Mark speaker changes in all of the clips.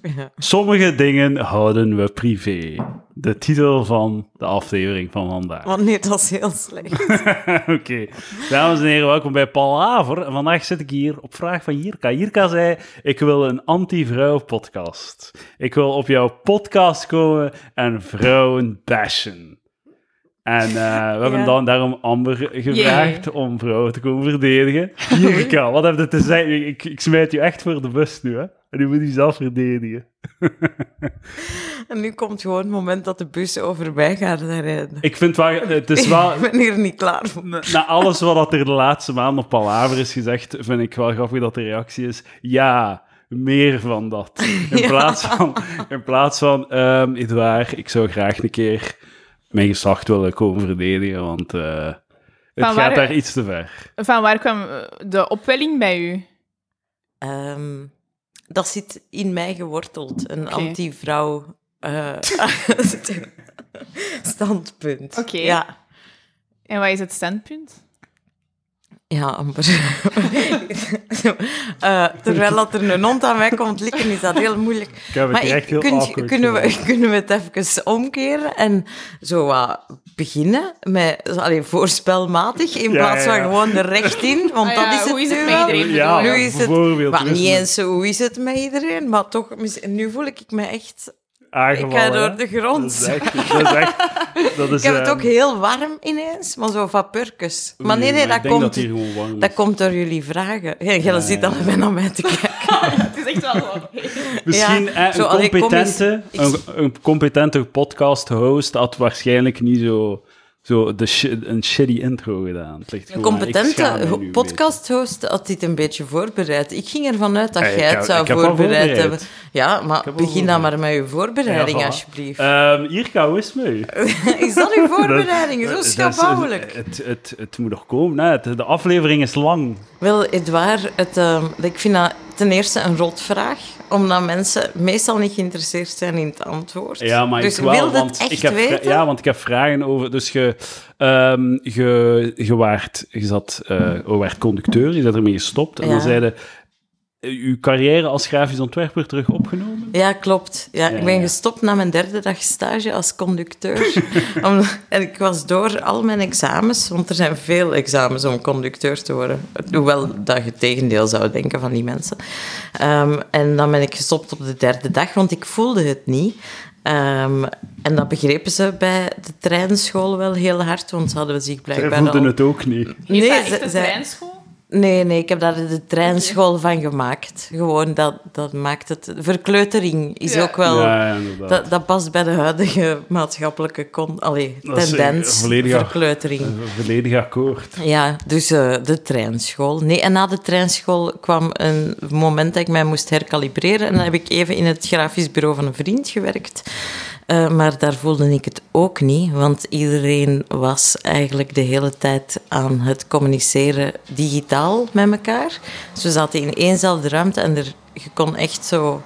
Speaker 1: Ja.
Speaker 2: Sommige dingen houden we privé. De titel van de aflevering van vandaag.
Speaker 1: Want nee, dat is heel slecht.
Speaker 2: Oké. Dames en heren, welkom bij Palaver. En vandaag zit ik hier op vraag van Jirka. Jirka zei, ik wil een anti-vrouw podcast. Ik wil op jouw podcast komen en vrouwen bashen. En eh, we hebben
Speaker 1: Ja.
Speaker 2: dan daarom Amber gevraagd om vrouwen te komen verdedigen. Jirka, wat heb je te zeggen? Ik, ik smijt je echt voor de bus nu, hè? En nu moet je zelf verdedigen.
Speaker 1: En nu komt gewoon het moment dat de bus over mij gaat rijden.
Speaker 2: Ik vind wel, het is wel,
Speaker 1: Ik ben hier niet klaar voor.
Speaker 2: Na- Na alles wat dat er de laatste maand op Palaver is gezegd, vind ik wel grappig dat de reactie is: ja, meer van dat. In
Speaker 1: Ja.
Speaker 2: plaats van, in plaats van ehm Edouard, ik zou graag een keer mijn geslacht willen komen verdedigen, want eh, het
Speaker 3: Van
Speaker 2: gaat
Speaker 3: waar-
Speaker 2: daar iets te ver.
Speaker 3: Van waar kwam eh, de opwelling bij u?
Speaker 1: Ehm, dat zit in mij geworteld, een
Speaker 3: Oké.
Speaker 1: anti-vrouw eh, standpunt.
Speaker 3: Oké.
Speaker 1: Ja.
Speaker 3: En wat is het standpunt?
Speaker 1: Ja, Amber. Zo, eh, terwijl dat er een hond aan mij komt likken, is dat heel moeilijk.
Speaker 2: Ik heb het
Speaker 1: Maar
Speaker 2: hier
Speaker 1: ik,
Speaker 2: echt heel
Speaker 1: kun je-
Speaker 2: awkward
Speaker 1: kunnen,
Speaker 2: gevonden.
Speaker 1: we, kunnen we het even omkeren en zo wat beginnen met zo, allee, voorspelmatig in
Speaker 2: Ja,
Speaker 1: plaats van
Speaker 2: ja, ja.
Speaker 1: gewoon er recht in? Want
Speaker 3: Ah
Speaker 1: dat
Speaker 3: ja,
Speaker 1: is het
Speaker 3: hoe is het
Speaker 1: nu
Speaker 3: met
Speaker 1: wel.
Speaker 3: iedereen?
Speaker 2: Ja,
Speaker 1: nu is het-
Speaker 2: bijvoorbeeld.
Speaker 1: Maar
Speaker 2: dus
Speaker 1: niet eens zo, hoe is het met iedereen? Maar toch, mis- nu voel ik me echt... Ik
Speaker 2: aangevallen,
Speaker 1: ga
Speaker 2: hè.
Speaker 1: door de
Speaker 2: Dat
Speaker 1: grond.
Speaker 2: is echt. Dat is echt dat is,
Speaker 1: Ik heb het
Speaker 2: ehm,
Speaker 1: ook heel warm ineens, maar zo vapurkes. Maar nee,
Speaker 2: oei,
Speaker 1: nee,
Speaker 2: maar ik
Speaker 1: dat
Speaker 2: denk
Speaker 1: komt,
Speaker 2: dat hier gewoon warm
Speaker 1: dat
Speaker 2: is.
Speaker 1: komt door jullie vragen. Jij
Speaker 2: Ja,
Speaker 1: jij zit
Speaker 2: ja.
Speaker 1: al even naar mij te kijken.
Speaker 3: Het is echt wel...
Speaker 2: Misschien
Speaker 1: Ja,
Speaker 2: eh, een,
Speaker 1: zo, allee, kom
Speaker 2: competente,
Speaker 1: eens- ik-
Speaker 2: een, een competente podcast-host had waarschijnlijk niet zo, zo de shi- een shitty intro gedaan. Het ligt
Speaker 1: Een
Speaker 2: gewoon- ik schaam mij nu
Speaker 1: competente
Speaker 2: een
Speaker 1: podcasthost had dit een beetje voorbereid. Ik ging ervan uit dat
Speaker 2: Ja, Eh, ik
Speaker 1: jij
Speaker 2: heb-
Speaker 1: het zou
Speaker 2: ik heb al
Speaker 1: voorbereid
Speaker 2: voorbereid.
Speaker 1: hebben. Ja, maar
Speaker 2: heb al
Speaker 1: begin dan
Speaker 2: voorbereid.
Speaker 1: maar met je voorbereiding,
Speaker 2: Ja, voilà.
Speaker 1: alsjeblieft.
Speaker 2: beetje. Ehm, Jirka, hoe is het mee?
Speaker 1: is dat uw voorbereiding?
Speaker 2: Dat-
Speaker 1: Eh, Zo
Speaker 2: dat is-
Speaker 1: schabouwelijk.
Speaker 2: Het, het, het, moet nog komen. Hè. Het- de aflevering is lang.
Speaker 1: Wel, Edouard, het, ehm, ik vind dat ten eerste een rotvraag, omdat mensen meestal niet geïnteresseerd zijn in het antwoord.
Speaker 2: Ja, maar
Speaker 1: dus
Speaker 2: ik wel,
Speaker 1: wil je
Speaker 2: want
Speaker 1: het echt
Speaker 2: ik heb, vra-
Speaker 1: weten?
Speaker 2: Ja, want ik heb vragen over... Dus je, ehm je, je, waart, je, zat, eh, je werd conducteur, je bent ermee gestopt. En
Speaker 1: Ja.
Speaker 2: dan zeiden eh, uw carrière als grafisch ontwerper terug opgenomen?
Speaker 1: Ja, klopt. Ja,
Speaker 2: Ja,
Speaker 1: ik ben
Speaker 2: ja.
Speaker 1: gestopt na mijn derde dag stage als conducteur. Om- en ik was door al mijn examens, want er zijn veel examens om conducteur te worden. Hoewel dat je het tegendeel zou denken van die mensen. Ehm, en dan ben ik gestopt op de derde dag, want ik voelde het niet. Ehm, en dat begrepen ze bij de treinschool wel heel hard, want ze hadden zich
Speaker 2: Zij
Speaker 1: blijkbaar
Speaker 2: voelden
Speaker 1: al...
Speaker 2: het ook niet.
Speaker 3: Is
Speaker 1: Nee,
Speaker 3: dat echt
Speaker 1: ze-
Speaker 3: een
Speaker 1: ze-
Speaker 3: treinschool?
Speaker 1: Nee, nee, ik heb daar de treinschool van gemaakt. Gewoon, dat, dat maakt het... Verkleutering is
Speaker 3: Ja.
Speaker 1: ook wel...
Speaker 2: Ja, ja, inderdaad.
Speaker 1: Dat, dat past bij de huidige maatschappelijke con- allee,
Speaker 2: Dat is, eh,
Speaker 1: tendens,
Speaker 2: volledig-
Speaker 1: verkleutering.
Speaker 2: Volledig akkoord.
Speaker 1: Ja, dus eh, de treinschool. Nee, en na de treinschool kwam een moment dat ik mij moest herkalibreren. En dan heb ik even in het grafisch bureau van een vriend gewerkt. Eh, maar daar voelde ik het ook niet, want iedereen was eigenlijk de hele tijd aan het communiceren digitaal met elkaar. Dus we zaten in éénzelfde ruimte en er, je kon echt zo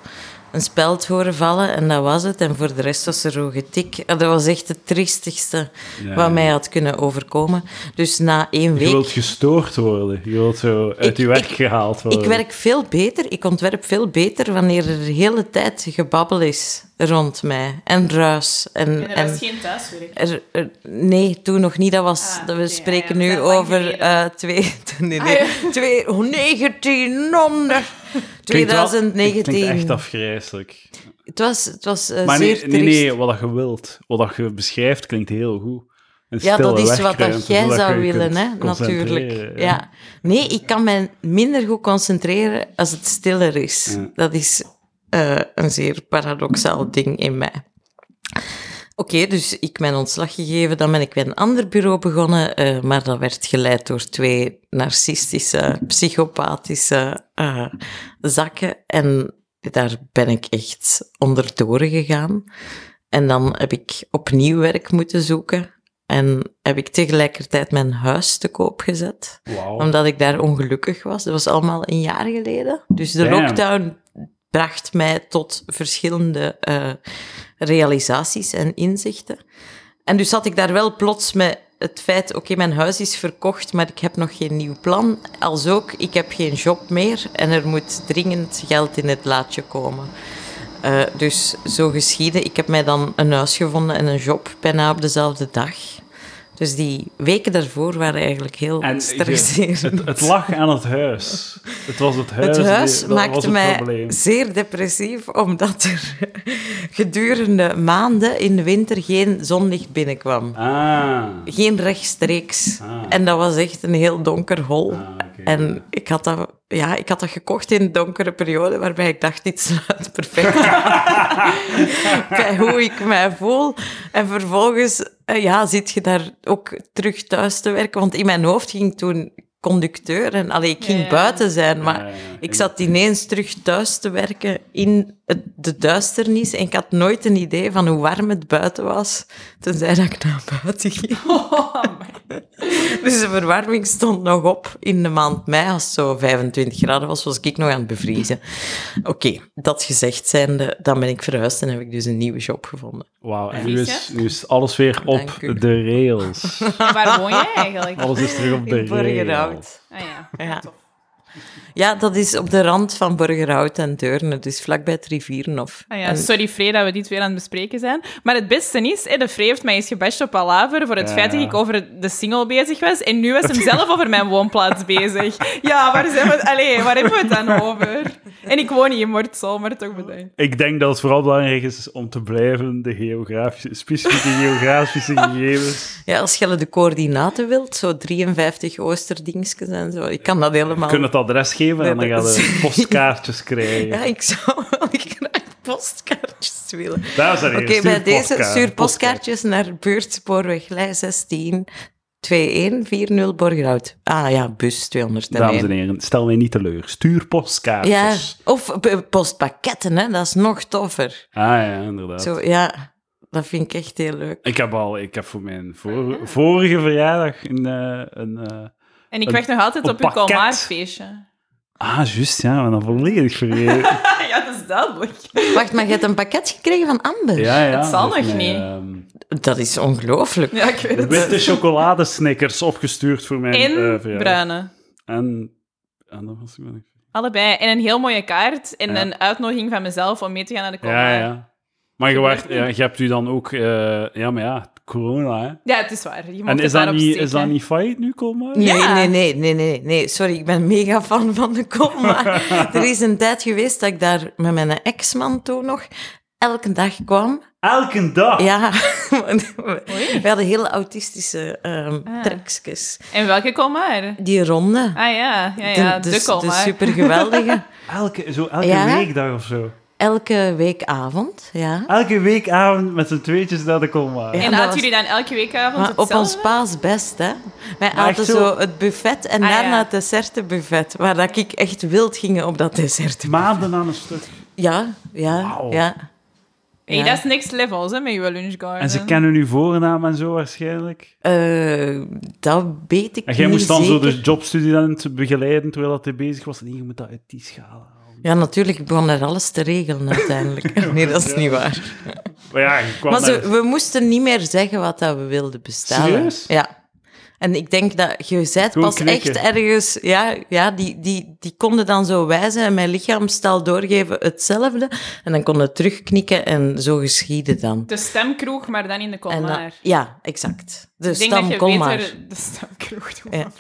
Speaker 1: een speld horen vallen en dat was het. En voor de rest was er zo getik. Eh, Dat was echt het triestigste
Speaker 2: Ja,
Speaker 1: wat mij
Speaker 2: ja.
Speaker 1: had kunnen overkomen. Dus na één
Speaker 2: Je wilt
Speaker 1: week...
Speaker 2: gestoord worden. Je wilt zo uit
Speaker 1: Ik-
Speaker 2: je werk
Speaker 1: ik-
Speaker 2: gehaald worden.
Speaker 1: Ik werk veel beter, ik ontwerp veel beter wanneer er de hele tijd gebabbel is rond mij. En ruis. En,
Speaker 3: En er
Speaker 1: en-
Speaker 3: was geen thuiswerk.
Speaker 1: er- er- nee, toen nog niet. Dat was,
Speaker 3: Ah,
Speaker 1: dat we
Speaker 3: oké,
Speaker 1: spreken
Speaker 3: ah
Speaker 1: nu
Speaker 3: ja, dat is lang
Speaker 1: over
Speaker 3: geleden.
Speaker 1: eh twee, nee,
Speaker 3: Ah,
Speaker 1: nee,
Speaker 3: ja.
Speaker 1: twee, 1900,
Speaker 2: Klinkt wel- Het
Speaker 1: 2019.
Speaker 2: klinkt echt afgrijzelijk.
Speaker 1: Het was, het was eh,
Speaker 2: Maar nee,
Speaker 1: zeer
Speaker 2: nee,
Speaker 1: triest.
Speaker 2: nee, wat dat je wilt, wat dat je beschrijft, klinkt heel goed. Een
Speaker 1: Ja, dat
Speaker 2: stille
Speaker 1: is wat dat
Speaker 2: werkruimte,
Speaker 1: jij
Speaker 2: zodat
Speaker 1: zou
Speaker 2: je je
Speaker 1: willen,
Speaker 2: kunt
Speaker 1: hè, natuurlijk. Ja.
Speaker 2: concentreren, ja.
Speaker 1: Nee, ik kan mij minder goed concentreren als het stiller is.
Speaker 2: Ja.
Speaker 1: Dat is eh, een zeer paradoxaal ding in mij. Oké, dus ik mijn ontslag gegeven, dan ben ik bij een ander bureau begonnen, eh, maar dat werd geleid door twee narcistische, psychopathische eh, zakken. En daar ben ik echt onderdoor gegaan. En dan heb ik opnieuw werk moeten zoeken. En heb ik tegelijkertijd mijn huis te koop gezet,
Speaker 2: Wauw.
Speaker 1: omdat ik daar ongelukkig was. Dat was allemaal een jaar geleden. Dus de
Speaker 2: Damn.
Speaker 1: lockdown bracht mij tot verschillende eh, realisaties en inzichten. En dus zat ik daar wel plots met het feit, oké, mijn huis is verkocht, maar ik heb nog geen nieuw plan. Als ook, ik heb geen job meer en er moet dringend geld in het laadje komen. Eh, dus zo geschieden. Ik heb mij dan een huis gevonden en een job bijna op dezelfde dag. Dus die weken daarvoor waren eigenlijk heel
Speaker 2: En je-
Speaker 1: stresserend.
Speaker 2: Het, het lag aan het huis. Het was het huis.
Speaker 1: Het huis
Speaker 2: die- dat was
Speaker 1: maakte
Speaker 2: het
Speaker 1: mij
Speaker 2: probleem.
Speaker 1: zeer depressief, omdat er gedurende maanden in de winter geen zonlicht binnenkwam.
Speaker 2: Ah.
Speaker 1: Geen rechtstreeks.
Speaker 2: Ah.
Speaker 1: En dat was echt een heel donker hol.
Speaker 2: Ah, oké.
Speaker 1: En ik had, dat, ja, ik had dat gekocht in een donkere periode, waarbij ik dacht, dit sluit perfect aan bij hoe ik mij voel. En vervolgens eh, ja, zit je daar ook terug thuis te werken. Want in mijn hoofd ging toen conducteur en allee, ik ging
Speaker 3: Ja.
Speaker 1: buiten zijn, maar
Speaker 2: Ja, ja, ja.
Speaker 1: ik zat ineens terug thuis te werken in het, de duisternis en ik had nooit een idee van hoe warm het buiten was, tenzij dat ik naar buiten ging. Dus de verwarming stond nog op in de maand mei. Als het zo 25 graden was, was ik nog aan het bevriezen. Oké, dat gezegd zijnde, dan ben ik verhuisd en heb ik dus een nieuwe job gevonden.
Speaker 2: Wauw, en
Speaker 3: Ja.
Speaker 2: nu is, nu is alles weer op
Speaker 1: Dank u.
Speaker 2: de rails.
Speaker 3: En waar woon jij eigenlijk?
Speaker 2: Alles is terug op de
Speaker 1: In
Speaker 2: rails.
Speaker 1: Borgerhout.
Speaker 3: Ah ja,
Speaker 1: Ja.
Speaker 3: tof.
Speaker 1: Ja, dat is op de rand van Borgerhout en Deurne, dus vlakbij het rivierenhof.
Speaker 3: Ah ja,
Speaker 1: En-
Speaker 3: sorry Free dat we dit weer aan het bespreken zijn. Maar het beste is, hè, de Free heeft mij eens gebashed op Palaver voor het
Speaker 2: Ja.
Speaker 3: feit dat ik over de single bezig was. En nu was hem zelf over mijn woonplaats bezig. Ja, waar, zijn we, allee, waar hebben we het dan over? En ik woon niet in Mortsel, maar toch bedankt.
Speaker 2: Ik denk dat het vooral belangrijk is om te blijven de geografische, specifieke geografische gegevens.
Speaker 1: Ja, als je de coördinaten wilt, zo 53 oosterdingetjes en zo. Ik kan dat helemaal...
Speaker 2: Je kunt het adres geven en dan
Speaker 1: Nee,
Speaker 2: gaan
Speaker 1: dat
Speaker 2: we
Speaker 1: is-
Speaker 2: postkaartjes krijgen.
Speaker 1: Ja, ik zou wel graag postkaartjes willen.
Speaker 2: Dames en
Speaker 1: Oké,
Speaker 2: heren,
Speaker 1: bij
Speaker 2: stuur
Speaker 1: deze
Speaker 2: postkaart-
Speaker 1: stuur postkaartjes naar buurtspoorweg Lei 16 2140 Borgerhout. Ah ja, bus 201.
Speaker 2: Dames en heren, stel mij niet teleur. Stuur
Speaker 1: Ja,
Speaker 2: postkaartjes.
Speaker 1: of b- postpakketten, hè? dat is nog toffer.
Speaker 2: Ah ja, inderdaad.
Speaker 1: Zo, ja, dat vind ik echt heel leuk.
Speaker 2: Ik heb al, ik heb voor mijn vor- vorige verjaardag een, eh, een eh,
Speaker 3: En ik
Speaker 2: Een-
Speaker 3: wacht nog altijd
Speaker 2: een
Speaker 3: op uw
Speaker 2: pakket.
Speaker 3: Kalmaarfeestje.
Speaker 2: ah, juist, ja, maar dan volledig vergeten.
Speaker 3: ja, dat is duidelijk.
Speaker 1: Wacht, maar je hebt een pakket gekregen van Amber?
Speaker 2: Ja, ja.
Speaker 3: Het zal
Speaker 2: dat is
Speaker 3: nog
Speaker 2: mijn,
Speaker 3: niet.
Speaker 2: ehm,
Speaker 1: Dat is ongelooflijk.
Speaker 3: Ja, ik weet het.
Speaker 2: witte chocoladesnickers opgestuurd voor mijn
Speaker 3: En
Speaker 2: eh, verjaardag.
Speaker 3: bruine.
Speaker 2: En, en dat was ik wel niet.
Speaker 3: Allebei. En een heel mooie kaart en
Speaker 2: Ja.
Speaker 3: een uitnodiging van mezelf om mee te gaan naar de Kalmaar.
Speaker 2: Ja, ja. Maar je, waart, ja, je hebt u dan ook... eh, ja, maar ja, corona, hè.
Speaker 3: Ja, het is waar. Je moet
Speaker 2: En
Speaker 3: het
Speaker 2: is dat,
Speaker 3: daarop
Speaker 2: niet, is
Speaker 3: steken.
Speaker 2: dat niet failliet nu, Colmar?
Speaker 1: Nee,
Speaker 3: Ja.
Speaker 1: nee, nee, nee, nee, nee. Sorry, ik ben mega fan van de kom. Maar er is een tijd geweest dat ik daar met mijn ex-man toen nog elke dag kwam.
Speaker 2: Elke dag?
Speaker 1: Ja, we hadden hele autistische ehm
Speaker 3: Ah.
Speaker 1: trekjes.
Speaker 3: En welke Kalmaar?
Speaker 1: Die ronde.
Speaker 3: Ah ja, ja, ja de,
Speaker 1: de, dus- de, de
Speaker 3: Kalmaar.
Speaker 1: supergeweldige.
Speaker 2: Elke, zo elke
Speaker 1: Ja?
Speaker 2: weekdag of zo.
Speaker 1: Elke weekavond, ja.
Speaker 2: Elke weekavond met z'n tweetjes naar de Colmar.
Speaker 1: Ja.
Speaker 3: En
Speaker 1: dat
Speaker 3: hadden
Speaker 1: was-
Speaker 3: jullie dan elke weekavond
Speaker 1: Maar op
Speaker 3: Ah, hetzelfde?
Speaker 1: ons paasbest, hè. Wij hadden
Speaker 2: echt
Speaker 1: zo...
Speaker 2: zo?
Speaker 1: het buffet en
Speaker 3: Ah,
Speaker 1: daarna
Speaker 3: ja.
Speaker 1: het dessertenbuffet. Waar dat ik echt wild ging op dat dessert.
Speaker 2: Maanden aan een stuk.
Speaker 1: Ja, ja,
Speaker 2: Wauw.
Speaker 1: ja.
Speaker 3: Hey,
Speaker 1: Ja.
Speaker 3: dat is next levels, hè, met je lunchgarden.
Speaker 2: En ze kennen uw voornaam en zo waarschijnlijk.
Speaker 1: Eh, dat weet ik
Speaker 2: En jij
Speaker 1: niet
Speaker 2: moest dan zo dus-
Speaker 1: zeker.
Speaker 2: de jobstudent begeleiden terwijl dat hij bezig was. Nee, je moet dat uit die schaal halen.
Speaker 1: Ja, natuurlijk, ik begon er alles te regelen uiteindelijk. Nee, dat is niet waar.
Speaker 2: Maar ja, je kwam
Speaker 1: Maar
Speaker 2: naar-
Speaker 1: ze, we moesten niet meer zeggen wat dat we wilden bestellen.
Speaker 2: Serieus?
Speaker 1: Ja. En ik denk dat je bent
Speaker 2: Gewoon
Speaker 1: pas
Speaker 2: knikken.
Speaker 1: echt ergens... Ja, ja die, die, die konden dan zo wijzen en mijn lichaamstaal doorgeven hetzelfde. En dan kon het terugknikken en zo geschieden dan.
Speaker 3: De stemkroeg, maar dan in de
Speaker 1: En dan-
Speaker 3: Colmar.
Speaker 1: ja, exact. Dus De
Speaker 3: Ik denk dat
Speaker 1: stam
Speaker 3: je
Speaker 1: Colmar.
Speaker 3: beter de stemkroeg doet.
Speaker 1: Ja.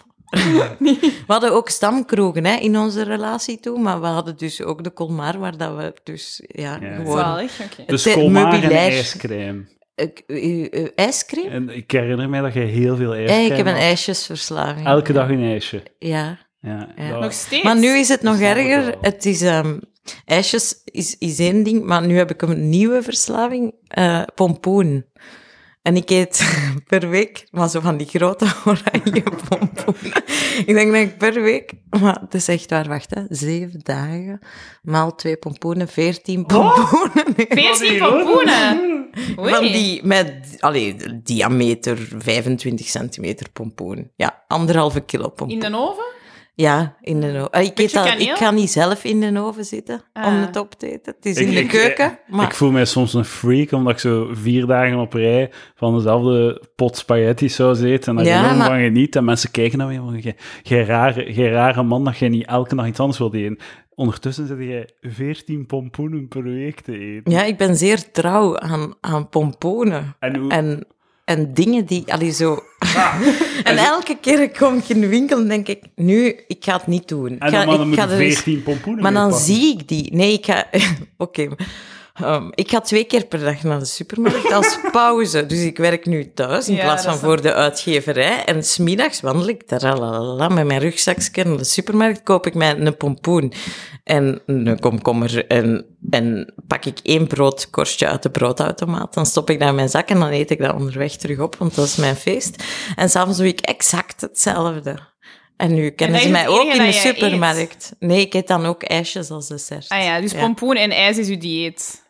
Speaker 1: We hadden ook stamkroegen hè, in onze relatie toe, maar we hadden dus ook de Colmar, waar dat we dus ja,
Speaker 2: Ja.
Speaker 1: gewoon...
Speaker 3: Zalig, oké.
Speaker 1: Het
Speaker 2: Dus Colmar en
Speaker 1: meubilair.
Speaker 2: ijscrème.
Speaker 1: Ik- eh, eh, ijscream?
Speaker 2: En ik herinner mij dat je heel veel ijscrème
Speaker 1: Eh, ik heb een
Speaker 2: had.
Speaker 1: ijsjesverslaving.
Speaker 2: Elke dag een ijsje.
Speaker 1: Ja.
Speaker 2: Ja,
Speaker 1: Ja.
Speaker 2: dat-
Speaker 3: Nog steeds.
Speaker 1: Maar nu is het nog
Speaker 2: snap ik wel.
Speaker 1: erger. Het is, ehm, ijsjes is, is één ding, maar nu heb ik een nieuwe verslaving. eh, pompoen. En ik eet per week, maar zo van die grote oranje pompoen. ik denk dat ik per week, maar het is echt waar, wacht hè, zeven dagen, maal twee pompoenen, veertien pompoenen.
Speaker 3: 14
Speaker 2: Wat die
Speaker 3: pompoenen. Oei.
Speaker 1: Van die met, allee, diameter 25 centimeter pompoen. Ja, anderhalve kilo pompoen.
Speaker 3: In de oven?
Speaker 1: Ja, in de oven. Eh, Ik, eet
Speaker 3: Mm. Beetje
Speaker 1: dat,
Speaker 3: kaneel?
Speaker 1: ik ga niet zelf in de oven zitten om
Speaker 3: Ah.
Speaker 1: het op te eten. Het is
Speaker 2: Ik-
Speaker 1: in de
Speaker 2: ik-
Speaker 1: keuken,
Speaker 2: eh,
Speaker 1: maar
Speaker 2: Ik voel mij soms een freak, omdat ik zo vier dagen op rij van dezelfde pot spaghetti saus eet en daar
Speaker 1: Ja,
Speaker 2: enorm
Speaker 1: maar-
Speaker 2: van geniet. En mensen kijken naar mij van, jij jij rare, jij rare man dat jij niet elke dag iets anders wilt eten. Ondertussen zit jij 14 pompoenen per week te eten.
Speaker 1: Ja, ik ben zeer trouw aan, aan pomponen.
Speaker 2: En hoe...
Speaker 1: En, en dingen die... Allee, zo...
Speaker 2: Ah.
Speaker 1: en elke keer kom ik in de winkel en denk ik... Nu, ik ga het niet doen.
Speaker 2: En
Speaker 1: ik ga,
Speaker 2: dan, maar dan
Speaker 1: ik
Speaker 2: moet
Speaker 1: ga
Speaker 2: je
Speaker 1: er eens-
Speaker 2: 14 pompoenen
Speaker 1: Maar dan
Speaker 2: meepakken.
Speaker 1: zie ik die. Nee, ik ga... Oké. ehm, ik ga twee keer per dag naar de supermarkt als pauze. Dus ik werk nu thuis in
Speaker 3: Ja,
Speaker 1: plaats
Speaker 3: dat
Speaker 1: van
Speaker 3: snap
Speaker 1: voor de uitgeverij. En smiddags wandel ik taralala, met mijn rugzakje naar de supermarkt. Koop ik mij een pompoen en een komkommer. En, en pak ik één broodkorstje uit de broodautomaat. Dan stop ik dat in mijn zak en dan eet ik dat onderweg terug op, want dat is mijn feest. En s'avonds doe ik exact hetzelfde. En nu kennen
Speaker 3: dat
Speaker 1: ze
Speaker 3: is
Speaker 1: mij
Speaker 3: het
Speaker 1: ook
Speaker 3: enige
Speaker 1: in de
Speaker 3: dat jij eet?
Speaker 1: supermarkt. Nee, ik eet dan ook ijsjes als dessert.
Speaker 3: Ah ja, dus pompoen en ijs is uw dieet.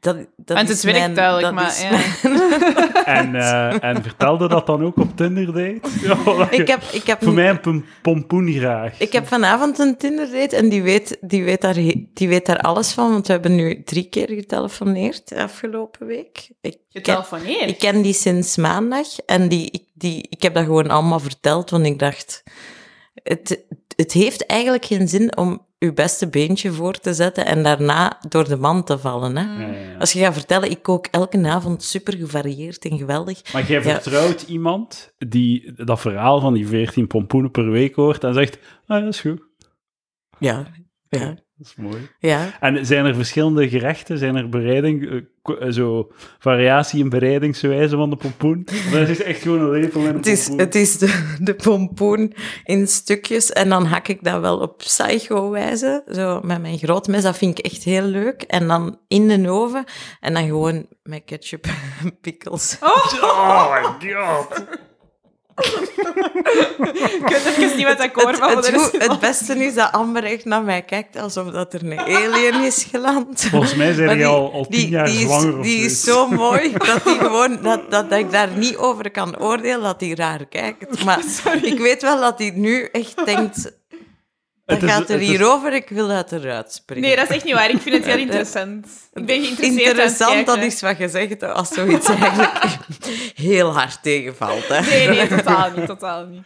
Speaker 1: Dat, dat
Speaker 3: Want
Speaker 1: is
Speaker 3: het werkt
Speaker 1: mijn-
Speaker 3: duidelijk,
Speaker 1: dat
Speaker 3: maar
Speaker 1: is
Speaker 3: ja.
Speaker 1: mijn-
Speaker 2: En, eh, en vertelde dat dan ook op Tinder date? Ja,
Speaker 1: ik heb, ik heb,
Speaker 2: Voor mij een pom- pompoen graag.
Speaker 1: ik heb vanavond een Tinder date en die weet, die, weet daar, he- die weet daar alles van, want we hebben nu drie keer getelefoneerd de afgelopen week. Ik ken,
Speaker 3: Getelefoneerd.
Speaker 1: ik ken die sinds maandag en die, ik, die, ik heb dat gewoon allemaal verteld, want ik dacht, het, het heeft eigenlijk geen zin om je beste beentje voor te zetten en daarna door de man te vallen. Hè?
Speaker 3: Mm.
Speaker 2: Ja, ja, ja.
Speaker 1: Als je gaat vertellen, ik kook elke avond super gevarieerd en geweldig.
Speaker 2: Maar jij vertrouwt iemand die dat verhaal van die 14 pompoenen per week hoort en zegt, ah, ja, is goed.
Speaker 1: Ja, ja,
Speaker 2: Dat is mooi.
Speaker 1: ja.
Speaker 2: En zijn er verschillende gerechten? Zijn er bereiding, eh, ko- eh, zo variatie in bereidingswijze van de pompoen? Of Dat is echt gewoon een lepel en een
Speaker 1: Het is,
Speaker 2: pompoen.
Speaker 1: het is de, de pompoen in stukjes en dan hak ik dat wel op psycho-wijze, zo met mijn groot mes. Dat vind ik echt heel leuk. En dan in de oven en dan gewoon met ketchup en pickles.
Speaker 2: Oh my god.
Speaker 3: Ik weet even niet wat dat koor
Speaker 1: Het,
Speaker 3: van
Speaker 1: het,
Speaker 3: de
Speaker 1: goed- het beste is dat Amber echt naar mij kijkt alsof dat er een alien is geland.
Speaker 2: Volgens mij zijn
Speaker 1: Maar
Speaker 2: die al, al tien jaar
Speaker 1: die is,
Speaker 2: zwanger of
Speaker 1: Die is
Speaker 2: zoiets.
Speaker 1: zo mooi dat, die gewoon, dat, dat, dat ik daar niet over kan oordelen dat hij raar kijkt. Maar ik weet wel dat hij nu echt denkt... Dat
Speaker 2: Het is-
Speaker 1: gaat er
Speaker 2: het is-
Speaker 1: hierover, ik wil dat eruit springen.
Speaker 3: Nee, dat is echt niet waar. Ik vind het heel interessant. Ik ben geïnteresseerd aan
Speaker 1: Interessant,
Speaker 3: het
Speaker 1: dat
Speaker 3: kijken.
Speaker 1: is wat je zegt, als zoiets eigenlijk heel hard tegenvalt. Hè.
Speaker 3: Nee, nee, totaal niet, totaal niet.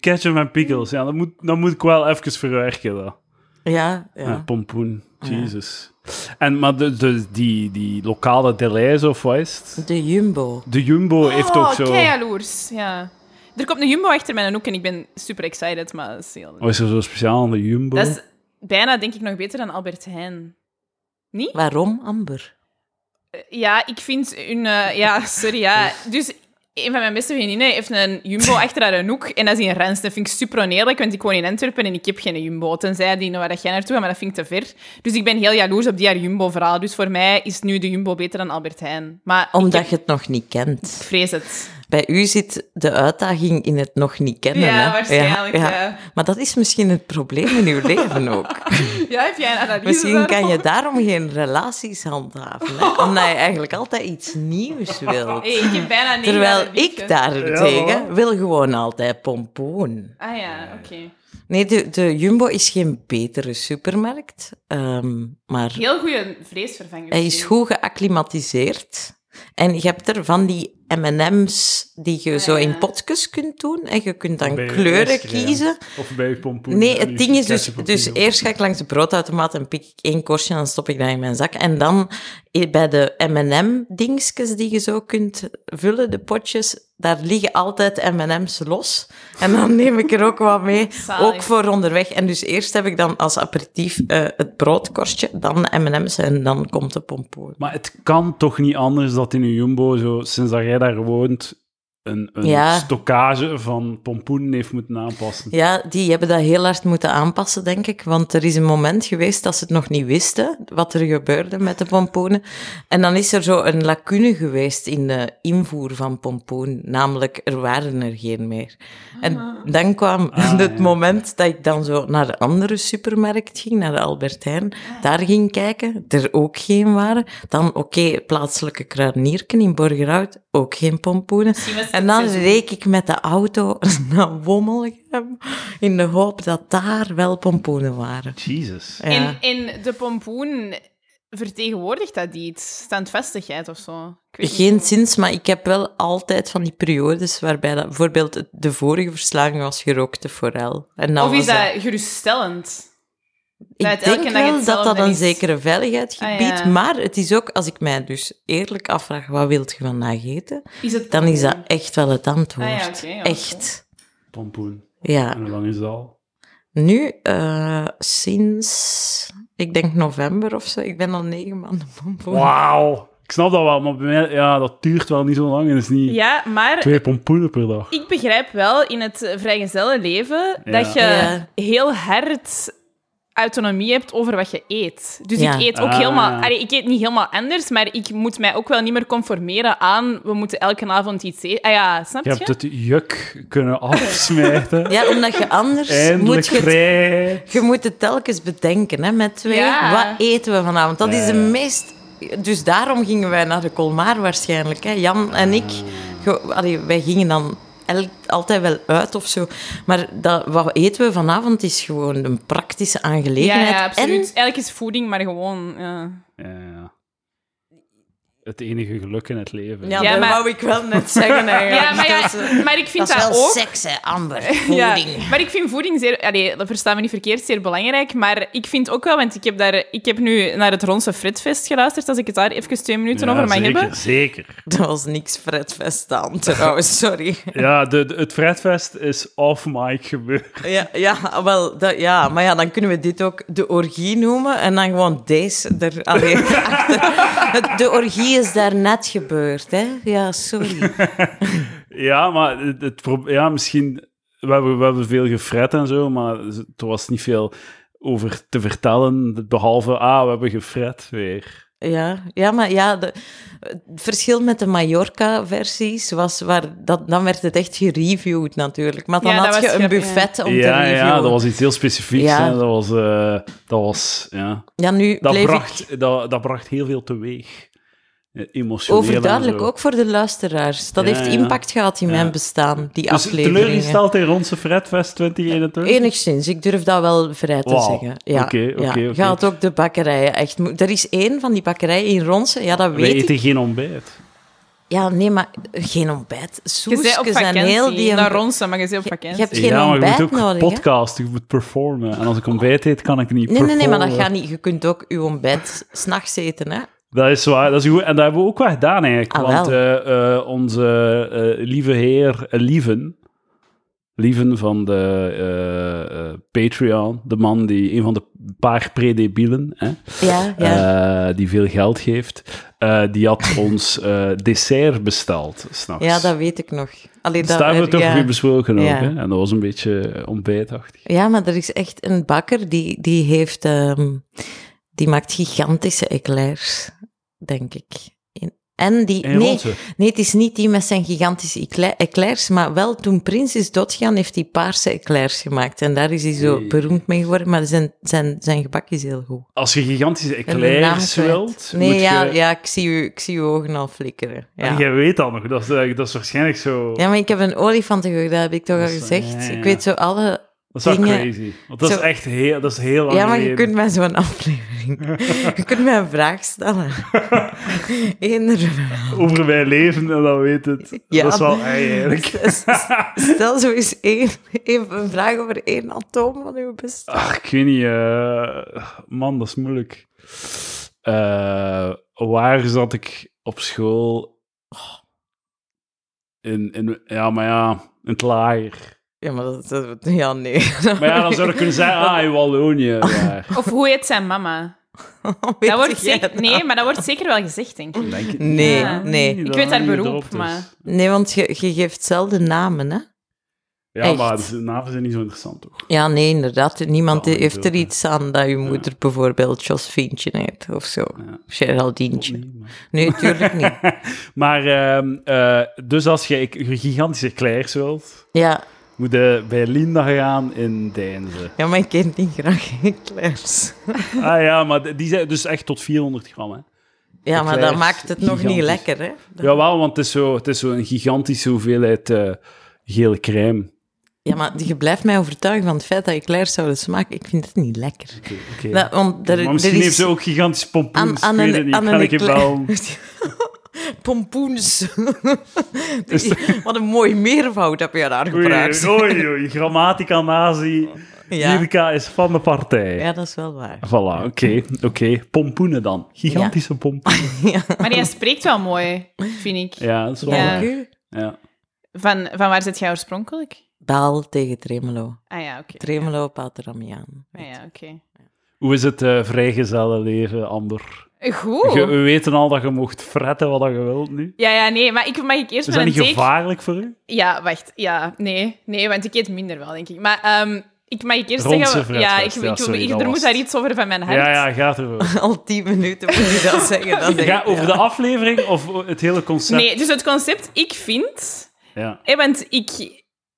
Speaker 2: Ketchup en pickles, ja, dat moet, dat moet ik wel even verwerken. Dat.
Speaker 1: Ja, ja.
Speaker 2: Ja. pompoen, jezus. En maar de, de, die, die lokale Deleuze of wat is het?
Speaker 1: De Jumbo.
Speaker 2: De Jumbo
Speaker 1: Oh,
Speaker 2: heeft ook zo...
Speaker 3: jaloers. Oh, Ja. Er komt een jumbo achter mijn hoek en ik ben super excited, maar dat is heel...
Speaker 2: Wat Oh, is er zo speciaal aan de Jumbo?
Speaker 3: Dat is bijna, denk ik, nog beter dan Albert Heijn. Niet?
Speaker 1: Waarom, Amber?
Speaker 3: Eh, Ja, ik vind hun... eh, ja, sorry, ja. Dus een van mijn beste vriendinnen heeft een jumbo achter haar een hoek en dat is in Rens. Dat vind ik super oneerlijk, want ik woon in Antwerpen en ik heb geen jumbo. Tenzij die naar waar jij naartoe gaat, maar dat vind ik te ver. Dus ik ben heel jaloers op die haar jumbo-verhaal. Dus voor mij is nu de jumbo beter dan Albert Heijn. Maar
Speaker 1: Omdat je het nog niet kent.
Speaker 3: ik vrees het.
Speaker 1: Bij u zit de uitdaging in het nog niet kennen.
Speaker 3: Ja,
Speaker 1: hè?
Speaker 3: waarschijnlijk, ja.
Speaker 1: Maar dat is misschien het probleem in uw leven ook.
Speaker 3: Ja, heb jij een analyse
Speaker 1: Misschien kan
Speaker 3: daarop?
Speaker 1: je daarom geen relaties handhaven, hè? omdat je eigenlijk altijd iets nieuws wilt.
Speaker 3: Hey, ik heb bijna negen
Speaker 1: Terwijl
Speaker 3: jaar een liefje.
Speaker 1: ik daarentegen wil gewoon altijd pompoen.
Speaker 3: Ah ja, oké.
Speaker 1: Nee, de, de Jumbo is geen betere supermarkt, ehm, maar
Speaker 3: Heel goede vreesvervanger.
Speaker 1: Hij is goed geacclimatiseerd. En je hebt er van die M&M's die je zo in
Speaker 3: Ah, ja.
Speaker 1: potjes kunt doen. En je kunt dan
Speaker 2: Bij je
Speaker 1: kleuren
Speaker 2: ijscrème.
Speaker 1: kiezen.
Speaker 2: Of bij je pompoen.
Speaker 1: Nee,
Speaker 2: en je
Speaker 1: het ding is dus...
Speaker 2: ketchup op
Speaker 1: Dus
Speaker 2: je
Speaker 1: eerst ga ik langs de broodautomaat en pik ik één korstje en dan stop ik dat in mijn zak. En dan eh, bij de M&M-dingetjes die je zo kunt vullen, de potjes, daar liggen altijd M&M's los. En dan neem ik er ook wat mee,
Speaker 3: Zalig.
Speaker 1: ook voor onderweg. En dus eerst heb ik dan als aperitief eh, het broodkorstje, dan de M&M's en dan komt de pompoen.
Speaker 2: Maar het kan toch niet anders dat in een Jumbo, zo, sinds dat jij daar woont, een, een
Speaker 1: Ja.
Speaker 2: stockage van pompoenen heeft moeten aanpassen.
Speaker 1: Ja, die hebben dat heel hard moeten aanpassen, denk ik. Want er is een moment geweest dat ze het nog niet wisten, wat er gebeurde met de pompoenen. En dan is er zo een lacune geweest in de invoer van pompoen. Namelijk, er waren er geen meer. En dan kwam
Speaker 2: Ah,
Speaker 1: het
Speaker 2: ja.
Speaker 1: moment dat ik dan zo naar de andere supermarkt ging, naar de Albert Heijn.
Speaker 3: Ah.
Speaker 1: Daar ging kijken, er ook geen waren. Dan, oké, plaatselijke kruidenierken in Borgerhout, ook geen pompoenen.
Speaker 3: Misschien was het
Speaker 1: En dan
Speaker 3: seizoen.
Speaker 1: reek ik met de auto naar Wommelgem in de hoop dat daar wel pompoenen waren.
Speaker 2: Jezus.
Speaker 1: Ja.
Speaker 3: En, en de pompoen vertegenwoordigt dat iets? Standvastigheid of zo? Ik weet niet.
Speaker 1: Geen zins, maar ik heb wel altijd van die periodes waarbij dat, bijvoorbeeld het- de vorige verslaging was gerookte forel. En dan
Speaker 3: Of
Speaker 1: was
Speaker 3: is dat geruststellend? Dat
Speaker 1: Ik
Speaker 3: het elke
Speaker 1: denk
Speaker 3: dag
Speaker 1: wel dat dat
Speaker 3: hetzelfde
Speaker 1: een
Speaker 3: is. Ah,
Speaker 1: zekere veiligheid gebiedt,
Speaker 3: ja.
Speaker 1: maar het is ook, als ik mij dus eerlijk afvraag, wat wilt je vandaag eten?
Speaker 3: Is het...
Speaker 1: Dan is dat echt wel het antwoord.
Speaker 3: Mm. Ah ja, oké, ja,
Speaker 1: echt.
Speaker 2: Pompoen.
Speaker 1: Ja.
Speaker 2: En hoe lang is dat al?
Speaker 1: Nu, eh, sinds, ik denk november of zo, ik ben al negen maanden pompoen.
Speaker 2: Wauw! Ik snap dat wel, maar bij mij, ja, dat duurt wel niet zo lang en dat is niet
Speaker 3: Ja, maar
Speaker 2: twee pompoenen per dag.
Speaker 3: ik begrijp wel in het eh, vrijgezellen leven
Speaker 2: Ja.
Speaker 3: dat je
Speaker 1: Ja.
Speaker 3: heel hard autonomie hebt over wat je eet. Dus
Speaker 1: Ja.
Speaker 3: ik eet ook
Speaker 2: Ah.
Speaker 3: helemaal... Allee, ik eet niet helemaal anders, maar ik moet mij ook wel niet meer conformeren aan we moeten elke avond iets eten. Ah ja, snap
Speaker 2: Je
Speaker 3: je?
Speaker 2: hebt het juk kunnen afsmijten.
Speaker 1: Ja, omdat je anders
Speaker 2: Eindelijk
Speaker 1: moet je het
Speaker 2: vrij.
Speaker 1: Je moet het telkens bedenken, hè, met twee.
Speaker 3: Ja.
Speaker 1: Wat eten we vanavond? Dat is de
Speaker 2: Ja, ja.
Speaker 1: meest... Dus daarom gingen wij naar de Colmar waarschijnlijk. Hè. Jan en ik, ge- allee, wij gingen dan el- altijd wel uit of zo. Maar dat, wat eten we vanavond is gewoon een praktische
Speaker 3: Ja,
Speaker 1: aangelegenheid.
Speaker 3: ja,
Speaker 1: en
Speaker 3: absoluut. Eigenlijk is voeding maar gewoon... Ja.
Speaker 2: Ja, ja. Het enige geluk in het leven.
Speaker 1: Ja,
Speaker 3: Ja,
Speaker 1: dat
Speaker 3: maar-
Speaker 1: wou ik wel net zeggen eigenlijk.
Speaker 3: Ja, maar,
Speaker 1: Dat is, eh,
Speaker 3: ja, maar ik vind
Speaker 1: dat
Speaker 3: dat,
Speaker 1: is wel
Speaker 3: ook...
Speaker 1: seks, hè, Amber.
Speaker 3: Ja,
Speaker 1: Voeding.
Speaker 3: maar ik vind voeding zeer... Allee, dat verstaan we niet verkeerd, zeer belangrijk. Maar ik vind ook wel, want ik heb, daar, ik heb nu naar het Ronse Fritfest geluisterd, als ik het daar even twee minuten
Speaker 2: Ja,
Speaker 3: over mag
Speaker 2: zeker,
Speaker 3: hebben.
Speaker 2: Zeker.
Speaker 1: Dat was niks Fredfest aan trouwens, sorry.
Speaker 2: Ja, de, de- het Fredfest is off mic gebeurd.
Speaker 1: Ja, ja, wel, dat, ja, maar ja, dan kunnen we dit ook de orgie noemen en dan gewoon deze er allee, achter. Het- De orgie is daar net gebeurd, hè? Ja, sorry.
Speaker 2: Ja, maar het, het pro- ja, misschien... We hebben, we hebben veel gefret en zo, maar z- er was niet veel over te vertellen. Behalve, ah, we hebben gefret weer.
Speaker 1: Ja, ja maar ja, de, het verschil met de Mallorca-versies was waar dat, dan werd het echt gereviewd natuurlijk. Maar dan
Speaker 3: Ja, dat
Speaker 1: had je
Speaker 3: was
Speaker 1: een
Speaker 3: grap-
Speaker 1: buffet om te
Speaker 2: ja,
Speaker 1: reviewen.
Speaker 2: ja, dat was iets heel specifieks.
Speaker 1: Ja.
Speaker 2: hè. Dat was... eh, dat was ja.
Speaker 1: Ja, nu
Speaker 2: dat,
Speaker 1: bleef ik
Speaker 2: bracht, dat, dat bracht heel veel teweeg. Eh, Emotioneel en
Speaker 1: overduidelijk
Speaker 2: zo.
Speaker 1: ook voor de luisteraars. Dat
Speaker 2: Ja,
Speaker 1: heeft
Speaker 2: ja.
Speaker 1: impact gehad in
Speaker 2: Ja.
Speaker 1: mijn bestaan, die
Speaker 2: Dus
Speaker 1: afleveringen.
Speaker 2: teleurgesteld in Ronse Fredfest 2021?
Speaker 1: Enigszins, ik durf dat wel vrij te
Speaker 2: Hm? Wauw.
Speaker 1: zeggen. Ja,
Speaker 2: Oké, oké,
Speaker 1: ja.
Speaker 2: oké.
Speaker 1: Je had ook de bakkerijen echt. mo- Er is één van die bakkerijen in Ronsen, ja, dat
Speaker 2: Wij
Speaker 1: weet ik.
Speaker 2: eten geen ontbijt.
Speaker 1: Ja, nee, maar geen ontbijt.
Speaker 3: Je bent op
Speaker 1: Soesjes en
Speaker 3: vakantie,
Speaker 1: heel die.
Speaker 3: naar Ronse, maar je bent op
Speaker 1: Je
Speaker 3: vakantie.
Speaker 1: hebt geen
Speaker 2: ja, maar je
Speaker 1: ontbijt
Speaker 2: moet ook
Speaker 1: nodig. hè?
Speaker 2: podcast, je moet performen. En als ik ontbijt eet, kan ik niet
Speaker 1: Nee, nee,
Speaker 2: performen.
Speaker 1: nee, maar dat gaat niet. Je kunt ook je ontbijt s'nachts eten, hè?
Speaker 2: Dat is waar, dat is goed. En dat hebben we ook wel gedaan eigenlijk.
Speaker 1: Ah,
Speaker 2: want
Speaker 1: wel.
Speaker 2: eh, eh, onze eh, lieve heer eh, Lieven, Lieven van de eh, eh, Patreon, de man die, een van de paar predebielen, hè,
Speaker 1: Ja, ja.
Speaker 2: eh, die veel geld geeft, eh, die had ons eh, dessert besteld, s'nachts.
Speaker 1: ja, dat weet ik nog. Allee,
Speaker 2: Dus daar hebben we het
Speaker 1: ja.
Speaker 2: over besproken ook.
Speaker 1: Ja.
Speaker 2: Hè? En dat was een beetje eh, ontbijtachtig.
Speaker 1: ja, maar er is echt een bakker die, die heeft. ehm, die maakt gigantische eclairs, denk ik. In- En die.
Speaker 2: En
Speaker 1: nee,
Speaker 2: roze.
Speaker 1: Nee, het is niet die met zijn gigantische ecla- eclairs, maar wel toen Prins is doodgegaan, heeft hij paarse eclairs gemaakt. En daar is hij zo
Speaker 2: Hey.
Speaker 1: beroemd mee geworden, maar zijn, zijn, zijn gebak is heel goed.
Speaker 2: Als je gigantische
Speaker 1: Ik ben de naam
Speaker 2: eclairs
Speaker 1: kwijt.
Speaker 2: wilt,
Speaker 1: Nee,
Speaker 2: moet
Speaker 1: ja,
Speaker 2: je...
Speaker 1: ja ik, zie u, ik zie uw ogen al flikkeren. Ja.
Speaker 2: Jij weet dat nog, dat is, eh, dat is waarschijnlijk zo...
Speaker 1: ja, maar ik heb een olifantengeurd, dat heb ik toch al
Speaker 2: Dat is-
Speaker 1: gezegd.
Speaker 2: ja, ja, ja.
Speaker 1: Ik weet zo alle...
Speaker 2: dat is wel
Speaker 1: dingen-
Speaker 2: crazy. Want dat is
Speaker 1: Zo-
Speaker 2: echt heel, dat is heel lang
Speaker 1: Ja, maar je
Speaker 2: geleden.
Speaker 1: kunt mij zo'n aflevering... je kunt mij een vraag stellen. Eender verhaal.
Speaker 2: Over mijn leven, en dan weet het.
Speaker 1: Ja.
Speaker 2: Dat is wel eng eigenlijk.
Speaker 1: Stel zo eens één, even een vraag over één atoom van uw bestaan.
Speaker 2: Ach, Ah, ik weet niet. eh, man, dat is moeilijk. Eh, waar zat ik op school? In, in, ja, maar ja, in het laaier.
Speaker 1: Ja, maar dat... dat ja, nee.
Speaker 2: Maar ja, dan zou ik kunnen zeggen, ah, in Wallonië. daar.
Speaker 3: Of hoe heet zijn mama?
Speaker 1: Weet
Speaker 3: Dat wordt
Speaker 1: jij
Speaker 3: zeker,
Speaker 1: het
Speaker 3: nee, maar dat wordt zeker wel gezegd, denk ik.
Speaker 2: Denk het
Speaker 1: Nee,
Speaker 2: niet.
Speaker 1: Ja. nee.
Speaker 2: Dat
Speaker 3: Ik weet haar
Speaker 2: hangt
Speaker 3: beroep,
Speaker 2: erop, dus.
Speaker 3: maar-
Speaker 1: Nee, want je, je geeft zelden namen, hè?
Speaker 2: Ja,
Speaker 1: Echt.
Speaker 2: maar de naven zijn niet zo interessant, toch?
Speaker 1: Ja, nee, inderdaad. Niemand
Speaker 2: Ja,
Speaker 1: heeft er
Speaker 2: natuurlijk,
Speaker 1: iets aan dat je moeder bijvoorbeeld Josfientje heet of zo.
Speaker 2: Ja.
Speaker 1: Geraldientje.
Speaker 2: Ook niet, maar-
Speaker 1: Nee, tuurlijk niet.
Speaker 2: Maar, ehm, eh, dus als je ik- je gigantische klairs wilt,
Speaker 1: Ja.
Speaker 2: moet je bij Linda gaan in Deinze.
Speaker 1: ja, maar ik eet niet graag eclairs.
Speaker 2: Ah ja, maar d- die zijn dus echt tot 400 gram, hè?
Speaker 1: Ja, maar dat
Speaker 2: Eclairs,
Speaker 1: maakt het nog niet
Speaker 2: gigantisch.
Speaker 1: lekker, hè?
Speaker 2: Jawel, want het is zo- het is zo'n gigantische hoeveelheid eh, gele crème.
Speaker 1: Ja, maar je blijft mij overtuigen van het feit dat eclairs zouden smaken. Ik vind het niet lekker.
Speaker 2: Oké.
Speaker 1: Dat, want Nou, er,
Speaker 2: maar
Speaker 1: er
Speaker 2: misschien
Speaker 1: is
Speaker 2: heeft ze ook gigantische pompoens.
Speaker 1: aan
Speaker 2: ik weet het niet,
Speaker 1: aan
Speaker 2: kan ik je
Speaker 1: eclair-
Speaker 2: wel...
Speaker 1: Pompoens.
Speaker 2: Is
Speaker 1: Wat een mooi meervoud heb je daar
Speaker 2: Oei, oh,
Speaker 1: gebruikt.
Speaker 2: oei, oei, grammatica nazi.
Speaker 1: Ja.
Speaker 2: Jirka is van de partij.
Speaker 1: ja, dat is wel waar.
Speaker 2: Voilà, oké, oké. Pompoenen dan. Gigantische pompoenen.
Speaker 1: Ja.
Speaker 3: Maar jij spreekt wel mooi, vind ik.
Speaker 2: Ja, dat is wel
Speaker 3: Ja.
Speaker 2: waar.
Speaker 1: Dank u.
Speaker 2: Ja.
Speaker 3: Van, van waar zit jij oorspronkelijk?
Speaker 1: Baal tegen Tremelo.
Speaker 3: Ah ja, oké.
Speaker 1: Tremelo, Pateramiaan.
Speaker 3: Ah ja, oké.
Speaker 2: Hoe is het eh vrijgezellenleven, Amber?
Speaker 3: Goed.
Speaker 2: Je- we weten al dat je mocht fretten wat je wilt nu.
Speaker 3: Ja, ja, nee, maar ik, mag ik eerst
Speaker 2: Is
Speaker 3: met
Speaker 2: dat
Speaker 3: een
Speaker 2: niet
Speaker 3: teken...
Speaker 2: gevaarlijk voor u?
Speaker 3: Ja, wacht. Ja, nee. Nee, want ik eet minder wel, denk ik. Maar ehm, ik mag ik eerst
Speaker 2: Rondse
Speaker 3: zeggen... Ja, ik,
Speaker 2: fruitfest.
Speaker 3: ik,
Speaker 2: Ja,
Speaker 3: ik-
Speaker 2: sorry,
Speaker 3: ik-
Speaker 2: dat
Speaker 3: er
Speaker 2: was
Speaker 3: moet daar iets over van mijn hart.
Speaker 2: Ja, ja, gaat ervoor.
Speaker 1: Al tien minuten moet je dat zeggen. Dat is
Speaker 2: Ga
Speaker 1: echt-
Speaker 2: over de aflevering of het hele concept?
Speaker 3: Nee, dus het concept, ik vind...
Speaker 2: Ja.
Speaker 3: Hè, want ik,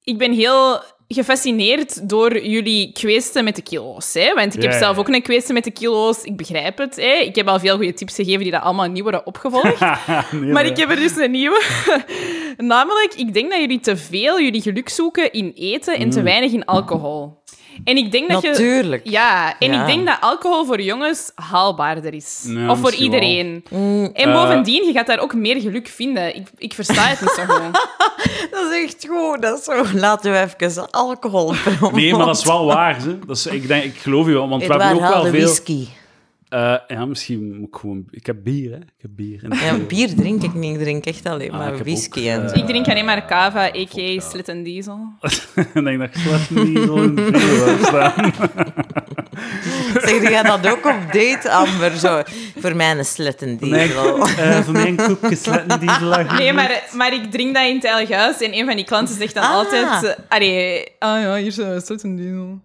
Speaker 3: ik ben heel gefascineerd door jullie kweesten met de kilo's. Hè? Want
Speaker 2: Ja,
Speaker 3: ik heb
Speaker 2: ja,
Speaker 3: zelf
Speaker 2: ja.
Speaker 3: ook een kweesten met de kilo's. Ik begrijp het. Hè? Ik heb al veel goede tips gegeven die dat allemaal niet worden opgevolgd.
Speaker 2: Nee,
Speaker 3: Maar
Speaker 2: nee.
Speaker 3: ik heb er dus een nieuwe. Namelijk, ik denk dat jullie te veel jullie geluk zoeken in eten en
Speaker 2: Mm.
Speaker 3: te weinig in alcohol. En ik denk dat je.
Speaker 1: Natuurlijk.
Speaker 3: Ja, en
Speaker 1: Ja.
Speaker 3: ik denk dat alcohol voor jongens haalbaarder is.
Speaker 2: Ja,
Speaker 3: of voor
Speaker 2: misschien wel.
Speaker 3: iedereen.
Speaker 1: Mm,
Speaker 3: En
Speaker 2: Eh.
Speaker 3: bovendien, je gaat daar ook meer geluk vinden. Ik, ik versta het niet zo goed.
Speaker 1: dat is echt goed. Dat is zo. Laten we even alcohol promoten.
Speaker 2: Nee, maar dat is wel waar. Ze. Dat is, ik, denk, ik geloof je wel, want we
Speaker 1: Edouard,
Speaker 2: hebben ook
Speaker 1: haal
Speaker 2: wel
Speaker 1: de
Speaker 2: veel...
Speaker 1: whisky.
Speaker 2: Eh, ja, misschien moet ik gewoon... Ik heb bier, hè. Ik heb bier. in het
Speaker 1: Ja,
Speaker 2: leven.
Speaker 1: bier drink ik niet. Ik drink echt alleen
Speaker 2: Ah,
Speaker 1: maar
Speaker 2: ik heb
Speaker 1: whisky
Speaker 2: ook,
Speaker 1: en
Speaker 2: eh,
Speaker 1: zo.
Speaker 3: Ik drink alleen maar cava, a.k.a. slit en diesel.
Speaker 2: ik denk dat ik slecht niet zo in de video heb staan.
Speaker 1: Zeg jij dat ook op date, Amber? Zo, voor mij een sletten die.
Speaker 2: Nee, eh, voor mij een koekje slecht niet zo
Speaker 1: Ah,
Speaker 2: lang.
Speaker 3: Nee, maar, maar ik drink dat in het eigen huis. En een van die klanten zegt dan
Speaker 1: Ah.
Speaker 3: altijd... eh, Allee, ah ja, hier zijn slit en diesel.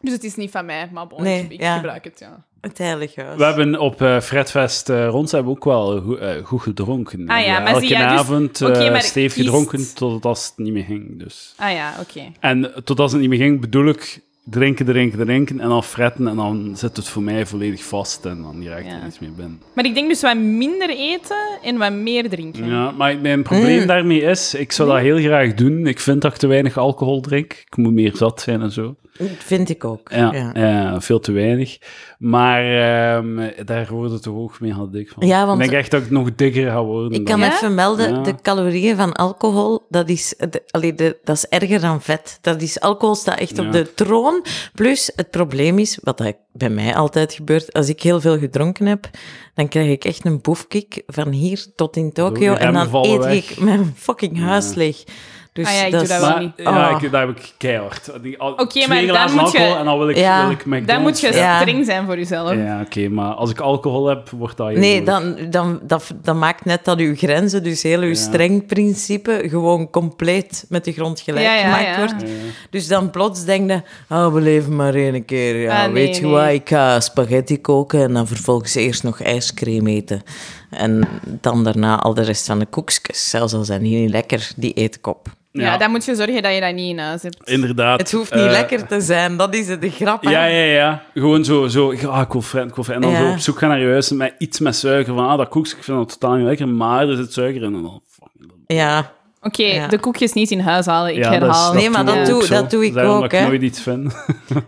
Speaker 3: Dus het is niet van mij, maar bon,
Speaker 1: Nee,
Speaker 3: ik, ik
Speaker 1: ja.
Speaker 3: gebruik het, ja.
Speaker 1: Het heilige huis.
Speaker 2: We hebben op eh Fredfest eh, rond hebben we ook wel goe- eh, goed gedronken.
Speaker 3: Ah ja,
Speaker 2: Eh,
Speaker 3: maar
Speaker 2: Elke
Speaker 3: zie jij dus-
Speaker 2: avond eh
Speaker 3: Oké, maar
Speaker 2: stevig
Speaker 3: kiest-
Speaker 2: gedronken totdat het niet meer ging. Dus.
Speaker 3: Ah ja, oké.
Speaker 2: En totdat het niet meer ging, bedoel ik drinken, drinken, drinken en dan fretten. En dan zit het voor mij volledig vast en dan raakt
Speaker 3: Ja.
Speaker 2: er niets meer binnen.
Speaker 3: Maar ik denk dus wat minder eten en wat meer drinken.
Speaker 2: Ja, maar mijn probleem
Speaker 1: Mm.
Speaker 2: daarmee is, ik zou
Speaker 3: Mm.
Speaker 2: dat heel graag doen. Ik vind dat ik te weinig alcohol drink. Ik moet meer zat zijn en zo.
Speaker 1: Dat Mm, vind ik ook.
Speaker 2: Ja,
Speaker 1: Ja. Ja.
Speaker 2: eh, veel te weinig. Maar ehm, daar word ik toch ook mee heel dik van.
Speaker 1: Ja, want-
Speaker 2: Ik denk echt dat ik nog dikker ga worden.
Speaker 1: Ik
Speaker 2: dan-
Speaker 1: kan
Speaker 3: Ja?
Speaker 1: even melden,
Speaker 2: Ja.
Speaker 1: de calorieën van alcohol, dat is, de, allee, de, dat is erger dan vet. Dat is, alcohol staat echt
Speaker 2: Ja.
Speaker 1: op de troon. Plus, het probleem is, wat dat bij mij altijd gebeurt, als ik heel veel gedronken heb, dan krijg ik echt een boefkick van hier tot in Tokio.
Speaker 2: je
Speaker 1: En
Speaker 2: remmen
Speaker 1: dan
Speaker 2: vallen
Speaker 1: eet
Speaker 2: weg.
Speaker 1: ik mijn fucking huis leeg. Dus
Speaker 3: Ah ja,
Speaker 1: dat
Speaker 3: ik doe
Speaker 1: is-
Speaker 3: dat wel
Speaker 2: Maar,
Speaker 3: niet.
Speaker 2: Ja,
Speaker 1: Ah.
Speaker 2: ik, daar heb ik keihard. Die al-
Speaker 3: Oké,
Speaker 2: twee
Speaker 3: maar dan
Speaker 2: glazen
Speaker 3: moet je-
Speaker 2: alcohol en dan wil ik,
Speaker 1: Ja.
Speaker 2: wil ik McDonald's.
Speaker 3: Dan moet je
Speaker 2: ja.
Speaker 1: Ja.
Speaker 3: streng zijn voor jezelf.
Speaker 2: Ja, oké, maar als ik alcohol heb, wordt dat heel
Speaker 1: Nee,
Speaker 2: moeilijk.
Speaker 1: dan, dan, dat, dat maakt net dat uw grenzen, dus heel uw
Speaker 2: Ja.
Speaker 1: streng principe, gewoon compleet met de grond gelijk
Speaker 3: Ja, ja,
Speaker 1: gemaakt
Speaker 3: ja.
Speaker 1: wordt.
Speaker 2: Ja.
Speaker 1: Dus dan plots denk je, ah, we leven maar één keer. Ja.
Speaker 3: Ah, nee,
Speaker 1: Weet je
Speaker 3: nee.
Speaker 1: wat, ik ga spaghetti koken en dan vervolgens eerst nog ijscream eten. En dan daarna al de rest van de koekjes. Zelfs al zijn die niet lekker, die eet ik op.
Speaker 3: Ja, dan moet je zorgen dat je dat niet in huis hebt.
Speaker 2: Inderdaad.
Speaker 1: Het hoeft niet
Speaker 2: eh,
Speaker 1: lekker te zijn, dat is de grap. hè.
Speaker 2: Ja, ja, ja. Gewoon zo, zo ik- ah, ik wil friend, ik wil friend. En dan
Speaker 1: Ja.
Speaker 2: zo op zoek gaan naar je huis met iets met suiker. Van, ah, dat koekje, ik vind dat totaal niet lekker, maar er zit suiker in. En dan, fuck.
Speaker 1: Ja.
Speaker 3: Oké,
Speaker 1: Ja.
Speaker 3: de koekjes niet in huis halen, ik
Speaker 2: Ja, dat is-
Speaker 3: herhaal.
Speaker 1: Nee, maar
Speaker 2: doen we
Speaker 1: dat
Speaker 2: ook
Speaker 1: doe-
Speaker 2: zo.
Speaker 1: dat doe ik
Speaker 2: Daarom
Speaker 1: ook,
Speaker 2: dat ik
Speaker 1: hè.
Speaker 2: nooit iets vind.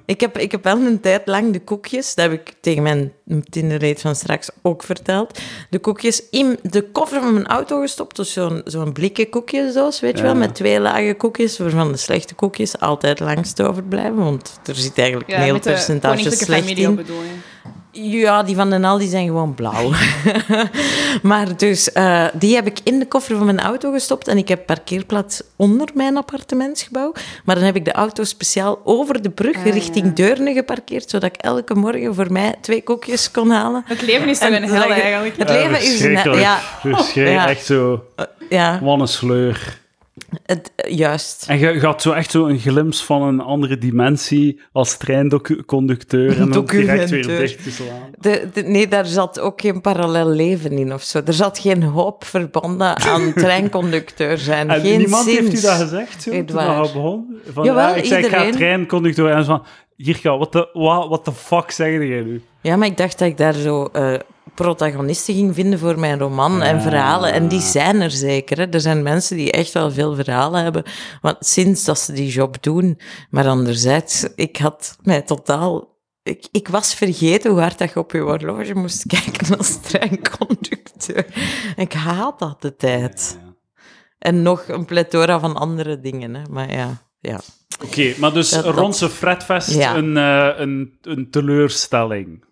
Speaker 1: Ik heb, ik heb wel een tijd lang de koekjes, dat heb ik tegen mijn Tinderreed van straks ook verteld, de koekjes in de koffer van mijn auto gestopt. Dus zo'n zo'n blikken koekjesdoos, weet
Speaker 2: Ja.
Speaker 1: je wel, met twee lage koekjes, waarvan de slechte koekjes altijd langst overblijven, want er zit eigenlijk een
Speaker 3: ja,
Speaker 1: heel
Speaker 3: met de
Speaker 1: percentage
Speaker 3: koninklijke
Speaker 1: slecht
Speaker 3: familie op
Speaker 1: in.
Speaker 3: bedoel je.
Speaker 1: Ja, die van Den Al, die zijn gewoon blauw. maar dus, eh, die heb ik in de koffer van mijn auto gestopt. En ik heb parkeerplaats onder mijn appartementsgebouw. Maar dan heb ik de auto speciaal over de
Speaker 3: Ah,
Speaker 1: brug richting Deurne geparkeerd. Zodat ik elke morgen voor mij twee koekjes kon halen.
Speaker 3: Het leven is toch
Speaker 1: En
Speaker 3: een hel
Speaker 1: zodat je-
Speaker 3: eigenlijk.
Speaker 1: Het leven is... een- Ja,
Speaker 2: Verschrikkelijk.
Speaker 1: Ja.
Speaker 2: Echt zo,
Speaker 1: ja
Speaker 2: wat een sleur.
Speaker 1: het, eh, juist.
Speaker 2: En je, je had zo echt zo een glimps van een andere dimensie als treinconducteur. En dan direct weer
Speaker 1: Documenteur.
Speaker 2: dichtgeslaan.
Speaker 1: De, de- nee, daar zat ook geen parallel leven in of zo. Er zat geen hoop verbonden aan treinconducteur zijn.
Speaker 2: En
Speaker 1: geen
Speaker 2: niemand heeft u
Speaker 1: zins.
Speaker 2: dat gezegd, zo, toen
Speaker 1: Edouard.
Speaker 2: dat begon? Van,
Speaker 1: Jawel,
Speaker 2: ja, ik zei, ik ga
Speaker 1: iedereen.
Speaker 2: treinconducteur. En ze van, Jirka, wat de wa- what the fuck zeg jij nu?
Speaker 1: Ja, maar ik dacht dat ik daar zo eh, protagonisten ging vinden voor mijn roman en
Speaker 2: Ah.
Speaker 1: verhalen. En die zijn er zeker. Hè. Er zijn mensen die echt wel veel verhalen hebben want sinds dat ze die job doen. Maar anderzijds, ik had mij totaal... Ik, ik was vergeten hoe hard dat je op je horloge moest kijken als treinconducteur. Ik haat dat de tijd. En nog een plethora van andere dingen. Hè. Maar ja, ja.
Speaker 2: Oké, maar dus
Speaker 1: Dat- dat-
Speaker 2: Ronse Fredfest
Speaker 1: Ja.
Speaker 2: een, eh, een, een teleurstelling.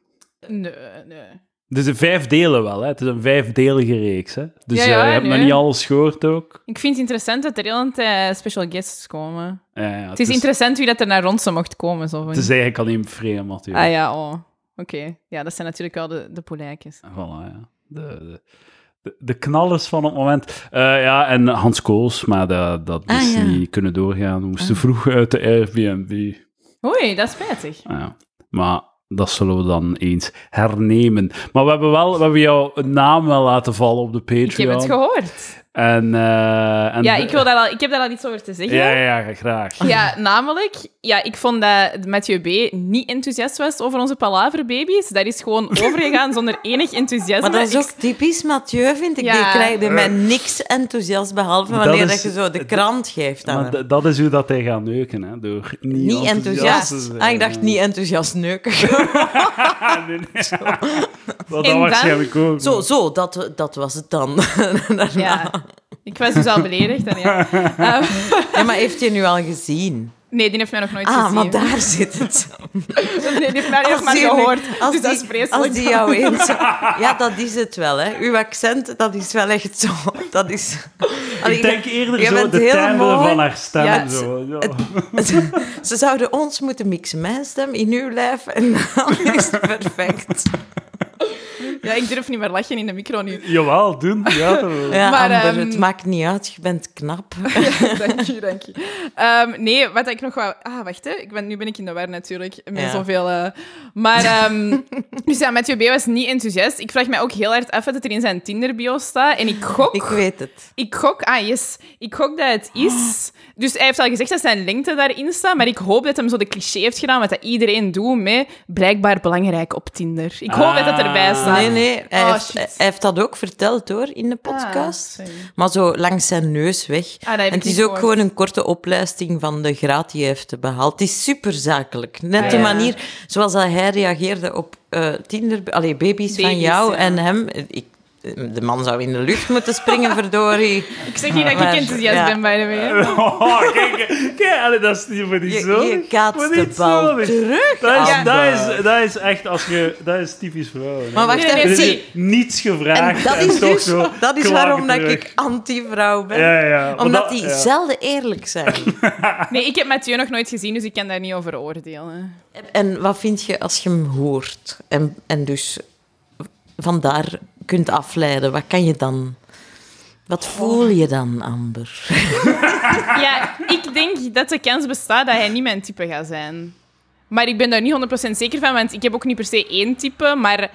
Speaker 3: Nee, nee.
Speaker 2: Dus in vijf delen wel, hè? Het is een vijfdelige reeks, hè? Dus
Speaker 3: Ja,
Speaker 2: eh,
Speaker 3: ja,
Speaker 2: je hebt
Speaker 3: nee.
Speaker 2: nog niet alles gehoord ook.
Speaker 3: Ik vind het interessant dat er heel een tijd special guests komen.
Speaker 2: Ja, ja,
Speaker 3: Het is interessant wie dat er naar Ronsen mocht komen. Zo van.
Speaker 2: Het is eigenlijk alleen vreemd, natuurlijk.
Speaker 3: Ah ja, oh. Oké. Ja, dat zijn natuurlijk wel de, de polijkjes.
Speaker 2: Voilà, ja. De, de, de, de knallers van het moment. Eh, ja, en Hans Kools, maar dat, dat
Speaker 1: Ah,
Speaker 2: is
Speaker 1: ja.
Speaker 2: niet kunnen doorgaan. We moesten vroeg uit de Airbnb.
Speaker 3: Oei, dat is spijtig.
Speaker 2: Ah, ja. Maar dat zullen we dan eens hernemen. Maar we hebben, wel, we hebben jouw naam wel laten vallen op de Patreon.
Speaker 3: Ik heb het gehoord.
Speaker 2: En, eh, en
Speaker 3: Ja, ik, wil daar al, ik heb daar al iets over te zeggen.
Speaker 2: Ja, ja, ja, graag.
Speaker 3: Ja, namelijk, ja, ik vond dat Mathieu B. niet enthousiast was over onze palaverbabies. Dat is gewoon overgegaan zonder enig enthousiasme.
Speaker 1: Maar dat is
Speaker 3: Ik-
Speaker 1: ook typisch Mathieu, vind ik.
Speaker 3: Ja.
Speaker 1: Die krijgt bij mij niks enthousiast, behalve
Speaker 2: Dat
Speaker 1: wanneer
Speaker 2: is-
Speaker 1: dat je zo de krant geeft aan
Speaker 2: Maar
Speaker 1: hem.
Speaker 2: d- dat is hoe dat hij gaat neuken, hè? Door niet,
Speaker 1: eh. Niet
Speaker 2: enthousiast. te
Speaker 1: enthousiast.
Speaker 2: zijn.
Speaker 1: Ah, ik dacht niet enthousiast neuken.
Speaker 2: Ah, nee, nee. Wat
Speaker 3: En
Speaker 2: dat
Speaker 3: dan-
Speaker 2: waarschijnlijk ook.
Speaker 1: zo, zo, dat, dat was het dan. Daarna.
Speaker 3: Ja. Ik was dus al beledigd. En ja. Ehm,
Speaker 1: Ja, maar heeft je nu al gezien?
Speaker 3: nee, die heeft mij nog nooit
Speaker 1: Ah,
Speaker 3: gezien.
Speaker 1: maar daar zit het.
Speaker 3: Nee, die heeft mij eerst maar
Speaker 1: die-
Speaker 3: gehoord.
Speaker 1: als
Speaker 3: dus dat
Speaker 1: die-
Speaker 3: is vreselijk.
Speaker 1: Als die jou eens... Ja, dat is het wel, hè. Uw accent, dat is wel echt zo. Dat is... Allee,
Speaker 2: Ik denk eerder
Speaker 1: jij
Speaker 2: zo
Speaker 1: bent
Speaker 2: de
Speaker 1: heel
Speaker 2: timbre
Speaker 1: mooi.
Speaker 2: van haar stem.
Speaker 1: Ja,
Speaker 2: zo. Ja.
Speaker 1: Ze zouden ons moeten mixen, mijn stem in uw lijf, en dan is het perfect.
Speaker 3: Ja, ik durf niet meer lachen in de micro nu.
Speaker 2: Jawel, doen. Ja, toch.
Speaker 1: Ja,
Speaker 3: Maar,
Speaker 1: Amber,
Speaker 3: ehm,
Speaker 1: het maakt niet uit, je bent knap.
Speaker 3: dank je, dank je. Ehm, nee, wat ik nog wou... Ah, wacht, hè. Ik ben, nu ben ik in de war natuurlijk, met
Speaker 1: Ja.
Speaker 3: zoveel... eh, Maar, ehm dus ja, Mathieu B. was niet enthousiast. Ik vraag mij ook heel hard af wat er in zijn Tinder-bio staat. En ik gok...
Speaker 1: Ik
Speaker 3: Ik,
Speaker 1: weet het.
Speaker 3: gok... Ah, yes. Ik gok dat het is... Dus hij heeft al gezegd dat zijn lengte daarin staat, maar ik hoop dat hem zo de cliché heeft gedaan, wat dat iedereen doet met blijkbaar belangrijk op Tinder. Ik hoop dat dat erbij
Speaker 2: Ah.
Speaker 3: staat.
Speaker 1: Nee, nee, hij,
Speaker 3: Oh,
Speaker 1: heeft,
Speaker 3: shit.
Speaker 1: hij heeft dat ook verteld, hoor, in de podcast.
Speaker 3: Ah, sorry. Ah,
Speaker 1: maar zo langs zijn neus weg.
Speaker 3: dat heb ik
Speaker 1: en het
Speaker 3: niet
Speaker 1: is ook
Speaker 3: gehoord.
Speaker 1: gewoon een korte opleiding van de graad die hij heeft behaald. Het is superzakelijk. Net
Speaker 3: Ah,
Speaker 1: de
Speaker 3: ja.
Speaker 1: manier zoals dat hij reageerde op eh, Tinder... Allee, baby's, van
Speaker 3: Baby's,
Speaker 1: jou
Speaker 3: ja.
Speaker 1: en hem. Ik, eh, de man zou in de lucht moeten springen, verdorie.
Speaker 3: Ik zeg niet dat ik
Speaker 1: Ah, Maar-
Speaker 3: enthousiast
Speaker 1: ja.
Speaker 3: ben, by the way.
Speaker 2: Oh, kijk, kijk, allee, dat is niet voor die
Speaker 1: Je,
Speaker 2: zo.
Speaker 1: je kaatst de bal terug.
Speaker 2: Dat is,
Speaker 1: aan.
Speaker 2: dat, is, dat is echt als je, dat is typisch vrouwen. hè.
Speaker 1: Maar wacht
Speaker 3: Nee, nee,
Speaker 1: even,
Speaker 2: Er is
Speaker 1: zie.
Speaker 2: hier niets gevraagd.
Speaker 1: En
Speaker 2: En
Speaker 1: dat is,
Speaker 2: toch
Speaker 1: dus,
Speaker 2: zo
Speaker 1: dat is
Speaker 2: klaar
Speaker 1: waarom dat
Speaker 2: terug.
Speaker 1: ik anti-vrouw ben.
Speaker 2: Ja, ja, maar
Speaker 1: Omdat
Speaker 2: dat-
Speaker 1: die
Speaker 2: ja.
Speaker 1: zelden eerlijk zijn.
Speaker 3: Nee, ik heb Mathieu nog nooit gezien, dus ik kan daar niet over oordelen.
Speaker 1: en wat vind je als je hem hoort? En, en dus vandaar kunt afleiden. Wat kan je dan?
Speaker 3: Oh.
Speaker 1: Wat voel je dan, Amber?
Speaker 3: Ja, ik denk dat de kans bestaat dat hij niet mijn type gaat zijn. Maar ik ben daar niet 100% zeker van, want ik heb ook niet per se één type, maar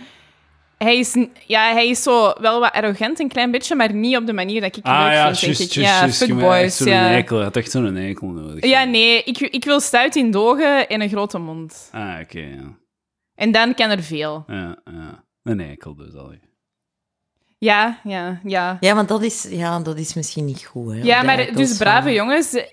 Speaker 3: hij is, n- ja, hij is zo wel wat arrogant, een klein beetje, maar niet op de manier dat ik het leuk
Speaker 2: Ah ja,
Speaker 3: vind,
Speaker 2: juist,
Speaker 3: denk
Speaker 2: juist,
Speaker 3: ik. ja,
Speaker 2: juist. Je bent echt
Speaker 3: fuckboys,
Speaker 2: zo'n
Speaker 3: ja.
Speaker 2: eikel. Je had echt zo'n eikel nodig.
Speaker 3: Ja, nee, ik, ik wil stuit in dogen en een grote mond.
Speaker 2: Ah, oké, ja.
Speaker 3: En dan kan er veel.
Speaker 2: Ja, ja. Een eikel dus al.
Speaker 3: Ja, ja, ja.
Speaker 1: Ja, want dat is, ja, dat is misschien niet goed. Hè,
Speaker 3: Ja,
Speaker 1: op de
Speaker 3: maar
Speaker 1: eikels
Speaker 3: dus
Speaker 1: van-
Speaker 3: brave jongens, eh,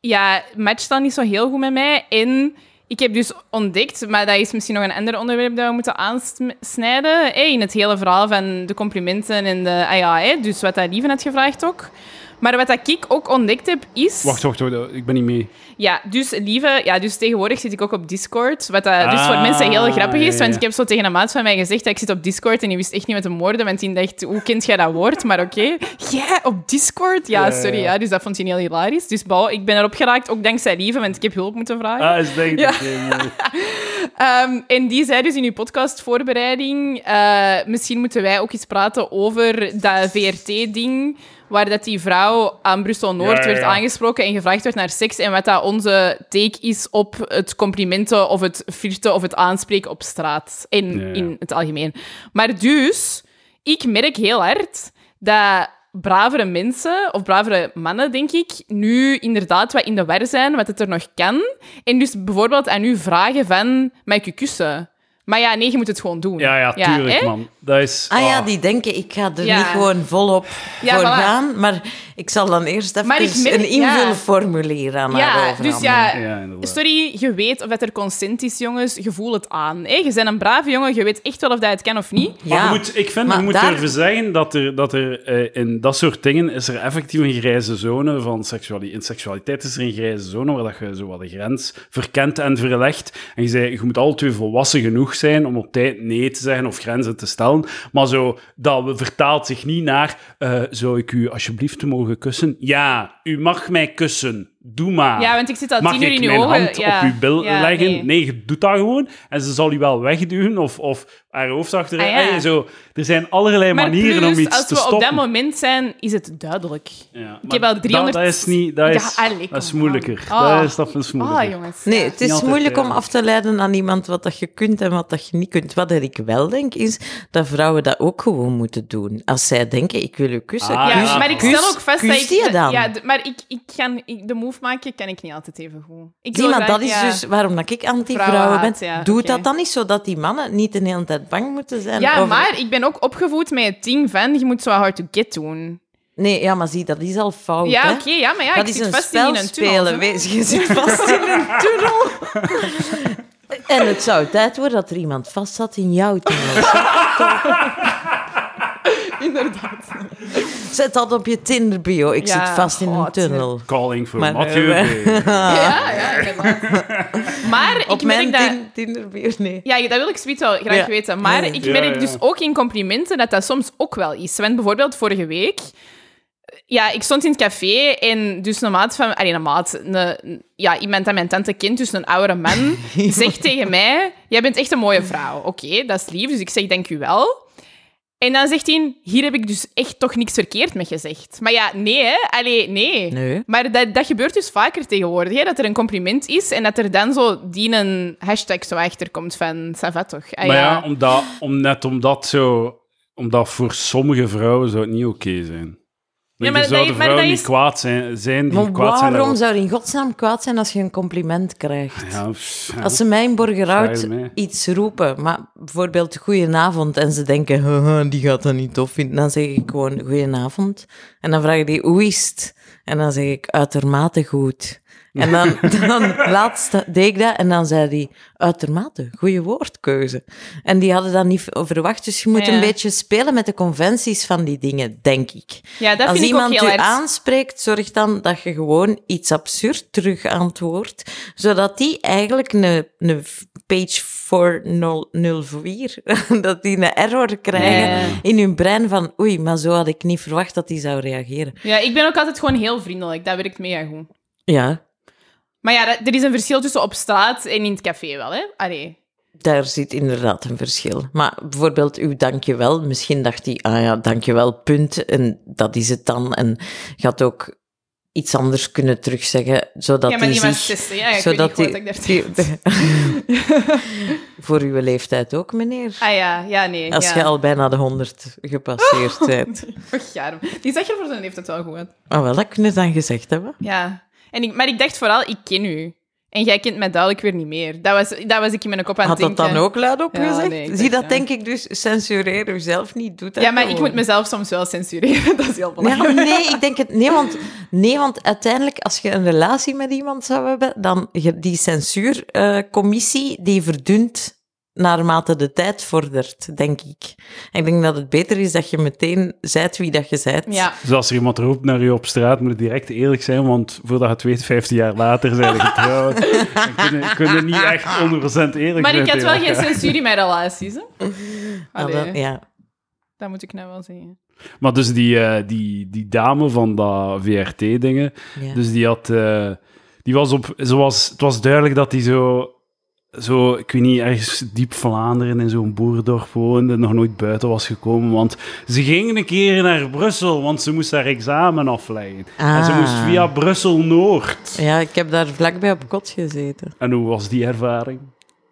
Speaker 3: ja, matcht dan niet zo heel goed met mij. En ik heb dus ontdekt, maar dat is misschien nog een ander onderwerp dat we moeten aansnijden, eh, in het hele verhaal van de complimenten en de ah ja, eh, dus wat dat Lieven had gevraagd ook. Maar wat dat ik ook ontdekt heb, is...
Speaker 2: Wacht, wacht, wacht. Ik ben niet mee.
Speaker 3: Ja, dus lieve, ja, dus tegenwoordig zit ik ook op Discord. Wat dat, dus voor
Speaker 2: Ah,
Speaker 3: mensen heel grappig
Speaker 2: ja,
Speaker 3: is.
Speaker 2: ja,
Speaker 3: Want
Speaker 2: ja.
Speaker 3: ik heb zo tegen een maat van mij gezegd dat ik zit op Discord. En die wist echt niet wat hem woorden. Want die dacht, hoe kent jij dat woord? Maar oké. Jij op Discord?
Speaker 2: Ja,
Speaker 3: Ja,
Speaker 2: ja,
Speaker 3: sorry.
Speaker 2: ja.
Speaker 3: Ja, dus dat vond hij heel hilarisch. Dus bouw, ik ben erop geraakt, ook dankzij lieve, want ik heb hulp moeten vragen.
Speaker 2: Ah, is denk ik.
Speaker 3: Ja.
Speaker 2: oké, mooi.
Speaker 3: Ehm, en die zei dus in uw podcastvoorbereiding, eh misschien moeten wij ook eens praten over dat VRT-ding, waar dat die vrouw aan Brussel-Noord
Speaker 2: Ja, ja, ja.
Speaker 3: werd aangesproken en gevraagd werd naar seks en wat dat onze take is op het complimenten of het flirten of het aanspreken op straat en
Speaker 2: Ja, ja.
Speaker 3: in het algemeen. Maar dus, ik merk heel hard dat bravere mensen, of bravere mannen, denk ik, nu inderdaad wat in de war zijn, wat het er nog kan. En dus bijvoorbeeld aan u vragen van, mag ik u kussen? Maar ja, nee, je moet het gewoon doen.
Speaker 2: Ja, ja, tuurlijk,
Speaker 3: hè?
Speaker 2: man. Dat is...
Speaker 1: Ah ja,
Speaker 2: ah.
Speaker 1: die denken, ik ga er
Speaker 3: Oh. Ja.
Speaker 1: niet gewoon volop
Speaker 3: Ja,
Speaker 1: voor
Speaker 3: voilà.
Speaker 1: gaan. Maar Ik zal dan eerst even
Speaker 3: Maar ik merk-
Speaker 1: een invulformulier aan haar
Speaker 3: Ja,
Speaker 1: overhandigen.
Speaker 3: dus ja,
Speaker 2: Ja, inderdaad.
Speaker 3: sorry, je weet of dat er consent is, jongens. Je voelt het aan. Hè? Je bent een brave jongen, je weet echt wel of dat het kan of niet.
Speaker 2: Maar
Speaker 1: Ja.
Speaker 2: je moet, ik vind,
Speaker 1: Maar
Speaker 2: je moet
Speaker 1: daar-
Speaker 2: durven zeggen dat er, dat er eh, in dat soort dingen is er effectief een grijze zone van seksualiteit. In seksualiteit is er een grijze zone waar dat je zo wat de grens verkent en verlegt. En je zei, je moet alle twee volwassen genoeg zijn om op tijd nee te zeggen of grenzen te stellen. Maar zo, dat we- vertaalt zich niet naar, eh, zou ik u alsjeblieft mogen kussen? Ja, u mag mij kussen. Doe maar.
Speaker 3: Ja, want ik zit al
Speaker 2: Mag
Speaker 3: tien uur
Speaker 2: ik
Speaker 3: in uw
Speaker 2: mijn
Speaker 3: ogen?
Speaker 2: hand
Speaker 3: Ja.
Speaker 2: op uw bil
Speaker 3: Ja,
Speaker 2: leggen?
Speaker 3: nee.
Speaker 2: Nee, je doet dat gewoon. En ze zal u wel wegduwen of, of haar hoofd achterin.
Speaker 3: Ah, ja.
Speaker 2: Allee, zo. Er zijn allerlei
Speaker 3: Maar
Speaker 2: manieren
Speaker 3: plus,
Speaker 2: om iets
Speaker 3: als
Speaker 2: te
Speaker 3: we op dat
Speaker 2: stoppen.
Speaker 3: moment zijn, is het duidelijk.
Speaker 2: Ja, maar
Speaker 3: heb al 300
Speaker 2: Dat, dat is, niet, dat
Speaker 3: Ja,
Speaker 2: is,
Speaker 3: allee,
Speaker 2: dat is
Speaker 3: kom
Speaker 2: moeilijker.
Speaker 3: aan. Ah.
Speaker 2: Dat is, dat is moeilijker.
Speaker 3: Ah, jongens.
Speaker 1: Nee,
Speaker 3: ja.
Speaker 1: het is
Speaker 2: altijd,
Speaker 1: moeilijk om
Speaker 2: ja.
Speaker 1: af te leiden aan iemand wat dat je kunt en wat dat je niet kunt. Wat dat ik wel denk, is dat vrouwen dat ook gewoon moeten doen. Als zij denken, ik wil u kussen.
Speaker 2: Ah,
Speaker 3: Ja,
Speaker 1: kus,
Speaker 3: maar ik
Speaker 1: kus,
Speaker 3: stel ook vast
Speaker 1: kus
Speaker 3: dat ik...
Speaker 1: die je dan.
Speaker 3: Ja, d- maar ik, ik kan, ik, de move maken kan ik niet altijd even goed. Ik
Speaker 1: Zie,
Speaker 3: wil
Speaker 1: maar
Speaker 3: graag-
Speaker 1: dat is
Speaker 3: ja.
Speaker 1: dus waarom dat ik anti-vrouwen ben.
Speaker 3: Vrouwenhaat, ja,
Speaker 1: Doe
Speaker 3: oké.
Speaker 1: dat dan niet, zodat die mannen niet de hele tijd bang moeten zijn.
Speaker 3: Ja,
Speaker 1: over-
Speaker 3: maar ik ben ook opgevoed met het ding van, je moet zo hard to get doen.
Speaker 1: Nee, ja, maar zie, dat is al fout.
Speaker 3: ja,
Speaker 1: hè.
Speaker 3: oké, ja, maar ja,
Speaker 1: dat
Speaker 3: ik
Speaker 1: is
Speaker 3: zit
Speaker 1: een
Speaker 3: vast
Speaker 1: spel
Speaker 3: in een tunnel.
Speaker 1: spelen.
Speaker 3: zo.
Speaker 1: Wees, je zit vast in een tunnel. en het zou tijd worden dat er iemand vast zat in jouw tunnel.
Speaker 3: Inderdaad.
Speaker 1: Zet dat op je Tinder-bio. Ik
Speaker 3: Ja,
Speaker 1: zit vast in een
Speaker 3: God.
Speaker 1: tunnel.
Speaker 2: Calling for
Speaker 1: Maar- eh,
Speaker 2: Mathieu.
Speaker 3: Ah,
Speaker 2: P.
Speaker 3: Ja, ja, inderdaad. Maar
Speaker 1: Op
Speaker 3: ik
Speaker 1: mijn
Speaker 3: merk dat...
Speaker 1: tin- Tinder-bio, nee.
Speaker 3: Ja, dat wil ik zoiets wel graag
Speaker 1: Ja.
Speaker 3: weten. Maar
Speaker 1: Ja.
Speaker 3: ik
Speaker 2: Ja,
Speaker 3: merk
Speaker 2: ja.
Speaker 3: dus ook in complimenten dat dat soms ook wel is. Want bijvoorbeeld vorige week... Ja, ik stond in het café en dus een maat van... Allee, een maat. Een, ja, iemand dat mijn tante kent, dus een oudere man, zegt tegen mij... Jij bent echt een mooie vrouw. Oké, dat is lief. Dus ik zeg, dank u wel. En dan zegt hij, hier heb ik dus echt toch niks verkeerd met gezegd. Maar ja, nee hè. Allee, nee.
Speaker 1: Nee.
Speaker 3: Maar dat, dat gebeurt dus vaker tegenwoordig, hè, dat er een compliment is en dat er dan zo die een hashtag zo achterkomt van, ça va toch? Ah,
Speaker 2: Maar ja, omdat, om, net omdat zo... Omdat voor sommige vrouwen zou het niet oké zijn.
Speaker 3: Ja, maar
Speaker 2: er
Speaker 3: dat-
Speaker 2: zouden
Speaker 3: maar
Speaker 2: vrouwen
Speaker 3: dat
Speaker 2: die
Speaker 3: is-
Speaker 2: kwaad zijn, zijn die
Speaker 1: Maar
Speaker 2: kwaad zijn
Speaker 1: waarom
Speaker 2: daarover.
Speaker 1: zou je in godsnaam kwaad zijn als je een compliment krijgt?
Speaker 2: Ja, pff, ja.
Speaker 1: Als ze mij in Borgerhout
Speaker 2: Vraag je mij.
Speaker 1: iets roepen, maar bijvoorbeeld goedenavond, en ze denken, haha, die gaat dat niet tof vinden, dan zeg ik gewoon goedenavond. En dan vragen die, hoe is het? En dan zeg ik, uitermate goed. En dan, dan laatst deed ik dat en dan zei die, uitermate, goede woordkeuze. En die hadden dat niet verwacht, dus je moet
Speaker 3: Ja.
Speaker 1: een beetje spelen met de conventies van die dingen, denk ik.
Speaker 3: ja dat
Speaker 1: Als
Speaker 3: vind ik ook
Speaker 1: iemand
Speaker 3: heel
Speaker 1: u
Speaker 3: erg.
Speaker 1: aanspreekt, zorg dan dat je gewoon iets absurd terug antwoordt, zodat die eigenlijk een, een page 404, dat die een error krijgen
Speaker 3: Ja.
Speaker 1: in hun brein van oei, maar zo had ik niet verwacht dat die zou reageren.
Speaker 3: Ja, ik ben ook altijd gewoon heel vriendelijk, dat werkt mega goed.
Speaker 1: Ja,
Speaker 3: Maar ja, dat- er is een verschil tussen op straat en in het café wel, hè? Allee.
Speaker 1: daar zit inderdaad een verschil. Maar bijvoorbeeld uw dankjewel, misschien dacht hij, ah ja, dankjewel, punt, en dat is het dan. En gaat ook iets anders kunnen terugzeggen, zodat
Speaker 3: ja, maar
Speaker 1: die
Speaker 3: die was
Speaker 1: zich...
Speaker 3: 16, ja, Ah, ik weet niet goed wat
Speaker 1: dus die-
Speaker 3: ik daar
Speaker 1: die- Voor uw leeftijd ook, meneer.
Speaker 3: Ah ja, ja, nee.
Speaker 1: Als
Speaker 3: ja.
Speaker 1: je al bijna de 100 gepasseerd bent.
Speaker 3: Och, ja, die zag je voor zijn heeft het wel goed uit.
Speaker 1: Maar Ah, wel, dat kunnen ze dan gezegd hebben.
Speaker 3: Ja. En ik, maar ik dacht vooral, ik ken u. En jij kent mij duidelijk weer niet meer. Dat was, dat was ik in mijn kop aan
Speaker 1: Had
Speaker 3: het
Speaker 1: dat
Speaker 3: denken.
Speaker 1: dan ook luidop
Speaker 3: Ja,
Speaker 1: gezegd?
Speaker 3: nee, ik
Speaker 1: Zie,
Speaker 3: dacht,
Speaker 1: dat
Speaker 3: ja.
Speaker 1: denk ik dus. Censureer uzelf niet. Doe dat
Speaker 3: Ja, maar ik
Speaker 1: gewoon.
Speaker 3: moet mezelf soms wel censureren. Dat is heel
Speaker 1: Ja,
Speaker 3: belangrijk.
Speaker 1: nee, ik denk het. Nee want, nee, want uiteindelijk, als je een relatie met iemand zou hebben, dan je- die censuurcommissie eh, die verdunt naarmate de tijd vordert, denk ik. En ik denk dat het beter is dat je meteen zijt wie dat je zijt.
Speaker 3: Ja.
Speaker 2: Dus als er iemand roept naar je op straat, moet het direct eerlijk zijn, want voordat je het weet, 15 jaar later zijn we getrouwd. We kunnen, kunnen niet echt 100% eerlijk
Speaker 3: Maar
Speaker 2: zijn.
Speaker 3: ik had wel
Speaker 2: tegen
Speaker 3: geen
Speaker 2: elkaar.
Speaker 3: censuur in mijn relaties, hè?
Speaker 1: Ah,
Speaker 3: Allee,
Speaker 1: wel, ja.
Speaker 3: dat moet ik nou wel zeggen.
Speaker 2: Maar dus die, eh, die, die dame van dat VRT-dingen,
Speaker 1: Ja.
Speaker 2: dus die had... eh, die was op... Ze was, het was duidelijk dat die zo... Zo, ik weet niet, ergens diep Vlaanderen in zo'n boerdorp woonde en nog nooit buiten was gekomen. Want ze ging een keer naar Brussel, want ze moest haar examen afleggen. En ze
Speaker 1: Ah.
Speaker 2: moest via Brussel-Noord.
Speaker 1: ja, ik heb daar vlakbij op kot gezeten.
Speaker 2: En hoe was die ervaring?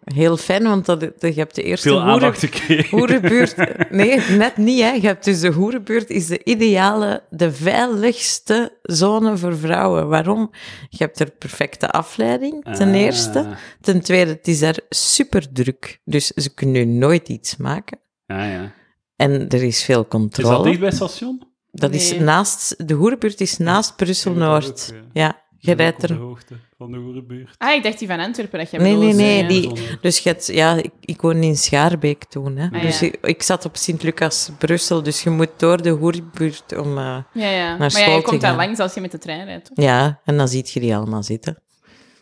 Speaker 1: Heel fijn, want dat, dat- je hebt de eerste
Speaker 2: Veel
Speaker 1: hoeren-
Speaker 2: aandacht gekregen.
Speaker 1: hoerenbuurt. Nee, net niet. Hè. Je hebt dus de hoerenbuurt is de ideale, de veiligste zone voor vrouwen. Waarom? Je hebt er perfecte afleiding, ten
Speaker 2: Ah.
Speaker 1: eerste. Ten tweede, het is daar super druk. Dus ze kunnen nooit iets maken.
Speaker 2: Ja, ja.
Speaker 1: En er is veel
Speaker 2: Is dat
Speaker 1: controle.
Speaker 2: dicht bij het station?
Speaker 1: Dat is
Speaker 3: Nee.
Speaker 1: naast, de Hoerenbuurt is naast Brussel-Noord.
Speaker 2: ook,
Speaker 1: Ja, je rijdt er...
Speaker 2: hoogte van de Hoerenbuurt.
Speaker 3: Ah, ik dacht die van Antwerpen dat je
Speaker 1: Nee, nee,
Speaker 3: bedoelde,
Speaker 1: nee.
Speaker 3: ja.
Speaker 1: Die, dus je hebt- ja, ik, ik woonde in Schaarbeek toen. Hè.
Speaker 3: Ah,
Speaker 1: dus
Speaker 3: ja.
Speaker 1: ik, ik zat op Sint-Lucas, Brussel. Dus je moet door de Hoerbuurt om... eh,
Speaker 3: Ja, ja. Maar ja,
Speaker 1: school
Speaker 3: je
Speaker 1: te
Speaker 3: komt daar
Speaker 1: gaan.
Speaker 3: langs als je met de trein rijdt. toch?
Speaker 1: ja, en dan ziet je die allemaal zitten.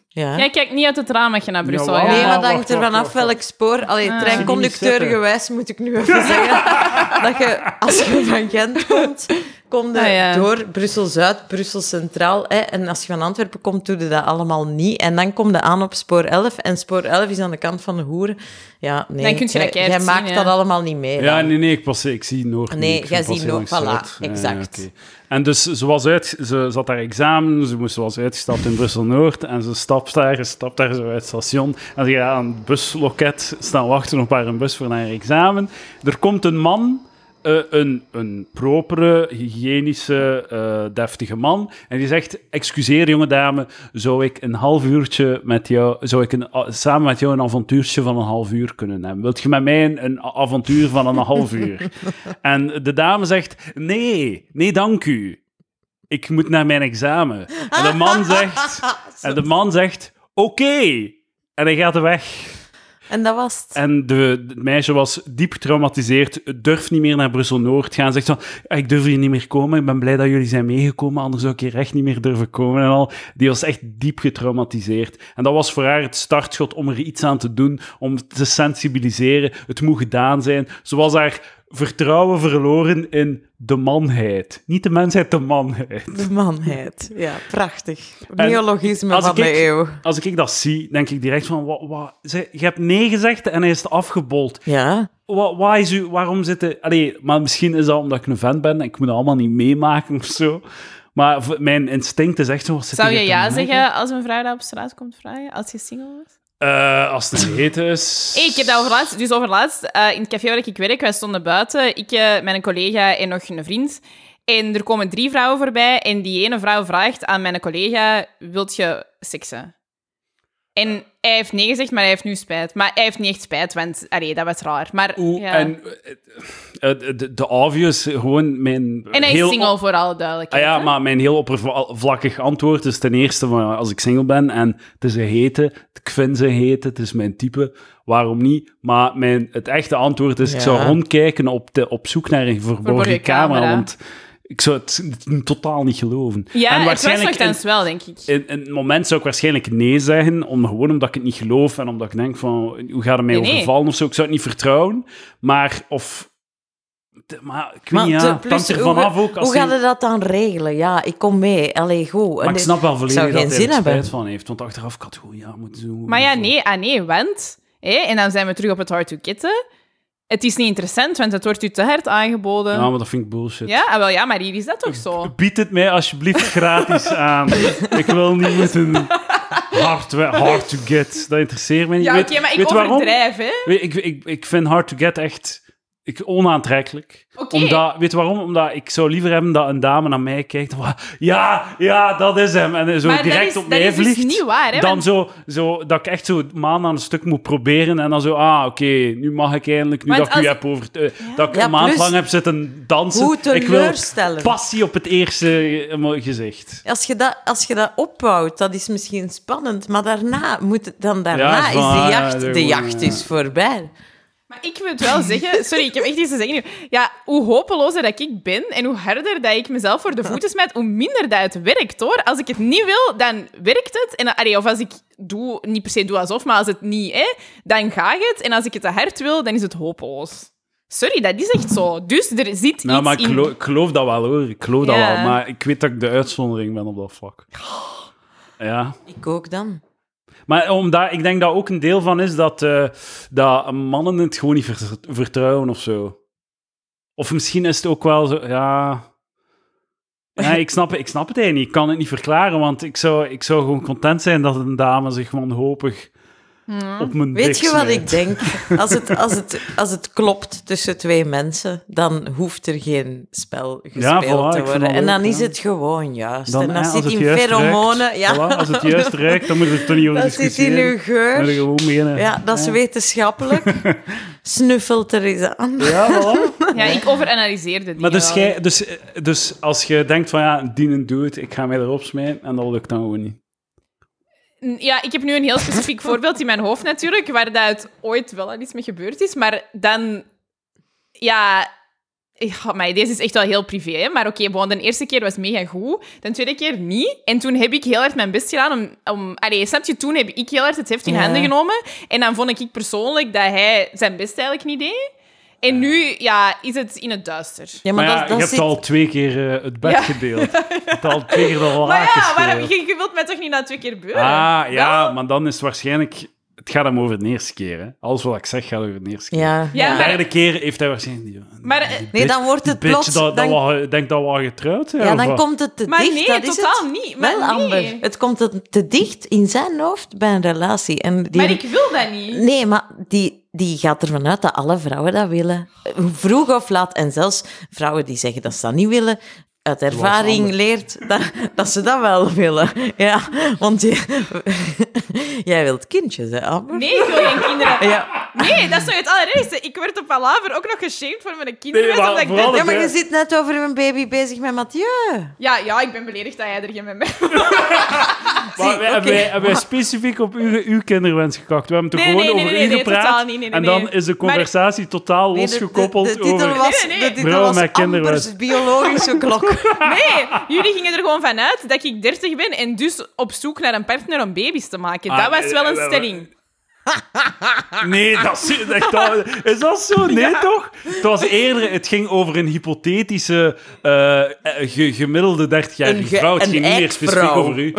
Speaker 1: Ja.
Speaker 3: Jij kijkt niet uit het raam als je naar Brussel
Speaker 2: Jawel.
Speaker 3: gaat.
Speaker 1: Nee,
Speaker 2: Ah,
Speaker 1: maar dat
Speaker 2: wacht,
Speaker 1: hangt er
Speaker 2: wacht,
Speaker 1: vanaf
Speaker 2: wacht, wacht.
Speaker 1: welk spoor. Allee,
Speaker 3: Ah.
Speaker 1: treinconducteurgewijs moet ik nu even zeggen. dat je, als je van Gent komt, kom je
Speaker 3: Ah, ja.
Speaker 1: door Brussel-Zuid, Brussel-Centraal. Hè, en als je van Antwerpen komt, doe je dat allemaal niet. En dan kom je aan op spoor 11. En spoor 11 is aan de kant van de hoeren. Ja, nee.
Speaker 3: Dan kun je dat
Speaker 1: jij-
Speaker 3: keihard
Speaker 1: Jij
Speaker 3: zien,
Speaker 1: maakt
Speaker 3: ja.
Speaker 1: dat allemaal niet mee.
Speaker 2: Ja,
Speaker 1: dan.
Speaker 2: nee, nee, ik, passeer, ik zie Noord. niet.
Speaker 1: Nee,
Speaker 2: Ik
Speaker 1: jij
Speaker 2: passeer
Speaker 1: ziet Noord,
Speaker 2: langs
Speaker 1: voilà,
Speaker 2: Zuid. Ja,
Speaker 1: exact.
Speaker 2: oké. En dus ze, was uit, ze zat daar examen, ze moest was uitgestapt in Brussel-Noord en ze stapt daar, ze stapt daar zo uit het station en ze gaat aan het busloket staan wachten op haar een bus voor haar examen. Er komt een man, eh, een, een propere, hygiënische, eh, deftige man en die zegt, excuseer jonge dame, zou ik een half uurtje met jou, zou ik een, a- samen met jou een avontuurtje van een half uur kunnen hebben? Wilt je met mij een, een avontuur van een half uur? En de dame zegt, nee, nee dank u ik moet naar mijn examen. En de man zegt, en de man zegt oké. En hij gaat weg.
Speaker 1: En dat was het.
Speaker 2: En de, het meisje was diep getraumatiseerd, durft niet meer naar Brussel-Noord gaan. Zegt van, ik durf hier niet meer komen, ik ben blij dat jullie zijn meegekomen, anders zou ik hier echt niet meer durven komen en al. Die was echt diep getraumatiseerd. En dat was voor haar het startschot om er iets aan te doen, om te sensibiliseren. Het moet gedaan zijn. Ze was haar vertrouwen verloren in de manheid. Niet de mensheid, de manheid.
Speaker 1: De manheid. Ja, prachtig.
Speaker 2: En
Speaker 1: Neologisme
Speaker 2: als
Speaker 1: van
Speaker 2: ik-
Speaker 1: de eeuw.
Speaker 2: Als ik dat zie, denk ik direct van... Wa, wa, ze- je hebt nee gezegd en hij is afgebold.
Speaker 1: Ja.
Speaker 2: Wa, waar is u, waarom zitten... Allee, maar misschien is dat omdat ik een vent ben en ik moet dat allemaal niet meemaken of zo. Maar v- mijn instinct is echt zo... wat zit
Speaker 3: Zou
Speaker 2: hier
Speaker 3: je
Speaker 2: te
Speaker 3: ja
Speaker 2: maken?
Speaker 3: zeggen als een vrouw daar op straat komt vragen? Als je single was?
Speaker 2: Eh, als het een heet is...
Speaker 3: Hey, ik heb dat overlaatst, dus overlaatst eh, in het café waar ik werk, wij stonden buiten, ik, eh, mijn collega en nog een vriend. En er komen drie vrouwen voorbij en die ene vrouw vraagt aan mijn collega, wilt je seksen? En hij heeft nee gezegd, maar hij heeft nu spijt. Maar hij heeft niet echt spijt, want allee, dat was raar. Maar,
Speaker 2: Oeh,
Speaker 3: ja.
Speaker 2: En eh, eh, de, de obvious, gewoon mijn...
Speaker 3: En hij
Speaker 2: heel
Speaker 3: is single,
Speaker 2: op-
Speaker 3: voor alle
Speaker 2: Ah
Speaker 3: duidelijkheid.
Speaker 2: ja,
Speaker 3: hè?
Speaker 2: maar mijn heel oppervlakkig antwoord is ten eerste van als ik single ben en het is een hete, ik vind ze hete, het is mijn type, waarom niet? Maar mijn, het echte antwoord is, ik zou
Speaker 1: Ja.
Speaker 2: rondkijken op, de, op zoek naar een verborgen,
Speaker 3: Verborgen
Speaker 2: camera,
Speaker 3: camera.
Speaker 2: want ik zou het, n- totaal niet geloven.
Speaker 3: Ja,
Speaker 2: en
Speaker 3: het was
Speaker 2: waarschijnlijk in,
Speaker 3: nogthans wel, denk ik.
Speaker 2: in, in het moment zou ik waarschijnlijk nee zeggen, om, gewoon omdat ik het niet geloof en omdat ik denk van, hoe gaat het mij
Speaker 3: Nee, nee.
Speaker 2: overvallen of zo, ik zou het niet vertrouwen, maar of... Maar ik weet
Speaker 1: Maar
Speaker 2: niet,
Speaker 1: te-
Speaker 2: ja, het hangt er
Speaker 1: hoe,
Speaker 2: vanaf ook. Als
Speaker 1: hoe
Speaker 2: je-
Speaker 1: gaan we dat dan regelen? Ja, ik kom mee. Allee, goed. En
Speaker 2: maar ik
Speaker 1: dit-
Speaker 2: snap wel volledig
Speaker 1: zou
Speaker 2: dat
Speaker 1: geen
Speaker 2: hij
Speaker 1: zin
Speaker 2: er spijt
Speaker 1: hebben.
Speaker 2: van heeft. Want achteraf kan het gewoon ja moeten doen.
Speaker 3: Maar ja, nee, ah nee, want... Hé, en dan zijn we terug op het hard to kitten. Het is niet interessant, want het wordt u te hard aangeboden.
Speaker 2: Ja, maar dat vind ik bullshit.
Speaker 3: Ja, ah, wel, ja, maar hier is dat toch zo?
Speaker 2: Bied het mij alsjeblieft gratis aan. Ik wil niet moeten... Hard, we- hard to get. Dat interesseert mij niet.
Speaker 3: Ja,
Speaker 2: Weet-
Speaker 3: oké, maar ik
Speaker 2: weet waarom?
Speaker 3: overdrijf, hè?
Speaker 2: Weet- Ik, ik, ik vind hard to get echt ik, onaantrekkelijk.
Speaker 3: Oké.
Speaker 2: Omdat, weet je waarom? Omdat ik zou liever hebben dat een dame naar mij kijkt. van, Ja, ja, dat is hem. En zo
Speaker 3: Maar dat
Speaker 2: direct
Speaker 3: is-
Speaker 2: op
Speaker 3: dat
Speaker 2: mij
Speaker 3: is dus
Speaker 2: vliegt.
Speaker 3: niet waar, hè,
Speaker 2: Dan
Speaker 3: want-
Speaker 2: zo, zo, dat ik echt zo maand aan een stuk moet proberen. En dan zo, ah, oké, nu mag ik eindelijk. Nu
Speaker 3: Want
Speaker 2: dat ik u
Speaker 3: als-
Speaker 2: heb over... eh, Dat ik
Speaker 1: Ja,
Speaker 2: een maand
Speaker 1: plus-
Speaker 2: lang heb zitten dansen.
Speaker 1: Hoe
Speaker 2: ik wil
Speaker 1: teleurstellend.
Speaker 2: passie op het eerste eh, gezicht.
Speaker 1: Als je, dat, als je dat opbouwt, dat is misschien spannend, maar daarna moet het, dan
Speaker 2: Ja,
Speaker 1: daarna
Speaker 2: is waar,
Speaker 1: is
Speaker 2: ja,
Speaker 1: de jacht,
Speaker 2: dat
Speaker 1: de
Speaker 2: gewoon,
Speaker 1: jacht
Speaker 2: ja.
Speaker 1: is voorbij.
Speaker 3: Maar ik wil het wel zeggen... Sorry, ik heb echt iets te zeggen nu. Ja, hoe hopelozer dat ik ben en hoe harder dat ik mezelf voor de voeten smijt, hoe minder dat het werkt, hoor. Als ik het niet wil, dan werkt het. En, dan- allee, of als ik doe, niet per se doe alsof, maar als het niet, hè, dan gaat het. En als ik het te hard wil, dan is het hopeloos. Sorry, dat is echt zo. Dus er zit
Speaker 2: Nou,
Speaker 3: iets
Speaker 2: maar ik
Speaker 3: in...
Speaker 2: geloof, ik geloof dat wel hoor. Ik geloof dat
Speaker 3: Ja. Oh.
Speaker 2: wel. Maar ik weet dat ik de uitzondering ben op dat vlak. Ja.
Speaker 1: Ik ook dan.
Speaker 2: Maar omdat, ik denk dat ook een deel van is dat, eh, dat mannen het gewoon niet ver- vertrouwen of zo. Of misschien is het ook wel zo, ja... Ja, ik snap, het- ik snap het eigenlijk niet. Ik kan het niet verklaren, want ik zou, ik zou gewoon content zijn dat een dame zich wanhopig op mijn
Speaker 1: Hmm. Weet
Speaker 2: dik
Speaker 1: je wat
Speaker 2: smijt.
Speaker 1: ik denk? Als het, als, het, als het klopt tussen twee mensen, dan hoeft er geen spel gespeeld
Speaker 2: Ja, voilà, ik
Speaker 1: te
Speaker 2: vind
Speaker 1: worden.
Speaker 2: dat
Speaker 1: En dan
Speaker 2: leuk,
Speaker 1: is
Speaker 2: ja.
Speaker 1: het gewoon juist.
Speaker 2: Dan,
Speaker 1: en dan
Speaker 2: hè,
Speaker 1: zit
Speaker 2: als
Speaker 1: in
Speaker 2: het juist
Speaker 1: pheromonen.
Speaker 2: ruikt,
Speaker 1: Ja.
Speaker 2: voilà, als het juist ruikt, dan moet je er toch niet over
Speaker 1: dan zit in
Speaker 2: discussiëren.
Speaker 1: uw geur.
Speaker 2: Moet je gewoon beginnen.
Speaker 1: Ja, dat is wetenschappelijk. Snuffelt er eens aan.
Speaker 2: Ja, voilà.
Speaker 3: Ja, ik overanalyseerde die.
Speaker 2: Maar dus, jij, dus, eh, dus als je denkt van ja, dienen doet, ik ga mij erop smijten, en dat lukt dan gewoon niet.
Speaker 3: Ja, ik heb nu een heel specifiek voorbeeld in mijn hoofd natuurlijk, waar dat het ooit wel al iets mee gebeurd is. Maar dan, ja, ja, maar deze is echt wel heel privé. Hè? Maar oké, bon, de eerste keer was mega goed, de tweede keer niet. En toen heb ik heel hard mijn best gedaan om... om allee, snap je, toen heb ik heel hard het heft in
Speaker 1: Ja.
Speaker 3: handen genomen. En dan vond ik persoonlijk dat hij zijn best eigenlijk niet deed. En nu, ja, is het in het duister.
Speaker 1: Ja,
Speaker 2: Maar,
Speaker 1: maar,
Speaker 2: ja,
Speaker 1: dat, dat
Speaker 2: je hebt
Speaker 1: zit...
Speaker 2: al twee keer eh, het bed
Speaker 3: Ja.
Speaker 2: gedeeld. Je hebt al twee keer de
Speaker 3: Maar
Speaker 2: lakens
Speaker 3: Oh ja, waarom,
Speaker 2: gedeeld.
Speaker 3: je, je wilt mij toch niet na twee keer beuren?
Speaker 2: Ah, ja,
Speaker 3: Wel?
Speaker 2: maar dan is het waarschijnlijk... Het gaat hem over de eerste keer, hè. Alles wat ik zeg gaat over de eerste keer.
Speaker 1: Ja,
Speaker 3: Ja,
Speaker 2: De
Speaker 3: maar-
Speaker 2: derde keer heeft hij waarschijnlijk niet...
Speaker 3: Maar, eh, Nee,
Speaker 2: bitch-
Speaker 1: dan wordt het
Speaker 2: bitch
Speaker 1: plots-
Speaker 2: Dat, dat
Speaker 1: dan-
Speaker 2: we- denkt dat we al getrouwd zijn,
Speaker 1: ja,
Speaker 2: of
Speaker 1: dan
Speaker 2: wat?
Speaker 1: komt het te
Speaker 3: Maar
Speaker 1: dicht.
Speaker 3: nee,
Speaker 1: dat is
Speaker 3: totaal
Speaker 1: het.
Speaker 3: niet. Maar
Speaker 1: Wel,
Speaker 3: nee.
Speaker 1: Amber, het komt het te dicht in zijn hoofd bij een relatie. En die...
Speaker 3: Maar ik wil dat niet.
Speaker 1: Nee, maar die, die gaat ervan uit dat alle vrouwen dat willen. Vroeg of laat. En zelfs vrouwen die zeggen dat ze dat niet willen, uit ervaring
Speaker 2: Anders.
Speaker 1: leert dat, dat ze dat wel willen. Ja, want je- jij wilt kindjes, hè, Amber?
Speaker 3: Nee, ik wil geen kinderen.
Speaker 1: Ja.
Speaker 3: Nee, dat is nog het allerergste. Ik werd op Palaver ook nog geshamed voor mijn kinderen.
Speaker 2: Nee, maar
Speaker 3: omdat ik
Speaker 2: vooral
Speaker 3: dacht-
Speaker 1: ja, maar je zit net over een baby bezig met Mathieu.
Speaker 3: ja, ja, ik ben beledigd dat jij er geen mee bent.
Speaker 2: Maar wij,
Speaker 1: Zie,
Speaker 2: hebben,
Speaker 1: oké.
Speaker 2: wij, hebben wij specifiek op uw, uw kinderwens gekakt. We hebben het er
Speaker 3: Nee,
Speaker 2: gewoon
Speaker 3: nee, nee,
Speaker 2: over
Speaker 3: nee,
Speaker 2: u
Speaker 3: nee,
Speaker 2: gepraat.
Speaker 3: totaal niet, nee, nee,
Speaker 2: en dan
Speaker 3: nee.
Speaker 2: is de
Speaker 3: Maar-
Speaker 2: conversatie totaal
Speaker 1: Nee, de-
Speaker 2: losgekoppeld
Speaker 1: de, de, titel
Speaker 2: over...
Speaker 1: Was,
Speaker 3: Nee, nee, nee.
Speaker 1: De titel
Speaker 2: Vrouwen
Speaker 1: was
Speaker 2: met kinderen.
Speaker 1: Amber's biologische klok.
Speaker 3: Nee, jullie gingen er gewoon vanuit dat ik 30 ben en dus op zoek naar een partner om baby's te maken.
Speaker 2: Ah,
Speaker 3: dat was wel een
Speaker 2: eh, eh,
Speaker 3: stelling.
Speaker 2: Nee, dat is, echt, dat, is dat zo? Nee, toch? Het was eerder... Het ging over een hypothetische eh, eh, ge- gemiddelde 30-jarige
Speaker 1: Een ge-
Speaker 2: vrouw. Het
Speaker 1: een
Speaker 2: ging niet meer specifiek
Speaker 1: eikvrouw.
Speaker 2: over u.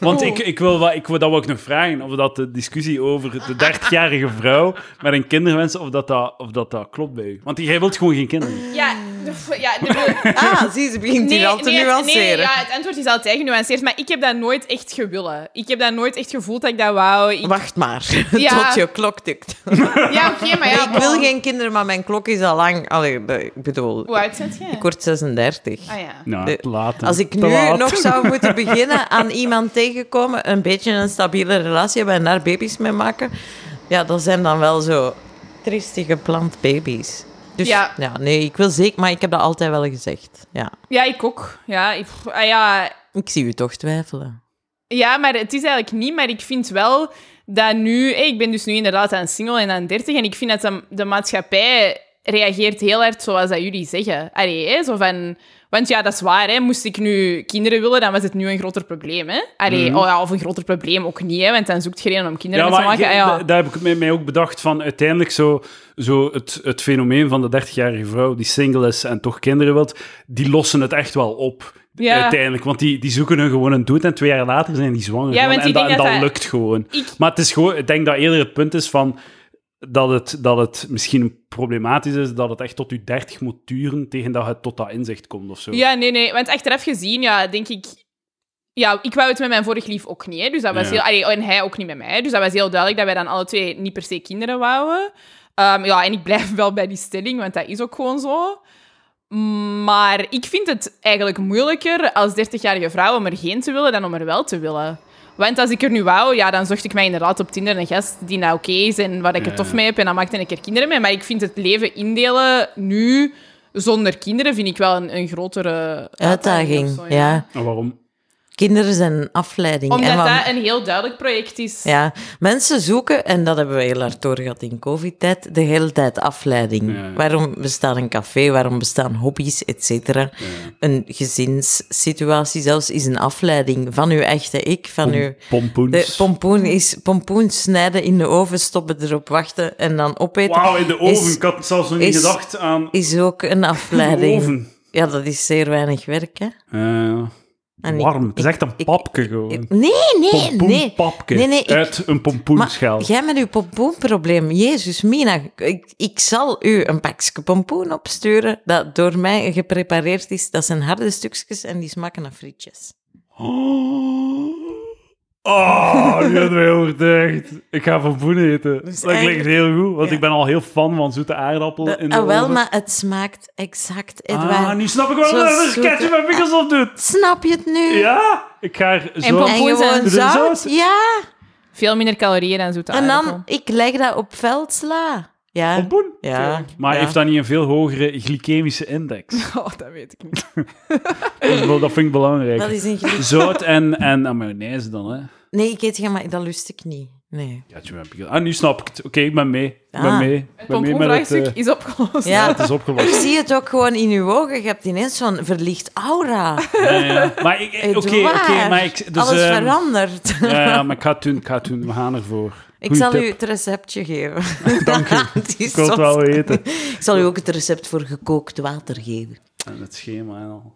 Speaker 2: Want ik, ik wil wat, ik, wil- dat wil ik nog vragen. Of dat de discussie over de 30-jarige vrouw met een kinderwens... Of dat dat, of dat, dat klopt bij u. Want jij wilt gewoon geen kinderen.
Speaker 3: Ja, ja de-
Speaker 1: Ah, zie, ze begint hier al te
Speaker 3: het-
Speaker 1: nuanceren.
Speaker 3: nee, ja, het antwoord is altijd genuanceerd, maar ik heb dat nooit echt gewillen. Ik heb dat nooit echt gevoeld dat ik dat wou. Ik-
Speaker 1: Wacht maar,
Speaker 3: Ja.
Speaker 1: tot je klok tikt.
Speaker 3: ja, oké, maar ja...
Speaker 1: ik wil geen kinderen, maar mijn klok is al lang. Allee, de- ik bedoel,
Speaker 3: Hoe oud zit jij?
Speaker 1: ik word 36.
Speaker 3: Ah ja.
Speaker 2: Nou,
Speaker 1: De-
Speaker 2: te laat. hè.
Speaker 1: Als ik
Speaker 2: Te
Speaker 1: nu
Speaker 2: laat.
Speaker 1: nog zou moeten beginnen aan iemand tegenkomen, een beetje een stabiele relatie hebben en daar baby's mee maken, ja, dat zijn dan wel zo triestig geplant baby's. Dus
Speaker 3: Ja.
Speaker 1: ja. nee, ik wil zeker, maar ik heb dat altijd wel gezegd. Ja.
Speaker 3: Ja, ik ook. Ja, ik, ah ja,
Speaker 1: Ik zie u toch twijfelen.
Speaker 3: Ja, maar het is eigenlijk niet. Maar ik vind wel dat nu... hé, ik ben dus nu inderdaad aan single en aan 30. En ik vind dat de, de maatschappij reageert heel hard zoals dat jullie zeggen. Allee, hè, zo van... Want ja, dat is waar. Hè. Moest ik nu kinderen willen, dan was het nu een groter probleem. Hè? Allee, oh ja, of een groter probleem ook niet. Hè, want dan zoekt je iedereen om kinderen
Speaker 2: Mhm. Ja,
Speaker 3: mee te
Speaker 2: maar
Speaker 3: maken.
Speaker 2: ik-
Speaker 3: Ah, ja.
Speaker 2: da- daar heb ik mij- mij ook bedacht van uiteindelijk zo, zo het, het fenomeen van de 30-jarige vrouw die single is en toch kinderen wilt, die lossen het echt wel op.
Speaker 3: Ja.
Speaker 2: Uiteindelijk, want die, die zoeken hun gewoon een doet en twee jaar later zijn die zwanger.
Speaker 3: Ja,
Speaker 2: gewoon,
Speaker 3: want
Speaker 2: en
Speaker 3: ik
Speaker 2: dat,
Speaker 3: denk
Speaker 2: en
Speaker 3: dat
Speaker 2: dat
Speaker 3: dat-
Speaker 2: lukt gewoon.
Speaker 3: Ik-
Speaker 2: Maar het is gewoon, ik denk dat eerder het punt is van dat het, dat het misschien problematisch is dat het echt tot je 30 moet duren tegen dat het tot dat inzicht komt of zo.
Speaker 3: Ja, nee, nee. Want achteraf gezien, ja, denk ik... Ja, ik wou het met mijn vorig lief ook niet. Hè, dus dat was
Speaker 2: Ja.
Speaker 3: heel, allee, en hij ook niet met mij. Dus dat was heel duidelijk dat wij dan alle twee niet per se kinderen wouden. Ehm, ja, en ik blijf wel bij die stelling, want dat is ook gewoon zo. Maar ik vind het eigenlijk moeilijker als 30-jarige vrouw om er geen te willen dan om er wel te willen. Want als ik er nu wou, ja, dan zocht ik mij inderdaad op Tinder een gast die nou oké is en waar ik het
Speaker 2: Ja.
Speaker 3: tof mee heb. En dan maakte ik er kinderen mee. Maar ik vind het leven indelen nu zonder kinderen vind ik wel een, een grotere
Speaker 1: Uitdaging,
Speaker 3: of zo,
Speaker 1: ja.
Speaker 2: En waarom?
Speaker 1: Kinderen zijn een afleiding.
Speaker 3: Omdat
Speaker 1: En wat-
Speaker 3: dat een heel duidelijk project is.
Speaker 1: Ja, mensen zoeken, en dat hebben we heel hard doorgehad in covid-tijd, de hele tijd afleiding.
Speaker 2: Ja.
Speaker 1: Waarom bestaat een café, waarom bestaan hobby's, et cetera. Een gezinssituatie zelfs is een afleiding van uw echte ik, van uw...
Speaker 2: Pompoens.
Speaker 1: De pompoen is pompoen snijden in de oven, stoppen erop wachten en dan opeten.
Speaker 2: Wauw, in de oven.
Speaker 1: Is,
Speaker 2: ik had zelfs nog niet
Speaker 1: is-
Speaker 2: gedacht aan
Speaker 1: is ook een
Speaker 2: de
Speaker 1: afleiding.
Speaker 2: oven.
Speaker 1: Ja, dat is zeer weinig werk, hè.
Speaker 2: Eh,
Speaker 1: En ik-
Speaker 2: warm. het is echt een
Speaker 1: ik-
Speaker 2: papje gewoon.
Speaker 1: Nee, nee, nee.
Speaker 2: Pompoenpapje.
Speaker 1: Nee, nee, ik-
Speaker 2: Uit een pompoenschel.
Speaker 1: Maar jij met uw pompoenprobleem, Jezus, Mina, ik, ik zal u een pakje pompoen opsturen dat door mij geprepareerd is. Dat zijn harde stukjes en die smaken naar frietjes.
Speaker 2: Oh. Oh, nu hebben we heel overtuigd. Ik ga van boen eten.
Speaker 1: Dus
Speaker 2: dat klinkt
Speaker 1: eigenlijk-
Speaker 2: heel goed, want
Speaker 1: ja.
Speaker 2: ik ben al heel fan van zoete aardappelen. Oh, in de
Speaker 1: Ah, wel,
Speaker 2: oven.
Speaker 1: maar het smaakt exact, Edouard.
Speaker 2: Ah, nu snap ik wel
Speaker 1: Zo
Speaker 2: dat er
Speaker 1: zoete-
Speaker 2: ketchup en pickles op doet.
Speaker 1: Snap je het nu?
Speaker 2: Ja, ik ga er zo...
Speaker 3: pompoen.
Speaker 1: En
Speaker 3: Pompoen zijn
Speaker 1: gewoon
Speaker 2: zoet.
Speaker 1: zout? Ja.
Speaker 3: Veel minder calorieën dan
Speaker 2: Ah,
Speaker 3: zoete
Speaker 1: En dan,
Speaker 3: aardappel.
Speaker 1: ik leg dat op veldsla. Ja.
Speaker 2: Pompoen?
Speaker 1: Ja.
Speaker 2: Maar
Speaker 1: ja.
Speaker 2: heeft dat niet een veel hogere glycemische index?
Speaker 3: Oh, dat weet ik niet.
Speaker 2: Ik bedoel, dat vind ik belangrijk.
Speaker 1: Dat is een glie-
Speaker 2: Zout en, en, en mayonaise dan, hè.
Speaker 1: Nee, ik eet geen maar dat lust ik niet. Nee.
Speaker 2: Ketchup en pickles. Ah, nu snap ik het. Oké, ik ben mee. Ik ben
Speaker 1: Ah.
Speaker 2: mee. Ik
Speaker 3: Het
Speaker 2: ben mee met het...
Speaker 3: pompoenvraagstuk
Speaker 2: eh,
Speaker 3: is opgelost.
Speaker 1: Ja.
Speaker 2: Het is opgelost.
Speaker 1: Ik zie het ook gewoon in uw ogen. Je hebt ineens zo'n verlicht aura.
Speaker 2: Ja, ja. Maar ik... Oké, oké,
Speaker 1: Edouard,
Speaker 2: maar ik... Dus,
Speaker 1: Alles
Speaker 2: ehm,
Speaker 1: verandert.
Speaker 2: Ja, ja, maar ik ga het doen, ik ga het doen. We gaan ervoor.
Speaker 1: ik
Speaker 2: Goeie
Speaker 1: zal
Speaker 2: tip.
Speaker 1: u het receptje geven.
Speaker 2: Dank u.
Speaker 1: Het is
Speaker 2: Ik wil het
Speaker 1: zot.
Speaker 2: wel weten.
Speaker 1: Ik zal u ook het recept voor gekookt water geven.
Speaker 2: En het schema en al.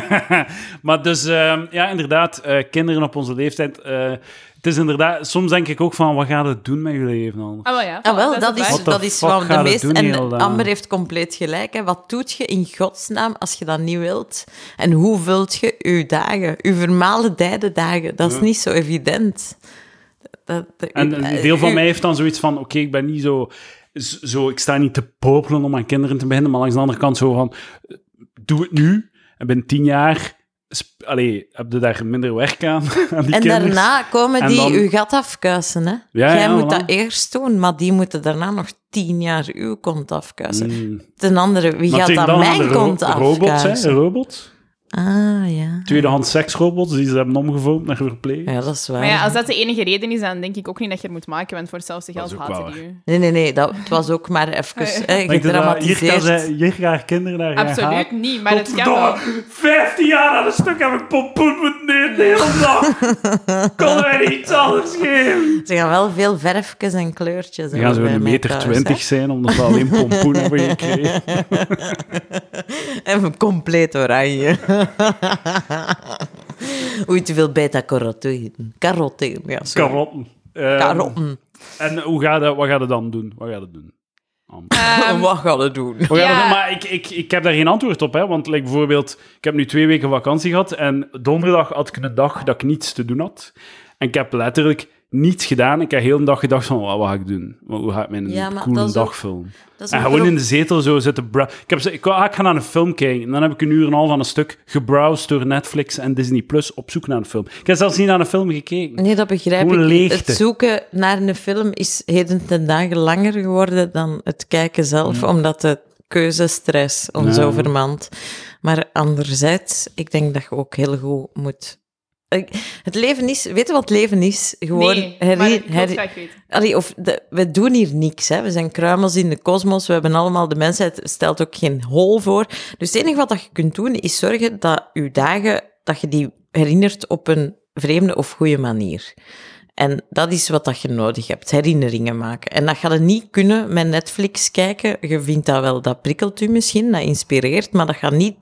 Speaker 2: maar dus, ehm, ja, inderdaad, eh, kinderen op onze leeftijd. eh, het is inderdaad, soms denk ik ook van, wat gaat het doen met jullie leven al?
Speaker 3: Ah, wel ja.
Speaker 1: Ah, wel,
Speaker 3: voilà,
Speaker 1: dat is,
Speaker 3: een
Speaker 2: What the
Speaker 1: dat is
Speaker 2: fuck
Speaker 1: gewoon de
Speaker 2: gaan we
Speaker 1: meest...
Speaker 2: doen
Speaker 1: En
Speaker 2: heel, eh?
Speaker 1: Amber heeft compleet gelijk. Hè. Wat doet je in godsnaam als je dat niet wilt? En hoe vult je je dagen? Je vermalen dijde dagen. Dat is
Speaker 2: Ja.
Speaker 1: niet zo evident. Dat, dat-
Speaker 2: En een deel
Speaker 1: eh,
Speaker 2: van mij heeft dan zoiets van, oké, ik ben niet zo, z- zo... Ik sta niet te popelen om aan kinderen te beginnen, maar langs de andere kant zo van, eh, doe het nu. En binnen tien jaar... sp- Allee, heb je daar minder werk aan, aan die
Speaker 1: En
Speaker 2: kinderen?
Speaker 1: daarna komen
Speaker 2: En
Speaker 1: die
Speaker 2: dan-
Speaker 1: uw gat afkuisen. Hè?
Speaker 2: Ja,
Speaker 1: Jij
Speaker 2: ja,
Speaker 1: moet
Speaker 2: voilà.
Speaker 1: dat eerst doen, maar die moeten daarna nog tien jaar uw kont afkuisen.
Speaker 2: Mm.
Speaker 1: Ten andere, wie
Speaker 2: Maar
Speaker 1: gaat
Speaker 2: denk
Speaker 1: dan
Speaker 2: dan aan
Speaker 1: mijn
Speaker 2: de ro-
Speaker 1: kont
Speaker 2: Robots, hè?
Speaker 1: afkuisen?
Speaker 2: Robots.
Speaker 1: ah, ja.
Speaker 2: Tweedehands seksrobots die ze hebben omgevormd naar verpleeg.
Speaker 1: Ja, dat is waar.
Speaker 3: Maar ja, als dat de enige reden is, dan denk ik ook niet dat je het moet maken, want voor hetzelfde
Speaker 2: Dat is
Speaker 3: geld
Speaker 2: ook wel
Speaker 3: haten die u.
Speaker 1: Nee, nee, nee. Dat, het was ook maar even
Speaker 3: Ah, ja.
Speaker 1: eh,
Speaker 2: Denk je dat Hier gaan,
Speaker 1: gedramatiseerd.
Speaker 2: ze, hier gaan kinderen naar gaan
Speaker 3: Absoluut
Speaker 2: haken?
Speaker 3: niet, maar het kan wel.
Speaker 2: Godverdomme, 15 jaar aan een stuk heb ik pompoen moeten eten de hele dag. Konden wij niet iets anders geven?
Speaker 1: Ze gaan wel veel verfjes en kleurtjes.
Speaker 2: Dan gaan ze
Speaker 1: over
Speaker 2: weer een
Speaker 1: mij
Speaker 2: meter
Speaker 1: thuis,
Speaker 2: twintig zijn, omdat we alleen pompoen hebben gekregen.
Speaker 1: hè. En compleet oranje. Oei, te veel beta-carotene. Carotene, ja. sorry.
Speaker 2: Karotten. Ehm,
Speaker 1: Karotten.
Speaker 2: En hoe gaat dat, wat gaat het dan doen? Wat gaat het doen? Am.
Speaker 3: Ehm,
Speaker 1: Wat gaan we doen?
Speaker 2: We gaan
Speaker 3: Ja.
Speaker 2: het- maar ik, ik, ik heb daar geen antwoord op, hè? Want like, bijvoorbeeld, ik heb nu twee weken vakantie gehad en donderdag had ik een dag dat ik niets te doen had. En ik heb letterlijk niets gedaan. Ik heb heel de dag gedacht van, wat, wat ga ik doen? Wat- Hoe ga ik mijn
Speaker 1: Ja, maar dat
Speaker 2: coole
Speaker 1: is
Speaker 2: dag
Speaker 1: ook-
Speaker 2: vullen?
Speaker 1: Dat is
Speaker 2: En
Speaker 1: een
Speaker 2: gewoon
Speaker 1: pro-
Speaker 2: in de zetel zo zitten... bra- Ik, heb, ze- ik, wou- ah, ik ga naar een film kijken. En dan heb ik een uur en een half aan een stuk gebrowsed door Netflix en Disney+, Plus op zoek naar een film. Ik heb zelfs niet naar een film gekeken.
Speaker 1: Nee, dat begrijp
Speaker 2: Hoe
Speaker 1: ik.
Speaker 2: leegte.
Speaker 1: Het zoeken naar een film is heden ten dagen langer geworden dan het kijken zelf, omdat de keuzestress ons
Speaker 2: Ja.
Speaker 1: overmand. Maar anderzijds, ik denk dat je ook heel goed moet... Ik- Het leven is... Weet je wat het leven is? Gewoon
Speaker 3: nee,
Speaker 1: herrie-
Speaker 3: maar ik wil het
Speaker 1: herrie-
Speaker 3: graag weten.
Speaker 1: Allee, of de- we doen hier niks. Hè. We zijn kruimels in de kosmos. We hebben allemaal de mensheid. stelt ook geen hol voor. Dus het enige wat dat je kunt doen is zorgen dat je dagen dat je die herinnert op een vreemde of goede manier. En dat is wat dat je nodig hebt, herinneringen maken. En dat ga je niet kunnen met Netflix kijken. Je vindt dat wel, dat prikkelt u misschien, dat inspireert, maar dat gaat niet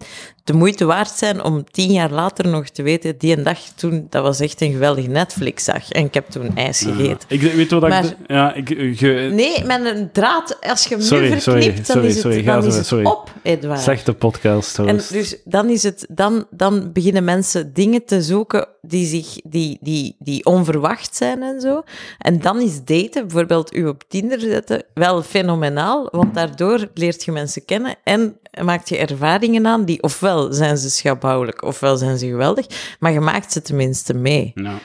Speaker 1: de moeite waard zijn om tien jaar later nog te weten, die een dag toen, dat was echt een geweldige Netflix-dag. En ik heb toen ijs gegeten.
Speaker 2: Ik weet wat
Speaker 1: Maar-
Speaker 2: ik... Ja, ik... eh, ge-
Speaker 1: Nee, met een draad. Als je hem
Speaker 2: Sorry,
Speaker 1: nu verknipt,
Speaker 2: sorry,
Speaker 1: dan
Speaker 2: sorry,
Speaker 1: is het,
Speaker 2: sorry, ga
Speaker 1: dan
Speaker 2: zo,
Speaker 1: is het
Speaker 2: sorry.
Speaker 1: op, Edouard.
Speaker 2: Slechte podcast,
Speaker 1: en
Speaker 2: host.
Speaker 1: dus dan, is het, dan, dan beginnen mensen dingen te zoeken die, zich, die, die, die onverwacht zijn en zo. En dan is daten, bijvoorbeeld u op Tinder zetten, wel fenomenaal. Want daardoor leert je mensen kennen en maakt je ervaringen aan die ofwel zijn ze schabouwelijk, ofwel zijn ze geweldig. Maar je maakt ze tenminste mee.
Speaker 2: Ja.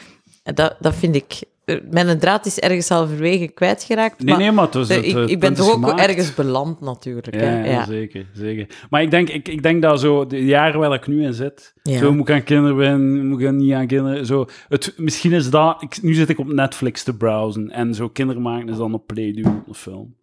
Speaker 1: En Dat, dat vind ik... eh, Mijn draad is ergens halverwege kwijtgeraakt.
Speaker 2: Nee,
Speaker 1: maar
Speaker 2: nee, maar het was
Speaker 1: de-
Speaker 2: het,
Speaker 1: ik,
Speaker 2: het
Speaker 1: ik ben
Speaker 2: punt is
Speaker 1: toch ook
Speaker 2: gemaakt.
Speaker 1: ergens beland, natuurlijk.
Speaker 2: Ja,
Speaker 1: hè.
Speaker 2: ja,
Speaker 1: Ja.
Speaker 2: Zeker, zeker. Maar ik denk, ik, ik denk dat zo de jaren waar ik nu in zit,
Speaker 1: Ja.
Speaker 2: zo moet ik aan kinderen ben, moet ik aan niet aan kinderen, zo. Het, misschien is dat, ik, nu zit ik op Netflix te browsen en zo kinderen maken is dan op play duwen een film.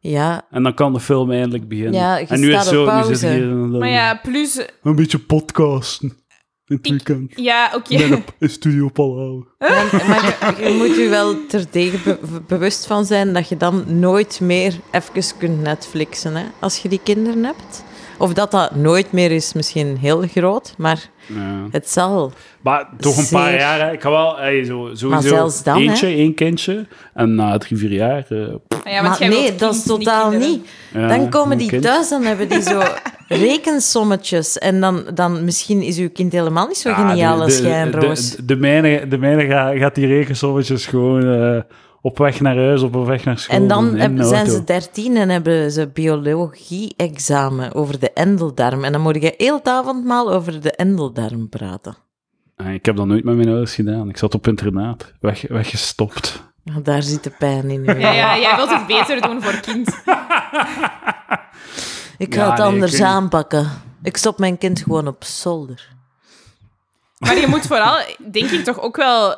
Speaker 1: ja,
Speaker 2: En dan kan de film eindelijk beginnen.
Speaker 1: Ja, je
Speaker 2: en nu
Speaker 1: staat
Speaker 2: is zo,
Speaker 1: op
Speaker 2: nu zit ik
Speaker 1: pauze.
Speaker 2: hier en dan-
Speaker 3: Maar ja, plus...
Speaker 2: een beetje podcasten. In het
Speaker 3: Ik-
Speaker 2: weekend.
Speaker 3: Ja, oké.
Speaker 2: Ik ben op in studio Palau.
Speaker 1: Dan- maar je, je moet je wel terdege be- bewust van zijn dat je dan nooit meer even kunt Netflixen, hè, als je die kinderen hebt. Of dat dat nooit meer is, misschien heel groot, maar
Speaker 2: Ja.
Speaker 1: het zal.
Speaker 2: Maar toch een paar
Speaker 1: Zeer.
Speaker 2: jaar, hè. ik ga wel, hey, zo, sowieso
Speaker 1: zelfs dan,
Speaker 2: eentje, één kindje. En na drie, vier jaar... eh, pff,
Speaker 3: Ja, want
Speaker 1: maar
Speaker 3: jij
Speaker 1: nee,
Speaker 3: wilt
Speaker 1: dat is
Speaker 3: kind,
Speaker 1: totaal niet.
Speaker 3: kinderen.
Speaker 2: ja,
Speaker 1: dan komen
Speaker 2: een
Speaker 1: die
Speaker 2: kind.
Speaker 1: thuis, dan hebben die zo rekensommetjes. En dan, dan misschien is uw kind helemaal niet zo
Speaker 2: Ja,
Speaker 1: geniaal als
Speaker 2: de-
Speaker 1: jij en
Speaker 2: de- de-
Speaker 1: Roos.
Speaker 2: De, de mijne, de mijne gaat, gaat die rekensommetjes gewoon eh, op weg naar huis, op weg naar school.
Speaker 1: En dan
Speaker 2: doen, in
Speaker 1: heb-
Speaker 2: de
Speaker 1: zijn
Speaker 2: auto.
Speaker 1: ze dertien en hebben ze biologie-examen over de endeldarm. En dan moet je heel het avondmaal over de endeldarm praten.
Speaker 2: Ah, Ik heb dat nooit met mijn ouders gedaan. Ik zat op internaat, weg, weggestopt.
Speaker 1: Want Daar zit de pijn in. uw
Speaker 3: Ja,
Speaker 1: ogen.
Speaker 3: ja, jij wilt het beter doen voor kind.
Speaker 1: Ik ga
Speaker 2: Ja,
Speaker 1: het
Speaker 2: nee,
Speaker 1: anders
Speaker 2: ik weet-
Speaker 1: aanpakken. Ik stop mijn kind gewoon op zolder.
Speaker 3: Maar je moet vooral, denk ik, toch ook wel...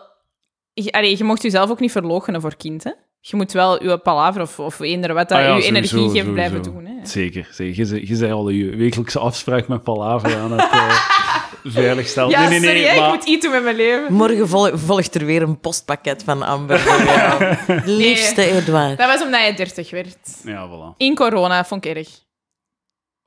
Speaker 3: Je, allee, je mocht jezelf ook niet verloochenen voor kind, hè? Je moet wel je palaver of, of eender wat dat
Speaker 2: Ah ja,
Speaker 3: je
Speaker 2: sowieso,
Speaker 3: energie geeft
Speaker 2: sowieso.
Speaker 3: blijven doen. Hè?
Speaker 2: Zeker, zeker. Je zei- Je zei al je wekelijkse afspraak met Palaver aan het eh, veiligstellen.
Speaker 3: Ja,
Speaker 2: nee, nee, nee.
Speaker 3: sorry, hè,
Speaker 2: maar
Speaker 3: ik moet iets doen met mijn leven.
Speaker 1: Morgen vol- volgt er weer een postpakket van Amber. voor jou. Liefste Edouard.
Speaker 3: Dat was omdat je 30 werd.
Speaker 2: Ja, voilà.
Speaker 3: In corona, vond ik erg.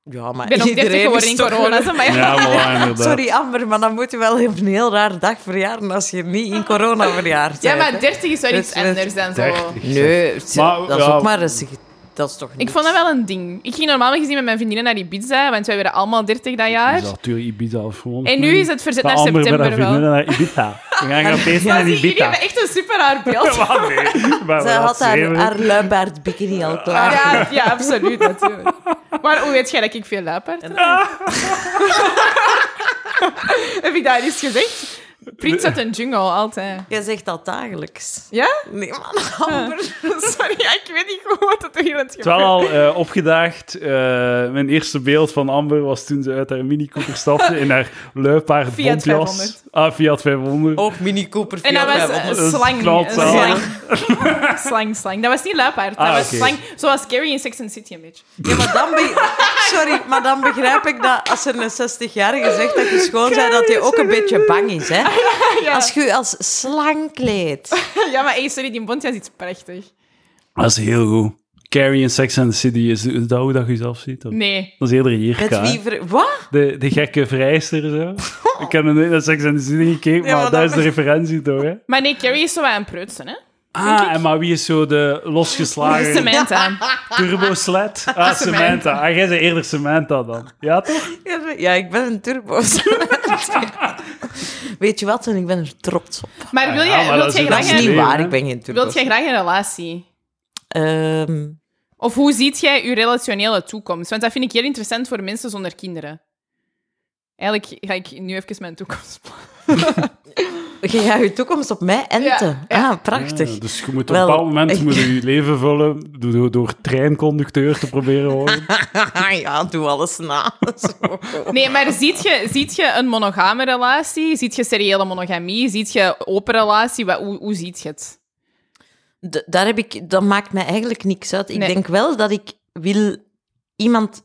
Speaker 1: Ja, maar
Speaker 3: Ik ben ook 30
Speaker 1: iedereen
Speaker 3: geworden
Speaker 1: is
Speaker 3: in
Speaker 1: toch-
Speaker 3: corona, zo, maar ja.
Speaker 2: Ja, voilà, inderdaad.
Speaker 1: Sorry Amber, maar dan moet je wel op een heel raar dag verjaren als je niet in corona verjaart.
Speaker 3: Ja,
Speaker 1: bent, hè.
Speaker 3: maar 30 is wel
Speaker 1: Dus
Speaker 3: iets
Speaker 1: met
Speaker 3: anders dan zo.
Speaker 2: 30.
Speaker 1: Nee, ze-
Speaker 2: Maar,
Speaker 1: dat is
Speaker 2: ja.
Speaker 1: ook maar eens- Dat is toch
Speaker 3: Ik
Speaker 1: niks.
Speaker 3: vond dat wel een ding. Ik ging normaal gezien met mijn vriendinnen naar Ibiza, want wij werden allemaal 30 dat jaar.
Speaker 2: Dus natuurlijk Ibiza afgerond.
Speaker 3: En nu is het verzet naar
Speaker 2: Amber met haar
Speaker 3: september wel.
Speaker 2: vriendinnen naar Ibiza. We gaan gaan feesten
Speaker 3: Maar
Speaker 2: naar
Speaker 3: zie, jullie
Speaker 2: Ibiza.
Speaker 3: hebben echt een super raar beeld.
Speaker 2: Ja, maar nee. Maar
Speaker 1: Ze
Speaker 2: wat
Speaker 1: had haar,
Speaker 2: zeven.
Speaker 1: haar luipaard bikini al klaar.
Speaker 3: Ja, ja, absoluut, natuurlijk. Maar hoe weet jij dat ik veel luipaard heb? heb ik dat eens gezegd? Prins uit een jungle, altijd.
Speaker 1: Jij zegt dat dagelijks.
Speaker 3: Ja?
Speaker 1: Nee, man, Amber.
Speaker 3: Sorry, ja, ik weet niet goed wat dat er hier aan het
Speaker 2: Het was
Speaker 3: gebeuren
Speaker 2: wel al eh, opgedaagd. Eh, mijn eerste beeld van Amber was toen ze uit haar Mini Cooper stapte in haar luipaard
Speaker 3: Fiat
Speaker 2: bontjas.
Speaker 3: 500.
Speaker 2: Ah, Fiat 500.
Speaker 1: Ook Mini Cooper.
Speaker 3: En dat was
Speaker 2: dat
Speaker 3: een
Speaker 2: is
Speaker 3: slang. Een
Speaker 2: knalt wel.
Speaker 3: slang. slang, slang. Dat was niet luipaard, dat
Speaker 2: Ah,
Speaker 3: was
Speaker 2: oké.
Speaker 3: slang. Zoals Scary in Sex and the City een beetje.
Speaker 1: Ja, maar dan be- Sorry, maar dan begrijp ik dat als er een 60-jarige zegt dat je schoon bent, dat hij ook een beetje bang is. Hè?
Speaker 3: Ah, Ja,
Speaker 1: Als je je als slang kleedt.
Speaker 3: ja maar hey, sorry, die bontjas is iets prachtig.
Speaker 2: Dat is heel goed. Carrie in Sex and the City, is is dat hoe dat je jezelf ziet? Of?
Speaker 3: Nee.
Speaker 2: Dat is eerder hier.
Speaker 1: Met wie ver... Wat?
Speaker 2: De, de gekke vrijster zo. Ik heb nog nooit naar Sex and the City gekeken,
Speaker 1: Ja,
Speaker 2: maar
Speaker 1: maar
Speaker 2: dat
Speaker 1: dat-
Speaker 2: is de referentie toch, hè?
Speaker 3: Maar nee, Carrie is zo wat een preutsen, hè?
Speaker 2: Ah, en maar wie is zo de losgeslagen
Speaker 3: Samantha.
Speaker 2: turbo-sled? Ah, Samantha. Ah, jij bent eerder Samantha dan. Ja, toch?
Speaker 1: Ja, ik ben een turbo. Weet je wat? En ik ben er trots op.
Speaker 3: Maar wil
Speaker 2: Ah, Ja,
Speaker 3: jij,
Speaker 2: maar
Speaker 3: wilt
Speaker 2: dat
Speaker 3: jij
Speaker 2: is-
Speaker 1: Dat
Speaker 3: graag,
Speaker 1: is
Speaker 2: Ja,
Speaker 1: niet
Speaker 2: nee,
Speaker 3: een,
Speaker 1: waar,
Speaker 2: hè?
Speaker 1: ik ben geen turbo.
Speaker 3: wilt jij graag een relatie?
Speaker 1: Ehm,
Speaker 3: Of hoe ziet jij je relationele toekomst? Want dat vind ik heel interessant voor mensen zonder kinderen. Eigenlijk ga ik nu even mijn toekomst plannen.
Speaker 1: je gaat je toekomst op mij enten.
Speaker 3: Ja, ja.
Speaker 1: Ah, prachtig.
Speaker 2: Ja, dus je moet op
Speaker 1: Wel,
Speaker 2: een bepaald moment
Speaker 1: ik-
Speaker 2: moet je, je leven vullen door, door, door treinconducteur te proberen Ah, worden.
Speaker 1: Ah ja, doe alles na. Zo.
Speaker 3: Nee, maar ziet je, ziet je een monogame relatie? Ziet je seriële monogamie? Ziet je open relatie? Wat, hoe, hoe ziet je het?
Speaker 1: D- daar heb ik, dat maakt mij eigenlijk niks uit. Ik
Speaker 3: Nee.
Speaker 1: denk wel dat ik wil iemand.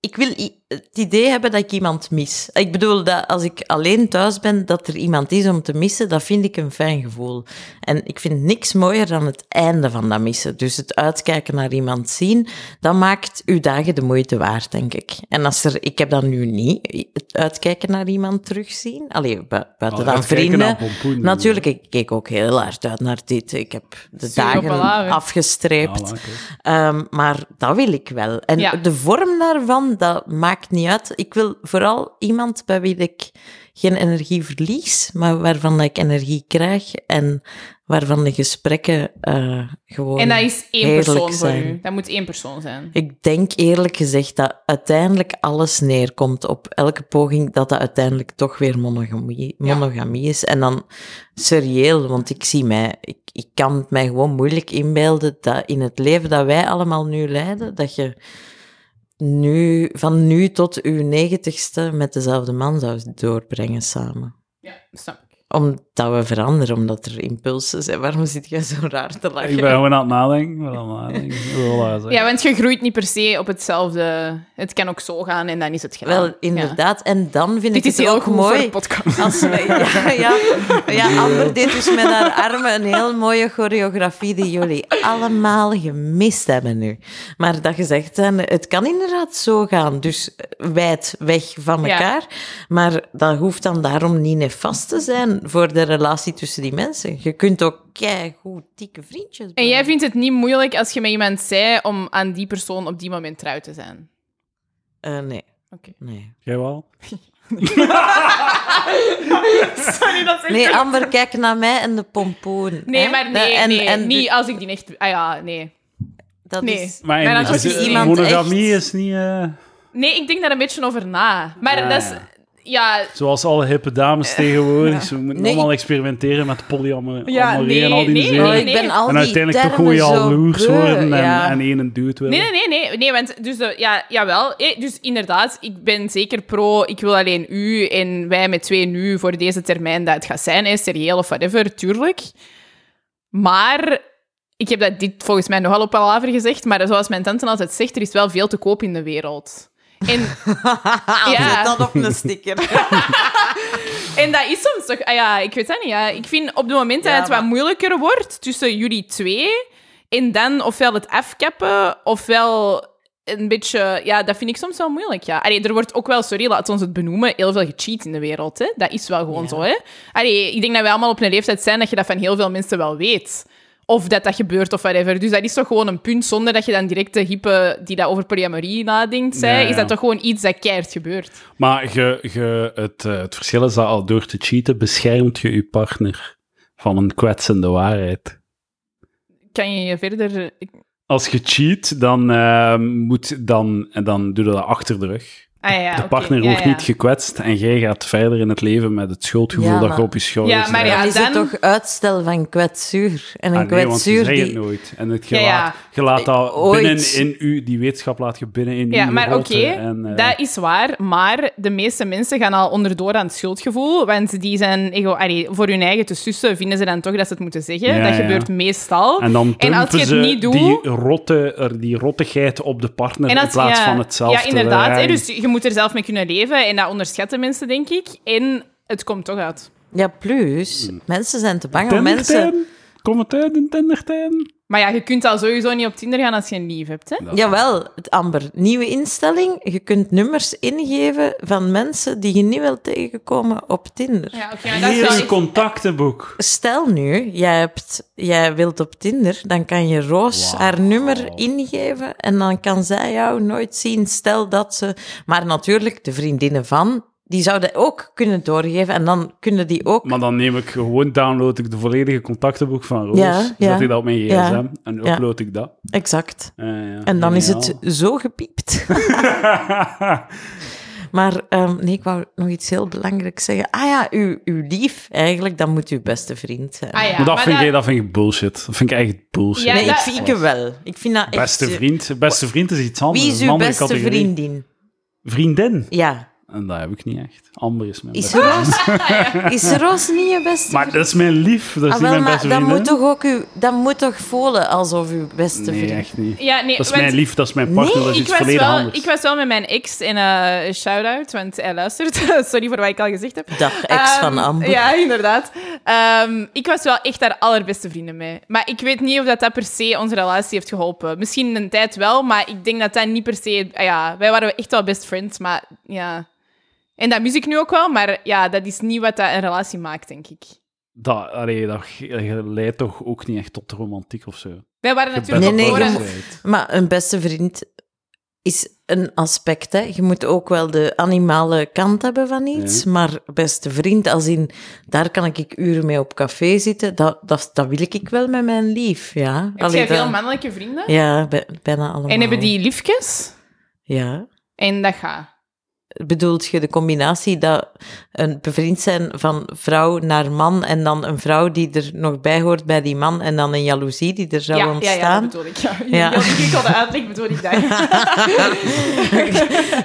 Speaker 1: Ik wil i- het idee hebben dat ik iemand mis. Ik bedoel, dat als ik alleen thuis ben, dat er iemand is om te missen, dat vind ik een fijn gevoel. En ik vind niks mooier dan het einde van dat missen. Dus het uitkijken naar iemand zien, dat maakt uw dagen de moeite waard, denk ik. En als er, ik heb dat nu niet, het uitkijken naar iemand terugzien. Allee, bu- buiten dan
Speaker 2: Uitkijken
Speaker 1: vrienden.
Speaker 2: naar
Speaker 3: Mm.
Speaker 2: pompoen.
Speaker 1: Natuurlijk, ik keek ook heel hard uit naar dit. Ik heb de dagen
Speaker 3: beladen.
Speaker 2: Ja,
Speaker 1: afgestreept.
Speaker 2: oké.
Speaker 1: Ehm, maar dat wil ik wel. En
Speaker 3: Ja.
Speaker 1: de vorm daarvan, dat maakt niet uit. Ik wil vooral iemand bij wie ik geen energie verlies, maar waarvan ik energie krijg en waarvan de gesprekken eh, gewoon...
Speaker 3: En dat is één
Speaker 1: Heerlijk
Speaker 3: persoon voor
Speaker 1: zijn.
Speaker 3: u. Dat moet één persoon zijn.
Speaker 1: Ik denk eerlijk gezegd dat uiteindelijk alles neerkomt op elke poging dat dat uiteindelijk toch weer monogamie,
Speaker 3: Ja.
Speaker 1: monogamie is. En dan serieel, want ik zie mij, ik, ik kan het mij gewoon moeilijk inbeelden dat in het leven dat wij allemaal nu leiden, dat je nu, van nu tot uw negentigste met dezelfde man zou doorbrengen samen.
Speaker 3: Ja, snap ik.
Speaker 1: Omdat we veranderen, omdat er impulsen zijn. Waarom zit jij zo raar te lachen?
Speaker 2: Ik ben gewoon aan het nadenken. Ik ben aan het nadenken. Ik wil dat zeggen.
Speaker 3: Ja, want je groeit niet per se op hetzelfde. Het kan ook zo gaan en dan is het gedaan.
Speaker 1: Wel, inderdaad. En dan vind
Speaker 3: Ja.
Speaker 1: ik
Speaker 3: Dit is
Speaker 1: het
Speaker 3: heel
Speaker 1: ook
Speaker 3: goed voor
Speaker 1: mooi.
Speaker 3: de podcast.
Speaker 1: Als, ja, ja, ja, Amber deed dus met haar armen een heel mooie choreografie die jullie allemaal gemist hebben nu. Maar dat gezegd zijnde, het kan inderdaad zo gaan. Dus wijd weg van
Speaker 3: Ja.
Speaker 1: elkaar. Maar dat hoeft dan daarom niet nefast te zijn voor de relatie tussen die mensen. Je kunt ook goed dikke vriendjes
Speaker 3: En jij
Speaker 1: blijven.
Speaker 3: vindt het niet moeilijk als je met iemand zei om aan die persoon op die moment trouw te zijn?
Speaker 1: Eh, nee.
Speaker 3: Oké.
Speaker 1: nee.
Speaker 2: Jij wel?
Speaker 3: Sorry, dat is
Speaker 1: Nee, Amber, kijk naar mij en de pompoen.
Speaker 3: Nee,
Speaker 1: hè?
Speaker 3: maar
Speaker 1: Dat-
Speaker 3: nee,
Speaker 1: en-
Speaker 3: nee.
Speaker 1: en
Speaker 3: niet als ik die echt... Ah ja, nee.
Speaker 1: Dat
Speaker 3: Nee.
Speaker 1: is...
Speaker 2: Maar
Speaker 3: Maar
Speaker 2: in
Speaker 3: dat
Speaker 2: de
Speaker 3: was
Speaker 2: zin-
Speaker 3: dus iemand
Speaker 2: monogamie
Speaker 1: echt.
Speaker 2: is niet... eh,
Speaker 3: Nee, ik denk daar een beetje over na. Maar
Speaker 2: Ja,
Speaker 3: dat is...
Speaker 2: ja.
Speaker 3: Ja,
Speaker 2: zoals alle hippe dames tegenwoordig. Ze moeten
Speaker 1: nee.
Speaker 2: allemaal experimenteren met polyamorie
Speaker 3: Ja, nee,
Speaker 2: en al die
Speaker 3: nee,
Speaker 2: dingen.
Speaker 1: Oh,
Speaker 3: nee.
Speaker 1: ik ben al
Speaker 2: En
Speaker 1: die
Speaker 2: uiteindelijk toch
Speaker 1: termen
Speaker 2: gewoon
Speaker 1: zo
Speaker 2: jaloers
Speaker 1: beu,
Speaker 2: worden en,
Speaker 1: ja.
Speaker 2: en één een dude willen.
Speaker 3: Nee, nee, nee, nee. nee want dus de, ja, jawel. Eh, Dus inderdaad, ik ben zeker pro. Ik wil alleen u en wij met twee nu voor deze termijn dat het gaat zijn. Hè, serieel of whatever, tuurlijk. Maar ik heb dat dit volgens mij nogal op palaver gezegd. Maar zoals mijn tante altijd zegt, er is wel veel te koop in de wereld. En, Ja.
Speaker 1: ja. dat op een sticker.
Speaker 3: en dat is soms toch... Ah ja, ik weet dat niet. Ja. Ik vind op het moment dat
Speaker 1: Ja,
Speaker 3: het wat
Speaker 1: maar-
Speaker 3: moeilijker wordt tussen jullie twee... En dan ofwel het afkappen, ofwel een beetje... Ja, dat vind ik soms wel moeilijk, ja. Allee, er wordt ook wel, sorry, laat ons het benoemen, heel veel gecheat in de wereld, hè. Dat is wel gewoon zo, hè. Allee, ik denk dat wij allemaal op een leeftijd zijn dat je dat van heel veel mensen wel weet. Of dat dat gebeurt, of whatever. Dus dat is toch gewoon een punt, zonder dat je dan direct de hype die dat over polyamorie nadenkt, zei,
Speaker 2: Ja, ja.
Speaker 3: is dat toch gewoon iets dat keihard gebeurt.
Speaker 2: Maar je, je, het, eh, het verschil is dat al door te cheaten beschermt je je partner van een kwetsende waarheid.
Speaker 3: Kan je je verder... ik-
Speaker 2: Als je cheat, dan, eh, moet, dan, en dan doe je dat achter de rug.
Speaker 3: Ah, ja,
Speaker 2: de
Speaker 3: oké,
Speaker 2: partner
Speaker 3: ja,
Speaker 2: wordt
Speaker 3: ja.
Speaker 2: niet gekwetst en jij gaat verder in het leven met het schuldgevoel
Speaker 1: Ja,
Speaker 2: dat je
Speaker 1: maar-
Speaker 2: op je schouders
Speaker 3: Ja, maar ja,
Speaker 2: draagt.
Speaker 1: Dan is het
Speaker 3: dan-
Speaker 1: toch uitstel van kwetsuur. En een
Speaker 2: Ah, nee, want je
Speaker 1: kwetsuur
Speaker 2: zei het
Speaker 1: die...
Speaker 2: nooit. En het, je,
Speaker 3: Ja, ja. Eh,
Speaker 2: Laat, je laat dat
Speaker 1: Ooit.
Speaker 2: binnen in u, die wetenschap laat je binnen in
Speaker 3: Ja,
Speaker 2: uw
Speaker 3: maar
Speaker 2: holte.
Speaker 3: oké,
Speaker 2: En, eh,
Speaker 3: dat is waar. Maar de meeste mensen gaan al onderdoor aan het schuldgevoel. Want die zijn ego, allee, voor hun eigen te sussen, vinden ze dan toch dat ze het moeten zeggen.
Speaker 2: Ja,
Speaker 3: dat
Speaker 2: ja.
Speaker 3: gebeurt meestal.
Speaker 2: En dan
Speaker 3: en
Speaker 2: dumpen
Speaker 3: als je het
Speaker 2: ze
Speaker 3: niet doet-
Speaker 2: die, rotte, er- die rottigheid op de partner
Speaker 3: En als-
Speaker 2: in plaats
Speaker 3: ja,
Speaker 2: van het zelf
Speaker 3: Ja,
Speaker 2: te
Speaker 3: inderdaad. hè,
Speaker 2: dragen.
Speaker 3: dus je moet er zelf mee kunnen leven. En dat onderschatten mensen, denk ik. En het komt toch uit.
Speaker 1: Ja, plus,
Speaker 2: Hmm.
Speaker 1: mensen zijn te bang om
Speaker 2: Tindertijn?
Speaker 1: mensen...
Speaker 2: Kom het uit in Tindertijn?
Speaker 3: Maar ja, je kunt al sowieso niet op Tinder gaan als je een lief hebt. Hè?
Speaker 1: Jawel, het Amber, nieuwe instelling. Je kunt nummers ingeven van mensen die je niet wilt tegenkomen op Tinder.
Speaker 3: Ja, oké, maar
Speaker 2: Hier
Speaker 3: dat
Speaker 2: is
Speaker 3: is
Speaker 2: een
Speaker 3: wel...
Speaker 2: contactenboek.
Speaker 1: Stel nu, jij, hebt, jij wilt op Tinder, dan kan je Roos
Speaker 2: Wauw.
Speaker 1: haar nummer ingeven en dan kan zij jou nooit zien. Stel dat ze... Maar natuurlijk, de vriendinnen van, die zouden ook kunnen doorgeven en dan kunnen die ook...
Speaker 2: Maar dan neem ik gewoon, download ik de volledige contactenboek van Roos.
Speaker 1: Ja, ja.
Speaker 2: Zet ik dat op mijn gsm
Speaker 1: Ja.
Speaker 2: en
Speaker 1: Ja.
Speaker 2: upload ik dat.
Speaker 1: Exact.
Speaker 2: Eh, ja,
Speaker 1: En dan is het
Speaker 2: geniaal.
Speaker 1: zo gepiept. Maar ehm, nee, ik wou nog iets heel belangrijks zeggen. Ah ja, uw, uw lief, eigenlijk, dat moet uw beste vriend zijn.
Speaker 3: Ah, ja,
Speaker 2: maar dat,
Speaker 3: maar
Speaker 2: vind
Speaker 3: dat-
Speaker 2: ik, dat vind ik bullshit. Dat vind ik echt bullshit.
Speaker 3: Ja,
Speaker 1: nee,
Speaker 3: dat-
Speaker 1: ik vind ik wel. Ik vind dat echt- eh,
Speaker 2: Beste vriend. Beste vriend is iets anders.
Speaker 1: Wie
Speaker 2: dat
Speaker 1: is
Speaker 2: een
Speaker 1: uw
Speaker 2: andere
Speaker 1: beste
Speaker 2: categorie.
Speaker 1: vriendin?
Speaker 2: Vriendin.
Speaker 1: Ja.
Speaker 2: En dat heb ik niet echt. Amber is mijn
Speaker 1: Is
Speaker 2: beste
Speaker 1: Roos, is Roos niet je beste
Speaker 2: Maar dat is mijn lief. Dat is
Speaker 1: Ah,
Speaker 2: niet
Speaker 1: wel,
Speaker 2: mijn
Speaker 1: maar
Speaker 2: beste
Speaker 1: dat
Speaker 2: vriendin.
Speaker 1: moet toch ook uw, dat moet toch voelen alsof uw beste
Speaker 2: Nee,
Speaker 1: vriend.
Speaker 2: echt niet.
Speaker 3: Ja, nee,
Speaker 2: dat is
Speaker 3: want-
Speaker 2: mijn lief, dat is mijn partner,
Speaker 1: Nee,
Speaker 2: dat is
Speaker 3: ik
Speaker 2: iets
Speaker 3: was,
Speaker 2: volledig
Speaker 3: wel,
Speaker 2: anders.
Speaker 3: ik was wel met mijn ex in eh, een shout-out, want hij luistert. Sorry voor wat ik al gezegd heb.
Speaker 1: Dag ex
Speaker 3: Ehm,
Speaker 1: van Amber.
Speaker 3: Ja, inderdaad. Ehm, ik was wel echt haar allerbeste vrienden mee. Maar ik weet niet of dat, dat per se onze relatie heeft geholpen. Misschien een tijd wel, maar ik denk dat dat niet per se... ah Ja, wij waren echt wel best friends, maar ja... En dat mis ik nu ook wel, maar ja, dat is niet wat dat een relatie maakt, denk ik.
Speaker 2: Dat, allee, dat ge- leidt toch ook niet echt tot romantiek of zo.
Speaker 3: Wij waren
Speaker 2: Je
Speaker 3: natuurlijk
Speaker 1: bent
Speaker 3: ook
Speaker 1: Nee, nee,
Speaker 3: voor
Speaker 1: je
Speaker 3: een-
Speaker 1: moet- Maar een beste vriend is een aspect. Hè. Je moet ook wel de animale kant hebben van iets. Maar beste vriend, als in, daar kan ik uren mee op café zitten. Dat, dat, dat wil ik wel met mijn lief. Ja.
Speaker 3: Heb
Speaker 1: Allee,
Speaker 3: jij
Speaker 1: dat-
Speaker 3: veel mannelijke vrienden?
Speaker 1: Ja, bij- bijna allemaal.
Speaker 3: En hebben die liefjes?
Speaker 1: Ja.
Speaker 3: En dat gaat.
Speaker 1: Bedoelt je de combinatie dat een bevriend zijn van vrouw naar man en dan een vrouw die er nog bij hoort bij die man en dan een jaloezie die er zou
Speaker 3: Ja, ja, dat
Speaker 1: ontstaan?
Speaker 3: bedoel ik. Ja.
Speaker 1: Ja.
Speaker 3: Ja. ik ik had de uitleg, bedoel ik dat. Oké.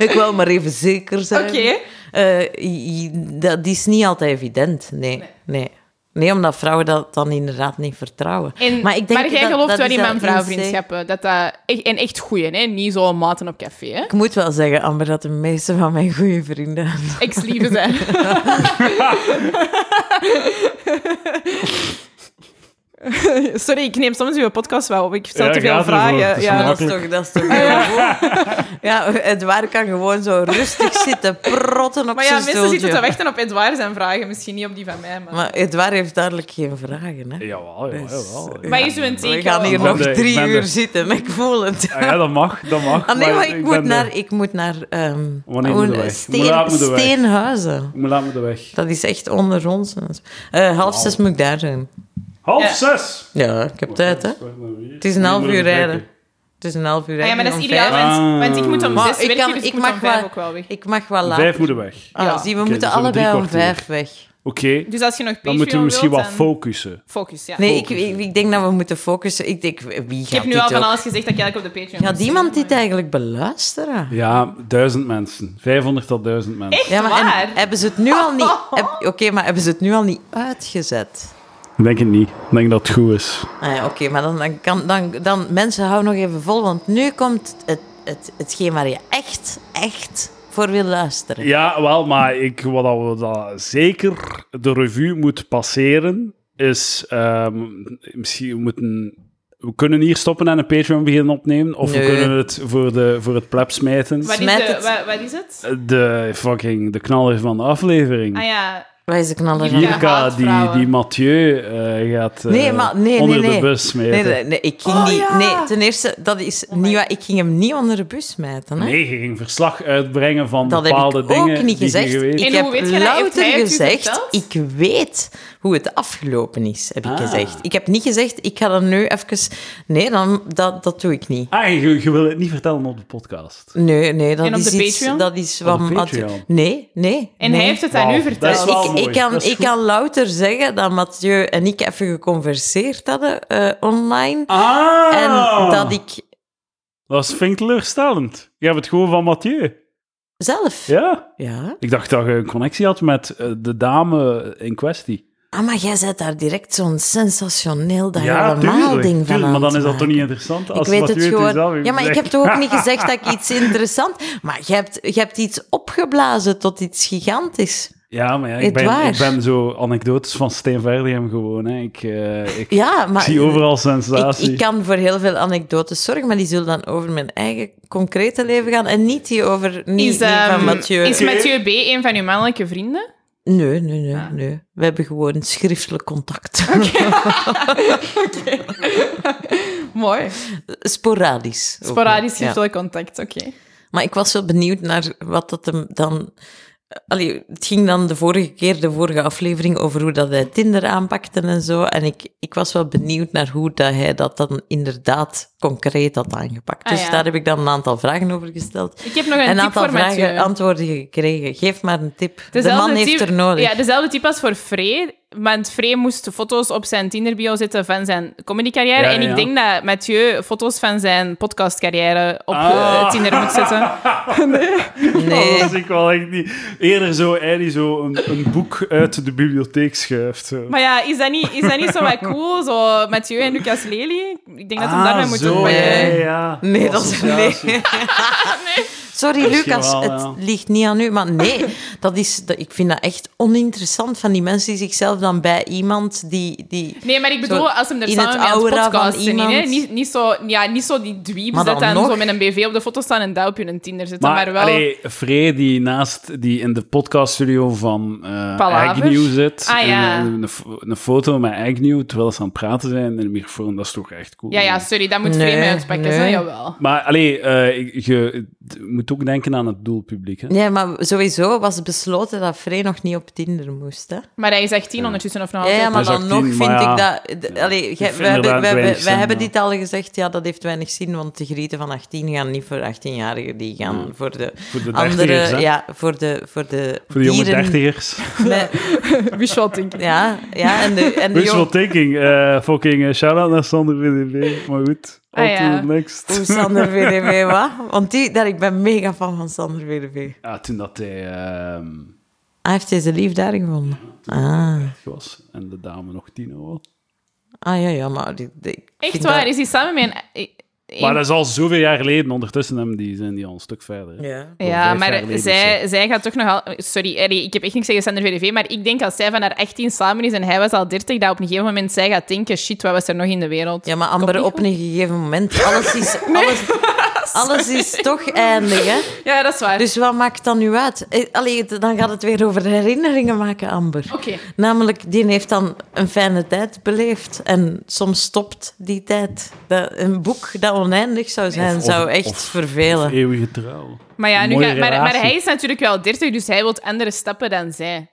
Speaker 1: ik wou maar even zeker zijn. eh, i- i- dat is niet altijd evident. Nee, nee. nee. omdat vrouwen dat dan inderdaad niet vertrouwen.
Speaker 3: En, maar
Speaker 1: maar ik denk
Speaker 3: jij
Speaker 1: dat-
Speaker 3: gelooft
Speaker 1: dat
Speaker 3: wel
Speaker 1: is
Speaker 3: in
Speaker 1: dat
Speaker 3: man-vrouw-vriendschappen. Dat dat echt, en echt goeie, hè? niet zo maten op café. Hè?
Speaker 1: Ik moet wel zeggen, Amber, dat de meeste van mijn goede vrienden...
Speaker 3: Ex-lieve zijn. Sorry, ik neem soms uw podcast wel op. Ik stel
Speaker 2: Ja,
Speaker 3: te veel
Speaker 2: gaat ervoor. Het
Speaker 3: vragen.
Speaker 2: is
Speaker 3: Ja.
Speaker 1: dat is toch... Dat is toch ja, Edouard kan gewoon zo rustig zitten protten op
Speaker 3: Maar ja,
Speaker 1: zijn
Speaker 3: mensen zitten te
Speaker 1: stoeltje.
Speaker 3: wachten op Edouard zijn vragen, misschien niet op die van mij. Maar,
Speaker 1: Maar Edouard heeft duidelijk geen vragen, hè.
Speaker 2: Jawel, jawel, jawel.
Speaker 1: Dus-
Speaker 3: maar is uw
Speaker 1: We
Speaker 3: teken
Speaker 1: gaan hier
Speaker 2: Ik ben
Speaker 1: nog
Speaker 2: de- ik
Speaker 1: drie
Speaker 2: ben de-
Speaker 1: uur zitten, ik voel het.
Speaker 2: Ah, ja, dat mag, dat mag.
Speaker 1: Ah, nee, maar ik, moet
Speaker 2: ben eh, de-
Speaker 1: naar, ik moet naar ehm,
Speaker 2: Wanneer moeten
Speaker 1: hoe-
Speaker 2: wij?
Speaker 1: steen,
Speaker 2: Hoe laat moeten wij?
Speaker 1: Steenhuizen.
Speaker 2: Ik moet laat me de weg.
Speaker 1: Dat is echt onder ons. Eh, half zes moet ik daar zijn.
Speaker 2: Half
Speaker 3: Ja.
Speaker 2: zes!
Speaker 1: Ja, ik heb tijd, hè. Het is een half uur rijden. Het is een half uur
Speaker 3: Ah,
Speaker 1: rijden.
Speaker 3: ja, maar dat is
Speaker 1: om
Speaker 3: ideaal,
Speaker 1: vijf.
Speaker 2: Ah.
Speaker 3: want, want ik moet om
Speaker 1: Maar
Speaker 3: zes
Speaker 1: ik
Speaker 3: werken,
Speaker 1: kan-
Speaker 3: dus
Speaker 1: ik
Speaker 3: ik moet
Speaker 1: mag
Speaker 3: om vijf
Speaker 1: wel-
Speaker 3: ook wel weg.
Speaker 1: Ik mag wel laat.
Speaker 2: Vijf moeten weg.
Speaker 1: Ah,
Speaker 3: Ja.
Speaker 1: zie, we
Speaker 2: Oké,
Speaker 1: moeten
Speaker 2: dus we hebben drie
Speaker 1: allebei om
Speaker 2: kwartier.
Speaker 1: vijf weg.
Speaker 2: Oké,
Speaker 3: Dus als je nog Patreon
Speaker 2: dan moeten we misschien
Speaker 3: wilt,
Speaker 2: wat
Speaker 3: dan
Speaker 2: focussen.
Speaker 3: focus. Ja.
Speaker 1: Nee, ik,
Speaker 2: Focussen.
Speaker 1: ik, ik denk dat we moeten focussen. Ik denk, wie gaat
Speaker 3: ik heb nu
Speaker 1: dit
Speaker 3: al van
Speaker 1: ook-
Speaker 3: alles gezegd dat ik eigenlijk op de Patreon
Speaker 1: Gaat
Speaker 3: moest
Speaker 1: iemand
Speaker 3: zijn,
Speaker 1: dit eigenlijk beluisteren?
Speaker 2: Ja, duizend mensen. 500 tot duizend mensen.
Speaker 3: Echt
Speaker 1: Ja, maar en
Speaker 3: waar?
Speaker 1: hebben ze het nu al niet... heb- Oké, maar hebben ze het nu al niet uitgezet?
Speaker 2: Ik denk het niet. Ik denk dat het goed is.
Speaker 1: Ah ja, Oké, maar dan, dan kan... Dan, dan, mensen, hou nog even vol, want nu komt het, het, hetgeen waar je echt, echt voor wil luisteren.
Speaker 2: Ja, wel, maar ik, wat dat we dat zeker de revue moet passeren, is ehm, misschien we moeten. We kunnen hier stoppen en een Patreon beginnen opnemen, of
Speaker 1: Nee.
Speaker 2: we kunnen het voor, de, voor het pleb smijten.
Speaker 3: Wat is,
Speaker 1: Smijt
Speaker 3: de-
Speaker 1: het.
Speaker 3: wa- wat is het?
Speaker 2: De fucking de knaller van de aflevering.
Speaker 3: Ah ja,
Speaker 1: Wij zijn knaller
Speaker 3: Ja.
Speaker 1: van...
Speaker 2: Jirka,
Speaker 3: haat
Speaker 2: die,
Speaker 3: vrouwen.
Speaker 2: die Mathieu eh, gaat eh,
Speaker 1: Nee, maar nee,
Speaker 2: onder
Speaker 1: nee, nee.
Speaker 2: de bus
Speaker 1: Nee,
Speaker 2: smijten. Nee,
Speaker 1: nee, nee, ik ging
Speaker 3: Oh,
Speaker 1: niet...
Speaker 3: ja. Oh
Speaker 1: Nee, ten eerste, dat is
Speaker 3: my-
Speaker 1: niet waar. Ik ging hem niet onder de bus smijten, hè.
Speaker 2: je ging verslag uitbrengen van
Speaker 1: Dat heb ik
Speaker 2: bepaalde dingen.
Speaker 1: ook niet
Speaker 2: die je
Speaker 1: gezegd.
Speaker 2: geweten-
Speaker 1: Ik
Speaker 3: En
Speaker 1: heb
Speaker 3: hoe weet jij dat? Heeft
Speaker 1: louter
Speaker 3: hij het u
Speaker 1: gezegd,
Speaker 3: verteld?
Speaker 1: ik weet hoe het afgelopen is, heb ik
Speaker 2: Ah.
Speaker 1: gezegd. Ik heb niet gezegd, ik ga dat nu even... Nee, dan, dat, dat doe ik niet.
Speaker 2: Ah, je, je wil het niet vertellen op de podcast.
Speaker 1: Nee, nee, dat
Speaker 3: En op
Speaker 1: is
Speaker 3: de
Speaker 1: iets...
Speaker 3: Patreon?
Speaker 1: Dat is
Speaker 2: Op de
Speaker 1: wat- wat-
Speaker 2: Patreon?
Speaker 1: Nee, nee.
Speaker 3: en
Speaker 1: nee.
Speaker 3: hij heeft het aan
Speaker 2: Wauw,
Speaker 3: u
Speaker 2: dat is
Speaker 3: verteld.
Speaker 2: wel
Speaker 1: ik,
Speaker 2: mooi,
Speaker 1: ik, kan,
Speaker 2: dat is
Speaker 1: ik
Speaker 2: goed.
Speaker 1: kan louter zeggen dat Mathieu en ik even geconverseerd hadden eh, online.
Speaker 2: Ah!
Speaker 1: En dat ik
Speaker 2: Dat vind ik teleurstellend. Je hebt het gewoon van Mathieu.
Speaker 1: zelf...
Speaker 2: Ja?
Speaker 1: Ja.
Speaker 2: Ik dacht dat je een connectie had met eh, de dame in kwestie.
Speaker 1: Ah, maar jij zet daar direct zo'n sensationeel dat
Speaker 2: ja,
Speaker 1: helemaal
Speaker 2: tuurlijk,
Speaker 1: ding van
Speaker 2: tuurlijk,
Speaker 1: aan
Speaker 2: Maar dan
Speaker 1: te
Speaker 2: is dat toch
Speaker 1: maken.
Speaker 2: niet interessant als
Speaker 1: ik weet
Speaker 2: Mathieu
Speaker 1: het
Speaker 2: u
Speaker 1: gewoon.
Speaker 2: zelf heeft
Speaker 1: ja, maar ik heb
Speaker 2: gezegd.
Speaker 1: toch ook niet gezegd dat ik iets interessant. Maar je hebt, je hebt iets opgeblazen tot iets gigantisch.
Speaker 2: Ja, maar ja, ik,
Speaker 1: Het
Speaker 2: ben,
Speaker 1: waar.
Speaker 2: ik ben zo anekdotes van Steen Verdegem gewoon. Hè. Ik, eh, ik
Speaker 1: Ja, maar
Speaker 2: zie overal
Speaker 1: ik,
Speaker 2: sensatie.
Speaker 1: ik kan voor heel veel anekdotes zorgen, maar die zullen dan over mijn eigen concrete leven gaan en niet die over niet,
Speaker 3: Is,
Speaker 1: niet
Speaker 3: ehm,
Speaker 1: van Mathieu.
Speaker 3: is Mathieu B. een van uw mannelijke vrienden?
Speaker 1: Nee, nee, nee,
Speaker 3: Ah.
Speaker 1: nee. We hebben gewoon schriftelijk contact.
Speaker 3: Mooi.
Speaker 1: Sporadisch. ook
Speaker 3: Sporadisch
Speaker 1: wel, ja.
Speaker 3: heeft wel contact, oké.
Speaker 1: Maar ik was wel benieuwd naar wat dat hem dan. Allee, het ging dan de vorige keer, de vorige aflevering, over hoe dat hij Tinder aanpakte en zo. En ik, ik was wel benieuwd naar hoe dat hij dat dan inderdaad concreet had aangepakt.
Speaker 3: Ah,
Speaker 1: dus
Speaker 3: ja.
Speaker 1: daar heb ik dan een aantal vragen over gesteld.
Speaker 3: Ik heb nog een,
Speaker 1: een
Speaker 3: tip
Speaker 1: aantal
Speaker 3: voor
Speaker 1: vragen,
Speaker 3: Mathieu.
Speaker 1: antwoorden gekregen. Geef maar een tip. de
Speaker 3: Dezelfde
Speaker 1: man heeft
Speaker 3: type-
Speaker 1: er nodig.
Speaker 3: Ja, dezelfde type als voor Frey. Want Frey moest foto's op zijn Tinder-bio zetten van zijn comedycarrière.
Speaker 2: Ja, ja,
Speaker 3: en ik
Speaker 2: ja.
Speaker 3: denk dat Mathieu foto's van zijn podcastcarrière op
Speaker 2: Ah.
Speaker 3: eh, Tinder moet zetten.
Speaker 2: Oh,
Speaker 1: nee.
Speaker 2: dat zie ik wel echt niet. Eerder zo, hij die zo een, een boek uit de bibliotheek schuift. zo.
Speaker 3: Maar ja, is dat niet, is dat niet zo wat cool? Zo Mathieu en Lucas Lely? Ik denk dat we hem daarmee
Speaker 2: Ah,
Speaker 3: moeten
Speaker 2: zo,
Speaker 3: pakken.
Speaker 2: ja,
Speaker 1: pakken.
Speaker 2: ja, ja.
Speaker 1: Nee, dat is... Nee.
Speaker 2: Associatie.
Speaker 1: Sorry,
Speaker 2: Misschien
Speaker 1: Lucas,
Speaker 2: wel,
Speaker 1: het
Speaker 2: ja.
Speaker 1: ligt niet aan u. Maar nee, dat is, dat, ik vind dat echt oninteressant van die mensen die zichzelf dan bij iemand die... die
Speaker 3: Nee, maar ik bedoel,
Speaker 1: Zo,
Speaker 3: als hem er
Speaker 1: in
Speaker 3: samen
Speaker 1: het
Speaker 3: mee aan het
Speaker 1: aura van
Speaker 3: podcasten in, hè.
Speaker 1: iemand.
Speaker 3: Niet, niet, zo, ja, niet zo die dweebs
Speaker 1: Maar
Speaker 3: dat
Speaker 1: dan
Speaker 3: dan
Speaker 1: nog.
Speaker 3: zo met een BV op de foto staan en dat op hun Tinder zitten, maar,
Speaker 2: Maar,
Speaker 3: wel...
Speaker 2: allee, Frey die naast die in de podcaststudio van eh
Speaker 3: Palaver?
Speaker 2: Agnew zit.
Speaker 3: Ah, ja.
Speaker 2: en, eh, een, fo- een foto met Agnew terwijl ze aan het praten zijn in de microfoon. Dat is toch echt cool.
Speaker 3: Ja, ja, sorry, dat moet
Speaker 1: Nee,
Speaker 3: vreemd mee uitpakken,
Speaker 1: nee.
Speaker 3: zo, jawel.
Speaker 2: Maar allee, eh, ik- je d- moet ook denken aan het doelpubliek. Hè?
Speaker 1: Nee, maar sowieso was besloten dat Frey nog niet op Tinder moest. Hè?
Speaker 3: Maar hij is 18 ondertussen of nog
Speaker 1: Ja,
Speaker 3: altijd.
Speaker 1: ja, maar
Speaker 2: Hij is
Speaker 1: dan
Speaker 2: 18,
Speaker 1: nog vind
Speaker 2: maar
Speaker 1: ik
Speaker 2: ja.
Speaker 1: dat... d- Allee, gij-
Speaker 2: vind
Speaker 1: we hebben,
Speaker 2: inderdaad
Speaker 1: we, hebben,
Speaker 2: weinig
Speaker 1: we
Speaker 2: zin,
Speaker 1: hebben
Speaker 2: ja.
Speaker 1: dit al gezegd, ja, dat heeft weinig zin, want de grieten van 18 gaan niet voor 18-jarigen, die gaan voor de,
Speaker 2: Voor Hmm. de dertigers, hè?
Speaker 1: andere... Ja, voor de, voor de
Speaker 2: Voor de jonge
Speaker 1: dieren
Speaker 2: dertigers.
Speaker 1: met-
Speaker 3: Wishful thinking.
Speaker 1: ja, ja, en de, en de
Speaker 2: Wishful
Speaker 1: jong-
Speaker 2: thinking. eh, fucking eh, shout-out naar Sander VDB. Maar goed.
Speaker 3: Ah,
Speaker 2: on to
Speaker 3: ja.
Speaker 2: the next.
Speaker 1: Oeh, Sander VDV, wat? Want die, daar, ik ben mega fan van Sander VDV.
Speaker 2: Ja, toen dat hij ehm
Speaker 1: Hij Ah, heeft deze lief daarin gevonden. Ah,
Speaker 2: was en de dame nog Tino was.
Speaker 1: ah ja, ja, maar... Die, die- ik
Speaker 3: Echt
Speaker 1: vind
Speaker 3: waar,
Speaker 1: dat-
Speaker 3: is die samen met een... een-
Speaker 2: Maar dat is al zoveel jaar geleden. Ondertussen hebben die, zijn die al een stuk verder. hè.
Speaker 1: Ja.
Speaker 3: Ja,
Speaker 2: vijf jaar
Speaker 3: maar
Speaker 2: geleden of
Speaker 3: zij, zij gaat toch nog al... Sorry, allee, ik heb echt niks tegen Sander VDV, maar ik denk als zij van haar 18 samen is en hij was al 30, dat op een gegeven moment zij gaat denken, shit, wat was er nog in de wereld?
Speaker 1: Ja, maar Amber,
Speaker 3: Komt
Speaker 1: op een gegeven moment, alles is, alles, alles is toch eindig, hè?
Speaker 3: Ja, dat is waar.
Speaker 1: Dus wat maakt dan nu uit? Eh, Allee, het- dan gaat het weer over herinneringen maken, Amber.
Speaker 3: Oké.
Speaker 1: Namelijk, die heeft dan een fijne tijd beleefd. En soms stopt die tijd. Dat, een boek dat oneindig zou zijn,
Speaker 2: Of-
Speaker 1: zou
Speaker 2: of-
Speaker 1: echt
Speaker 2: of-
Speaker 1: vervelen.
Speaker 2: of Eeuwige trouw.
Speaker 3: Maar ja, nu
Speaker 2: Mooie
Speaker 3: gaat, maar, maar
Speaker 2: relatie.
Speaker 3: hij is natuurlijk wel 30, dus hij wil andere stappen dan zij.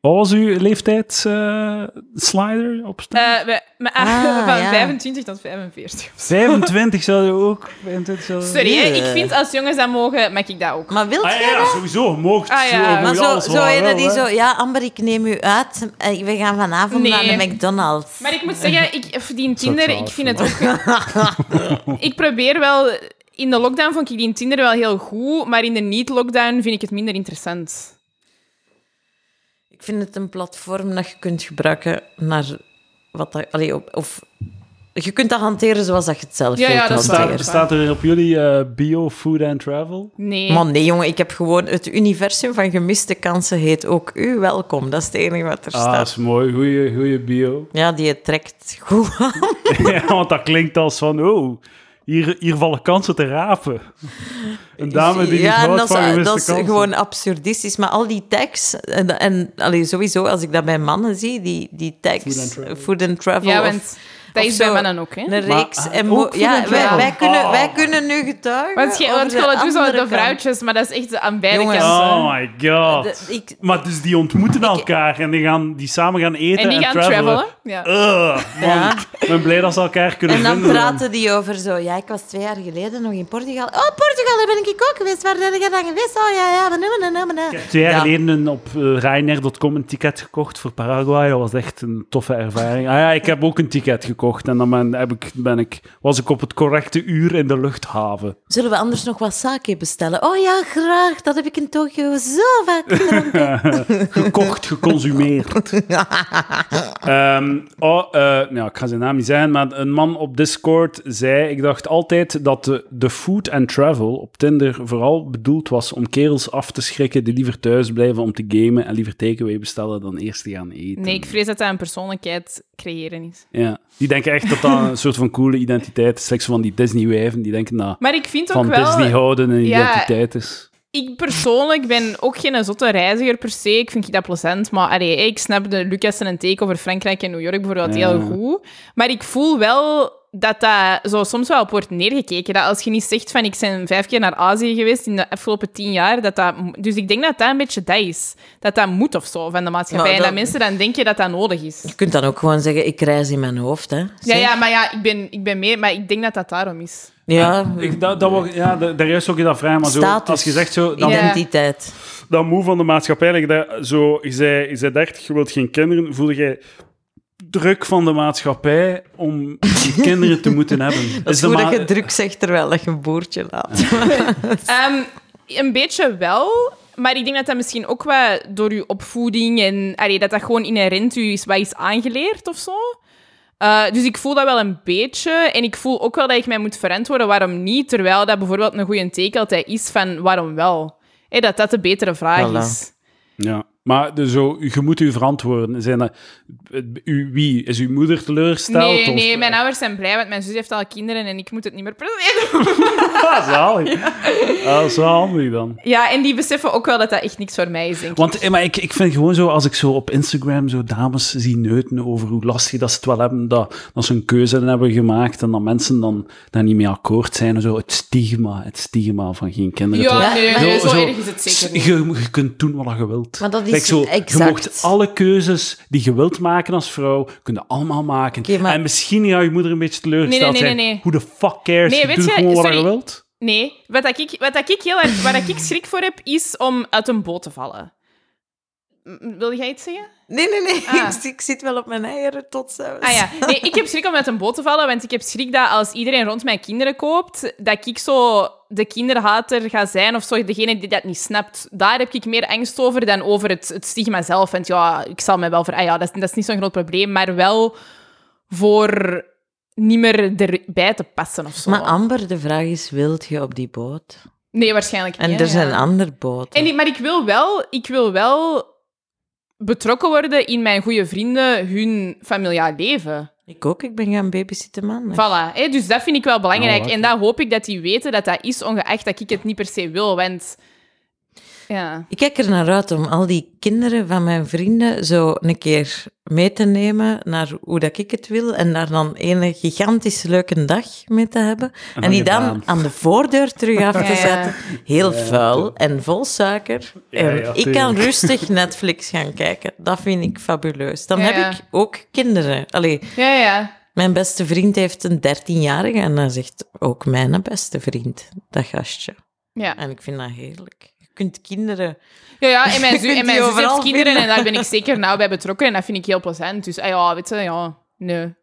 Speaker 2: Wat was uw leeftijd eh, slider op stem?
Speaker 3: Eh, we- maar-
Speaker 1: Ah,
Speaker 3: van
Speaker 1: ja.
Speaker 3: 25 tot 45.
Speaker 2: 25 zou je ook. 25 zou je-
Speaker 3: Sorry, hè, ik
Speaker 1: Eh.
Speaker 3: vind als jongens dat mogen, mag ik dat ook.
Speaker 1: maar wilt
Speaker 2: Ah, ja,
Speaker 1: jij
Speaker 2: ja,
Speaker 1: dat?
Speaker 2: sowieso. Mocht.
Speaker 3: Ah, ja.
Speaker 2: zo,
Speaker 1: Maar
Speaker 2: mocht
Speaker 1: Nou, zo,
Speaker 2: alles
Speaker 1: zo
Speaker 2: wel,
Speaker 1: ene die
Speaker 2: hè.
Speaker 1: zo... Ja, Amber, ik neem u uit. Eh, We gaan vanavond
Speaker 3: Nee.
Speaker 1: naar de McDonald's.
Speaker 3: Maar ik moet zeggen, ik, of die Tinder,
Speaker 2: zou
Speaker 3: ik vind het ook... ik probeer wel... In de lockdown vond ik die Tinder wel heel goed, maar in de niet-lockdown vind ik het minder interessant.
Speaker 1: Ik vind het een platform dat je kunt gebruiken naar wat dat, allee, op, of je kunt dat hanteren zoals dat je het zelf
Speaker 3: Ja,
Speaker 1: wilt
Speaker 3: ja, dat is waar.
Speaker 1: hanteren.
Speaker 2: Staat, staat er op jullie eh, bio, food and travel?
Speaker 3: Nee.
Speaker 1: Maar nee, jongen, ik heb gewoon het universum van gemiste kansen heet ook u welkom. Dat is het enige wat er
Speaker 2: Ah, dat
Speaker 1: staat.
Speaker 2: is mooi. Goeie, goeie bio.
Speaker 1: Ja, die trekt goed aan.
Speaker 2: Ja, want dat klinkt als van, oh, hier, hier vallen kansen te rapen. Een dame die
Speaker 1: ja,
Speaker 2: niet
Speaker 1: en
Speaker 2: houdt
Speaker 1: dat
Speaker 2: van
Speaker 1: is,
Speaker 2: gewiste
Speaker 1: dat is
Speaker 2: kansen.
Speaker 1: gewoon absurdistisch. Maar al die tags, en, en allee, sowieso als ik dat bij mannen zie, die, die tags,
Speaker 2: Food and travel.
Speaker 1: food and travel
Speaker 3: ja,
Speaker 1: of-
Speaker 3: want dat
Speaker 1: of
Speaker 3: is bij
Speaker 1: zo.
Speaker 3: mannen ook, hè.
Speaker 1: Een
Speaker 2: Maar,
Speaker 1: reeks.
Speaker 2: ah,
Speaker 1: en
Speaker 2: ook
Speaker 1: mo-
Speaker 2: food
Speaker 1: ja,
Speaker 2: and
Speaker 1: wij,
Speaker 2: travel.
Speaker 1: wij, kunnen,
Speaker 2: Ah.
Speaker 1: wij kunnen nu getuigen.
Speaker 3: Want je
Speaker 1: over
Speaker 3: want
Speaker 1: de
Speaker 3: je wil het doen zo
Speaker 1: andere
Speaker 3: de
Speaker 1: kant.
Speaker 3: vrouwtjes, maar dat is echt aan beide
Speaker 1: Jongens.
Speaker 3: kanten.
Speaker 2: Oh my god.
Speaker 1: De- ik-
Speaker 2: maar dus die ontmoeten elkaar en die, gaan, die samen gaan eten
Speaker 3: en
Speaker 2: en,
Speaker 3: die gaan
Speaker 2: travelen.
Speaker 3: travelen. Ja.
Speaker 2: Ugh, man.
Speaker 1: Ja.
Speaker 2: Ik ben blij dat ze elkaar kunnen
Speaker 1: En dan
Speaker 2: vinden.
Speaker 1: praten die over zo. Ja, ik was twee jaar geleden nog in Portugal. Oh, Portugal, daar ben ik ook geweest. Waar ben jij dan geweest? Oh ja, ja, maar nou, nou, nou, nou.
Speaker 2: Twee jaar
Speaker 1: Ja.
Speaker 2: geleden een- op eh, Ryanair.com een ticket gekocht voor Paraguay. Dat was echt een toffe ervaring. Ah ja, ik heb ook een ticket gekocht en dan ben, heb ik, ben ik, was ik op het correcte uur in de luchthaven.
Speaker 1: Zullen we anders nog wat sake bestellen? Oh ja, graag. Dat heb ik in Tokio zo vaak gedronken.
Speaker 2: gekocht, geconsumeerd. Ehm, oh, eh, nou, ik ga zijn naam niet zeggen, maar een man op Discord zei: Ik dacht altijd dat de, de food and travel op Tinder vooral bedoeld was om kerels af te schrikken die liever thuis blijven om te gamen en liever takeaway bestellen dan eerst te gaan eten.
Speaker 3: Nee, ik vrees dat dat een persoonlijkheid creëren is.
Speaker 2: ja. Die denken echt dat dat een soort van coole identiteit is. Slechts van die Disney-wijven, die denken dat
Speaker 3: Maar ik vind ook
Speaker 2: van
Speaker 3: wel...
Speaker 2: Disney houden een
Speaker 3: Ja.
Speaker 2: identiteit is.
Speaker 3: Ik persoonlijk ben ook geen zotte reiziger per se. Ik vind dat plezant. Maar allee, ik snap de Lucas en een take over Frankrijk en New York bijvoorbeeld
Speaker 2: Ja.
Speaker 3: heel goed. Maar ik voel wel dat dat zo soms wel op wordt neergekeken. Dat als je niet zegt van ik ben vijf keer naar Azië geweest in de afgelopen tien jaar. Dat dat, mo- dus ik denk dat dat een beetje dat is. Dat dat moet of zo van de maatschappij.
Speaker 1: Maar
Speaker 3: En dat
Speaker 1: dat-
Speaker 3: mensen dan denken dat dat nodig is.
Speaker 1: Je kunt dan ook gewoon zeggen, ik reis in mijn hoofd. Hè.
Speaker 3: Ja,
Speaker 1: Zeg.
Speaker 3: ja, maar ja, ik ben, ik ben meer... Maar ik denk dat dat daarom is.
Speaker 1: Ja,
Speaker 2: Ik, dat, dat, wordt- ja, da- daar juist ook je dat vraag, maar zo,
Speaker 1: Status.
Speaker 2: als je zegt zo, dan
Speaker 3: Ja.
Speaker 1: identiteit.
Speaker 2: dat moe van de maatschappij, like dat, zo, je zei, je zei 30, je wilt geen kinderen, voelde jij druk van de maatschappij om die kinderen te moeten hebben?
Speaker 1: Dat is
Speaker 2: de
Speaker 1: goed dat
Speaker 2: ma-
Speaker 1: je druk zegt terwijl dat je een boertje laat.
Speaker 3: Ehm, een beetje wel. Maar ik denk dat dat misschien ook wel door uw opvoeding en allee, dat dat gewoon inherent u is wat is aangeleerd of zo. Eh, dus ik voel dat wel een beetje. En ik voel ook wel dat ik mij moet verantwoorden waarom niet. Terwijl dat bijvoorbeeld een goede teken altijd is van waarom wel. Hé, dat dat de betere vraag
Speaker 1: Voilà.
Speaker 3: is.
Speaker 2: Ja, maar dus zo, je moet u verantwoorden. Zijn dat, u, wie? Is uw moeder teleurgesteld?
Speaker 3: Nee,
Speaker 2: of-
Speaker 3: nee, mijn ouders zijn blij, want mijn zus heeft al kinderen en ik moet het niet meer proberen.
Speaker 2: Ah, zalig. Ah, dat is wel handig dan.
Speaker 3: Ja, en die beseffen ook wel dat dat echt niks voor mij is, denk ik.
Speaker 2: Want eh, maar ik, ik vind gewoon zo, als ik zo op Instagram zo dames zie neuten over hoe lastig dat ze het wel hebben, dat, dat ze een keuze hebben gemaakt en dat mensen dan daar niet mee akkoord zijn. en Zo, het stigma, het stigma van geen kinderen.
Speaker 3: Ja,
Speaker 2: Terwijl-
Speaker 3: nee,
Speaker 1: Ja,
Speaker 3: nee, zo,
Speaker 2: zo-
Speaker 3: erg is het zeker niet.
Speaker 2: Je, je kunt doen wat je wilt.
Speaker 1: Maar dat is
Speaker 2: Kijk, zo, Je
Speaker 1: exact.
Speaker 2: mocht alle keuzes die je wilt maken als vrouw, kunnen allemaal maken.
Speaker 1: Oké, maar-
Speaker 2: En misschien gaat je moeder een beetje teleurgesteld
Speaker 3: Nee, nee, nee,
Speaker 2: zijn.
Speaker 3: nee, nee.
Speaker 2: Hoe de fuck cares?
Speaker 3: Nee,
Speaker 2: je
Speaker 3: weet
Speaker 2: doet
Speaker 3: je,
Speaker 2: gewoon wat je
Speaker 3: sorry.
Speaker 2: wilt.
Speaker 3: Nee, wat dat ik, wat dat ik heel erg, waar dat ik schrik voor heb, is om uit een boot te vallen. M- Wil jij iets zeggen?
Speaker 1: Nee, nee, nee.
Speaker 3: Ah.
Speaker 1: Ik, zit- ik zit wel op mijn eieren tot zelfs.
Speaker 3: Ah ja, nee, ik heb schrik om uit een boot te vallen, want ik heb schrik dat als iedereen rond mij kinderen koopt, dat ik zo de kinderhater ga zijn of zo, degene die dat niet snapt. Daar heb ik meer angst over dan over het, het stigma zelf. Want ja, ik zal mij wel ver... Ah ja, dat is, dat is niet zo'n groot probleem, maar wel voor niet meer erbij te passen of zo.
Speaker 1: Maar Amber, de vraag is, wilt je op die boot?
Speaker 3: nee, waarschijnlijk
Speaker 1: En
Speaker 3: niet.
Speaker 1: er
Speaker 3: ja.
Speaker 1: zijn andere boten.
Speaker 3: En ik- maar ik wil, wel, ik wil wel betrokken worden in mijn goede vrienden, hun familiaal leven.
Speaker 1: Ik ook, ik ben gaan babysitten man.
Speaker 3: Voilà, hè, dus dat vind ik wel belangrijk.
Speaker 2: Oh, oké.
Speaker 3: en dat hoop ik dat die weten dat dat is, ongeacht dat ik het niet per se wil. Want ja,
Speaker 1: Ik kijk er naar uit om al die kinderen van mijn vrienden zo een keer mee te nemen naar hoe dat ik het wil en daar dan een gigantisch leuke dag mee te hebben. En, die dan
Speaker 2: gedaan.
Speaker 1: aan de voordeur terug af te
Speaker 3: Ja, ja.
Speaker 1: zetten. Heel vuil en vol suiker.
Speaker 2: Ja,
Speaker 1: En
Speaker 2: ja,
Speaker 1: ik kan
Speaker 2: tuurlijk.
Speaker 1: rustig Netflix gaan kijken. Dat vind ik fabuleus. Dan
Speaker 3: Ja, ja.
Speaker 1: heb ik ook kinderen. Allee,
Speaker 3: ja, ja.
Speaker 1: mijn beste vriend heeft een 13-jarige en dat zegt ook mijn beste vriend, dat gastje.
Speaker 3: Ja,
Speaker 1: En ik vind dat heerlijk. Je kunt kinderen...
Speaker 3: ja, ja en mijn,
Speaker 1: Je
Speaker 3: zu-
Speaker 1: kunt
Speaker 3: en mijn
Speaker 1: die
Speaker 3: zus heeft
Speaker 1: overal
Speaker 3: kinderen en
Speaker 1: vinden.
Speaker 3: daar ben ik zeker nauw bij betrokken. En dat vind ik heel plezant. Dus ah, ja, weet je, ja, nee.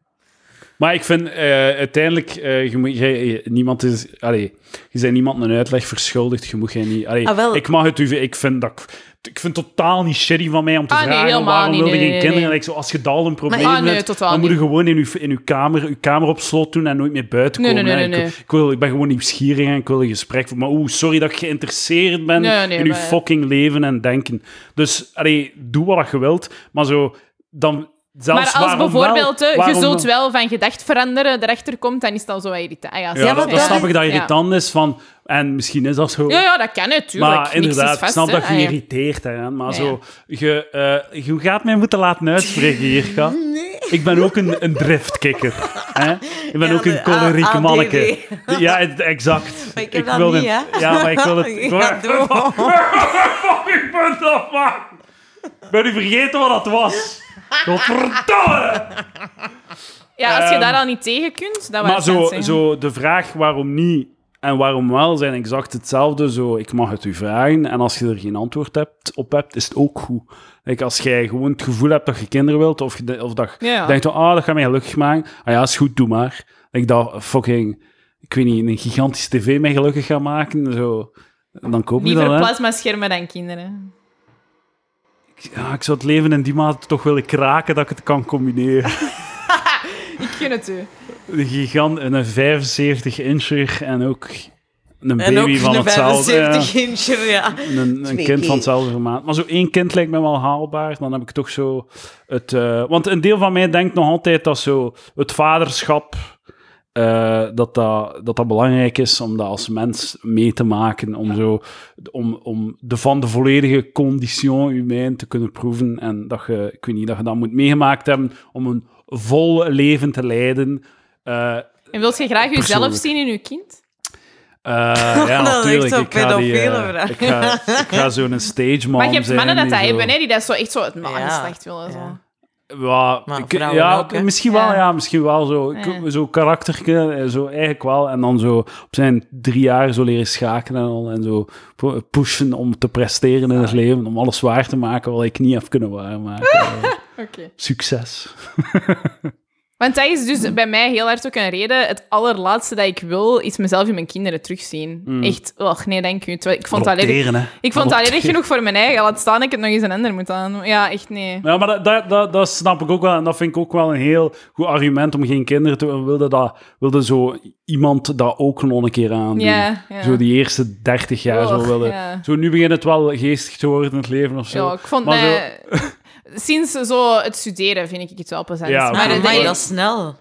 Speaker 2: Maar ik vind eh, uiteindelijk, eh, je moet, jij- je- niemand is, allee, je bent niemand een uitleg verschuldigd. Je moet geen niet. allee,
Speaker 1: Ah, wel.
Speaker 2: Ik mag het u, ik vind dat. ik- Ik vind het totaal niet shitty van mij om te
Speaker 3: Ah, nee,
Speaker 2: vragen
Speaker 3: helemaal
Speaker 2: waarom
Speaker 3: niet,
Speaker 2: wilde
Speaker 3: nee,
Speaker 2: geen
Speaker 3: nee,
Speaker 2: kinderen.
Speaker 3: nee.
Speaker 2: Like, zo, als je daar al een probleem
Speaker 3: ah, nee,
Speaker 2: hebt,
Speaker 3: totaal
Speaker 2: dan moet je
Speaker 3: niet.
Speaker 2: gewoon in je, in uw kamer, uw kamer op slot doen en nooit meer buiten
Speaker 3: Nee,
Speaker 2: komen.
Speaker 3: nee, nee,
Speaker 2: hè.
Speaker 3: nee,
Speaker 2: ik, ik wil, ik ben gewoon nieuwsgierig en ik wil een gesprek. voeren. Maar oeh, sorry dat ik geïnteresseerd ben
Speaker 3: Nee, nee,
Speaker 2: in uw
Speaker 3: maar-
Speaker 2: fucking leven en denken. Dus allee, doe wat je wilt, maar zo dan. Zelfs
Speaker 3: maar als
Speaker 2: waarom
Speaker 3: bijvoorbeeld,
Speaker 2: wel,
Speaker 3: hè, je
Speaker 2: waarom
Speaker 3: zult wel van gedacht veranderen, erachter komt, dan is dat zo wat irritant. Ah, ja,
Speaker 2: ja,
Speaker 1: Ja,
Speaker 2: dat,
Speaker 1: want
Speaker 2: dat
Speaker 1: dat
Speaker 2: snap
Speaker 1: is-
Speaker 2: ik dat irritant is van. En misschien is dat zo.
Speaker 3: Ja, ja, dat kan natuurlijk.
Speaker 2: maar inderdaad, ik snap
Speaker 1: ah,
Speaker 2: dat je irriteert daaraan. Maar
Speaker 3: Ja,
Speaker 2: zo, je, eh, je gaat mij moeten laten uitspreken hier, Ka. Ik ben ook een, een driftkikker. Hè? Ik ben
Speaker 1: Ja,
Speaker 2: ook een
Speaker 1: de
Speaker 2: koloriek
Speaker 1: A-
Speaker 2: manneke. Ja, het- exact.
Speaker 1: Maar ik heb dat niet,
Speaker 2: het-
Speaker 1: hè?
Speaker 2: Ja, maar ik wil het... Oh, Ik wil-
Speaker 1: Ja, doe.
Speaker 2: fucking punt afmaken. Ben u vergeten wat dat was? Godverdomme!
Speaker 3: Ja, als je
Speaker 2: Ehm,
Speaker 3: daar al niet tegen kunt,
Speaker 1: Ah,
Speaker 3: dan
Speaker 2: Maar
Speaker 3: was het
Speaker 2: zo,
Speaker 3: zeggen.
Speaker 2: zo de vraag waarom niet en waarom wel zijn exact hetzelfde. Zo, ik mag het u vragen. En als je er geen antwoord hebt, op hebt, is het ook goed. Like, als jij gewoon het gevoel hebt dat je kinderen wilt, of, je de- of dat je
Speaker 3: Ja, ja.
Speaker 2: denkt, van, ah, dat gaat mij gelukkig maken. Ah ja, is goed, doe maar. Ik dat fucking, ik weet niet, een gigantische tv mij gelukkig gaat maken. Zo. Dan koop je
Speaker 3: Liever
Speaker 2: dat, hè.
Speaker 3: plasmaschermen dan kinderen.
Speaker 2: Ja, ik zou het leven in die mate toch willen kraken dat ik het kan combineren.
Speaker 3: Ik gun het u.
Speaker 2: Een gigant, een 75-incher en ook een
Speaker 1: En ook
Speaker 2: baby van
Speaker 1: een
Speaker 2: hetzelfde. ja.
Speaker 1: 75 inch, ja.
Speaker 2: Een, een
Speaker 1: Twee
Speaker 2: kind
Speaker 1: keer.
Speaker 2: van hetzelfde formaat. Maar zo één kind lijkt me wel haalbaar. Dan heb ik toch zo het... eh, want een deel van mij denkt nog altijd dat zo het vaderschap... eh, dat, dat, dat dat belangrijk is om dat als mens mee te maken. Om, zo, om, om de, van de volledige condition humain te kunnen proeven. En dat je, ik weet niet, dat je dat moet meegemaakt hebben om een vol leven te leiden. Eh,
Speaker 3: En wilt je graag jezelf
Speaker 2: Persoonlijk.
Speaker 3: zien in je kind?
Speaker 2: eh, ja,
Speaker 1: Dat is echt
Speaker 2: natuurlijk.
Speaker 1: zo'n
Speaker 2: Ik ga, die, eh,
Speaker 1: pedofiele vraag.
Speaker 2: ik ga, ik ga zo'n stage mom
Speaker 3: maar je hebt mannen dat dat
Speaker 2: zijn die zo-
Speaker 3: hebben, hè, die dat zo echt zo het nageslacht willen. Zo.
Speaker 1: Ja.
Speaker 2: Ja,
Speaker 1: Maar
Speaker 2: ik-
Speaker 1: vrouwen
Speaker 2: ja
Speaker 1: ook, hè?
Speaker 2: misschien wel, ja.
Speaker 3: Ja.
Speaker 2: misschien wel zo. Ik-
Speaker 3: Ja.
Speaker 2: Zo karakterke, eh, zo eigenlijk wel. En dan zo op zijn drie jaar zo leren schakelen en, al, en zo po- pushen om te presteren in het leven. Om alles waar te maken wat ik niet heb kunnen waarmaken. Eh,
Speaker 3: Oké.
Speaker 2: Succes.
Speaker 3: Want dat is dus bij mij heel hard ook een reden. Het allerlaatste dat ik wil, is mezelf in mijn kinderen terugzien. Echt, och, nee, dank u. Terwijl Ik vond dat lelijk.
Speaker 2: Hmm. Adopteren, hè.
Speaker 3: Ik vond dat lelijk
Speaker 2: Adopteren.
Speaker 3: genoeg voor mijn eigen. Laat staan dat ik het nog eens een ander moet aan. Ja, echt nee.
Speaker 2: Ja, maar dat, dat, dat, dat snap ik ook wel. En dat vind ik ook wel een heel goed argument om geen kinderen te willen. Dat wilde zo iemand dat ook nog een keer aan
Speaker 3: Ja, ja.
Speaker 2: Zo die eerste 30 jaar zo
Speaker 3: Och,
Speaker 2: willen.
Speaker 3: ja.
Speaker 2: Zo nu begint het wel geestig te worden in het leven of zo.
Speaker 3: Ja, ik vond
Speaker 2: Maar
Speaker 3: mij... Sinds zo het studeren vind ik het wel plezant.
Speaker 2: Ja,
Speaker 3: maar
Speaker 1: Ah, Maar
Speaker 2: oké.
Speaker 3: dat-
Speaker 1: amai,
Speaker 2: denk-
Speaker 1: dat is snel.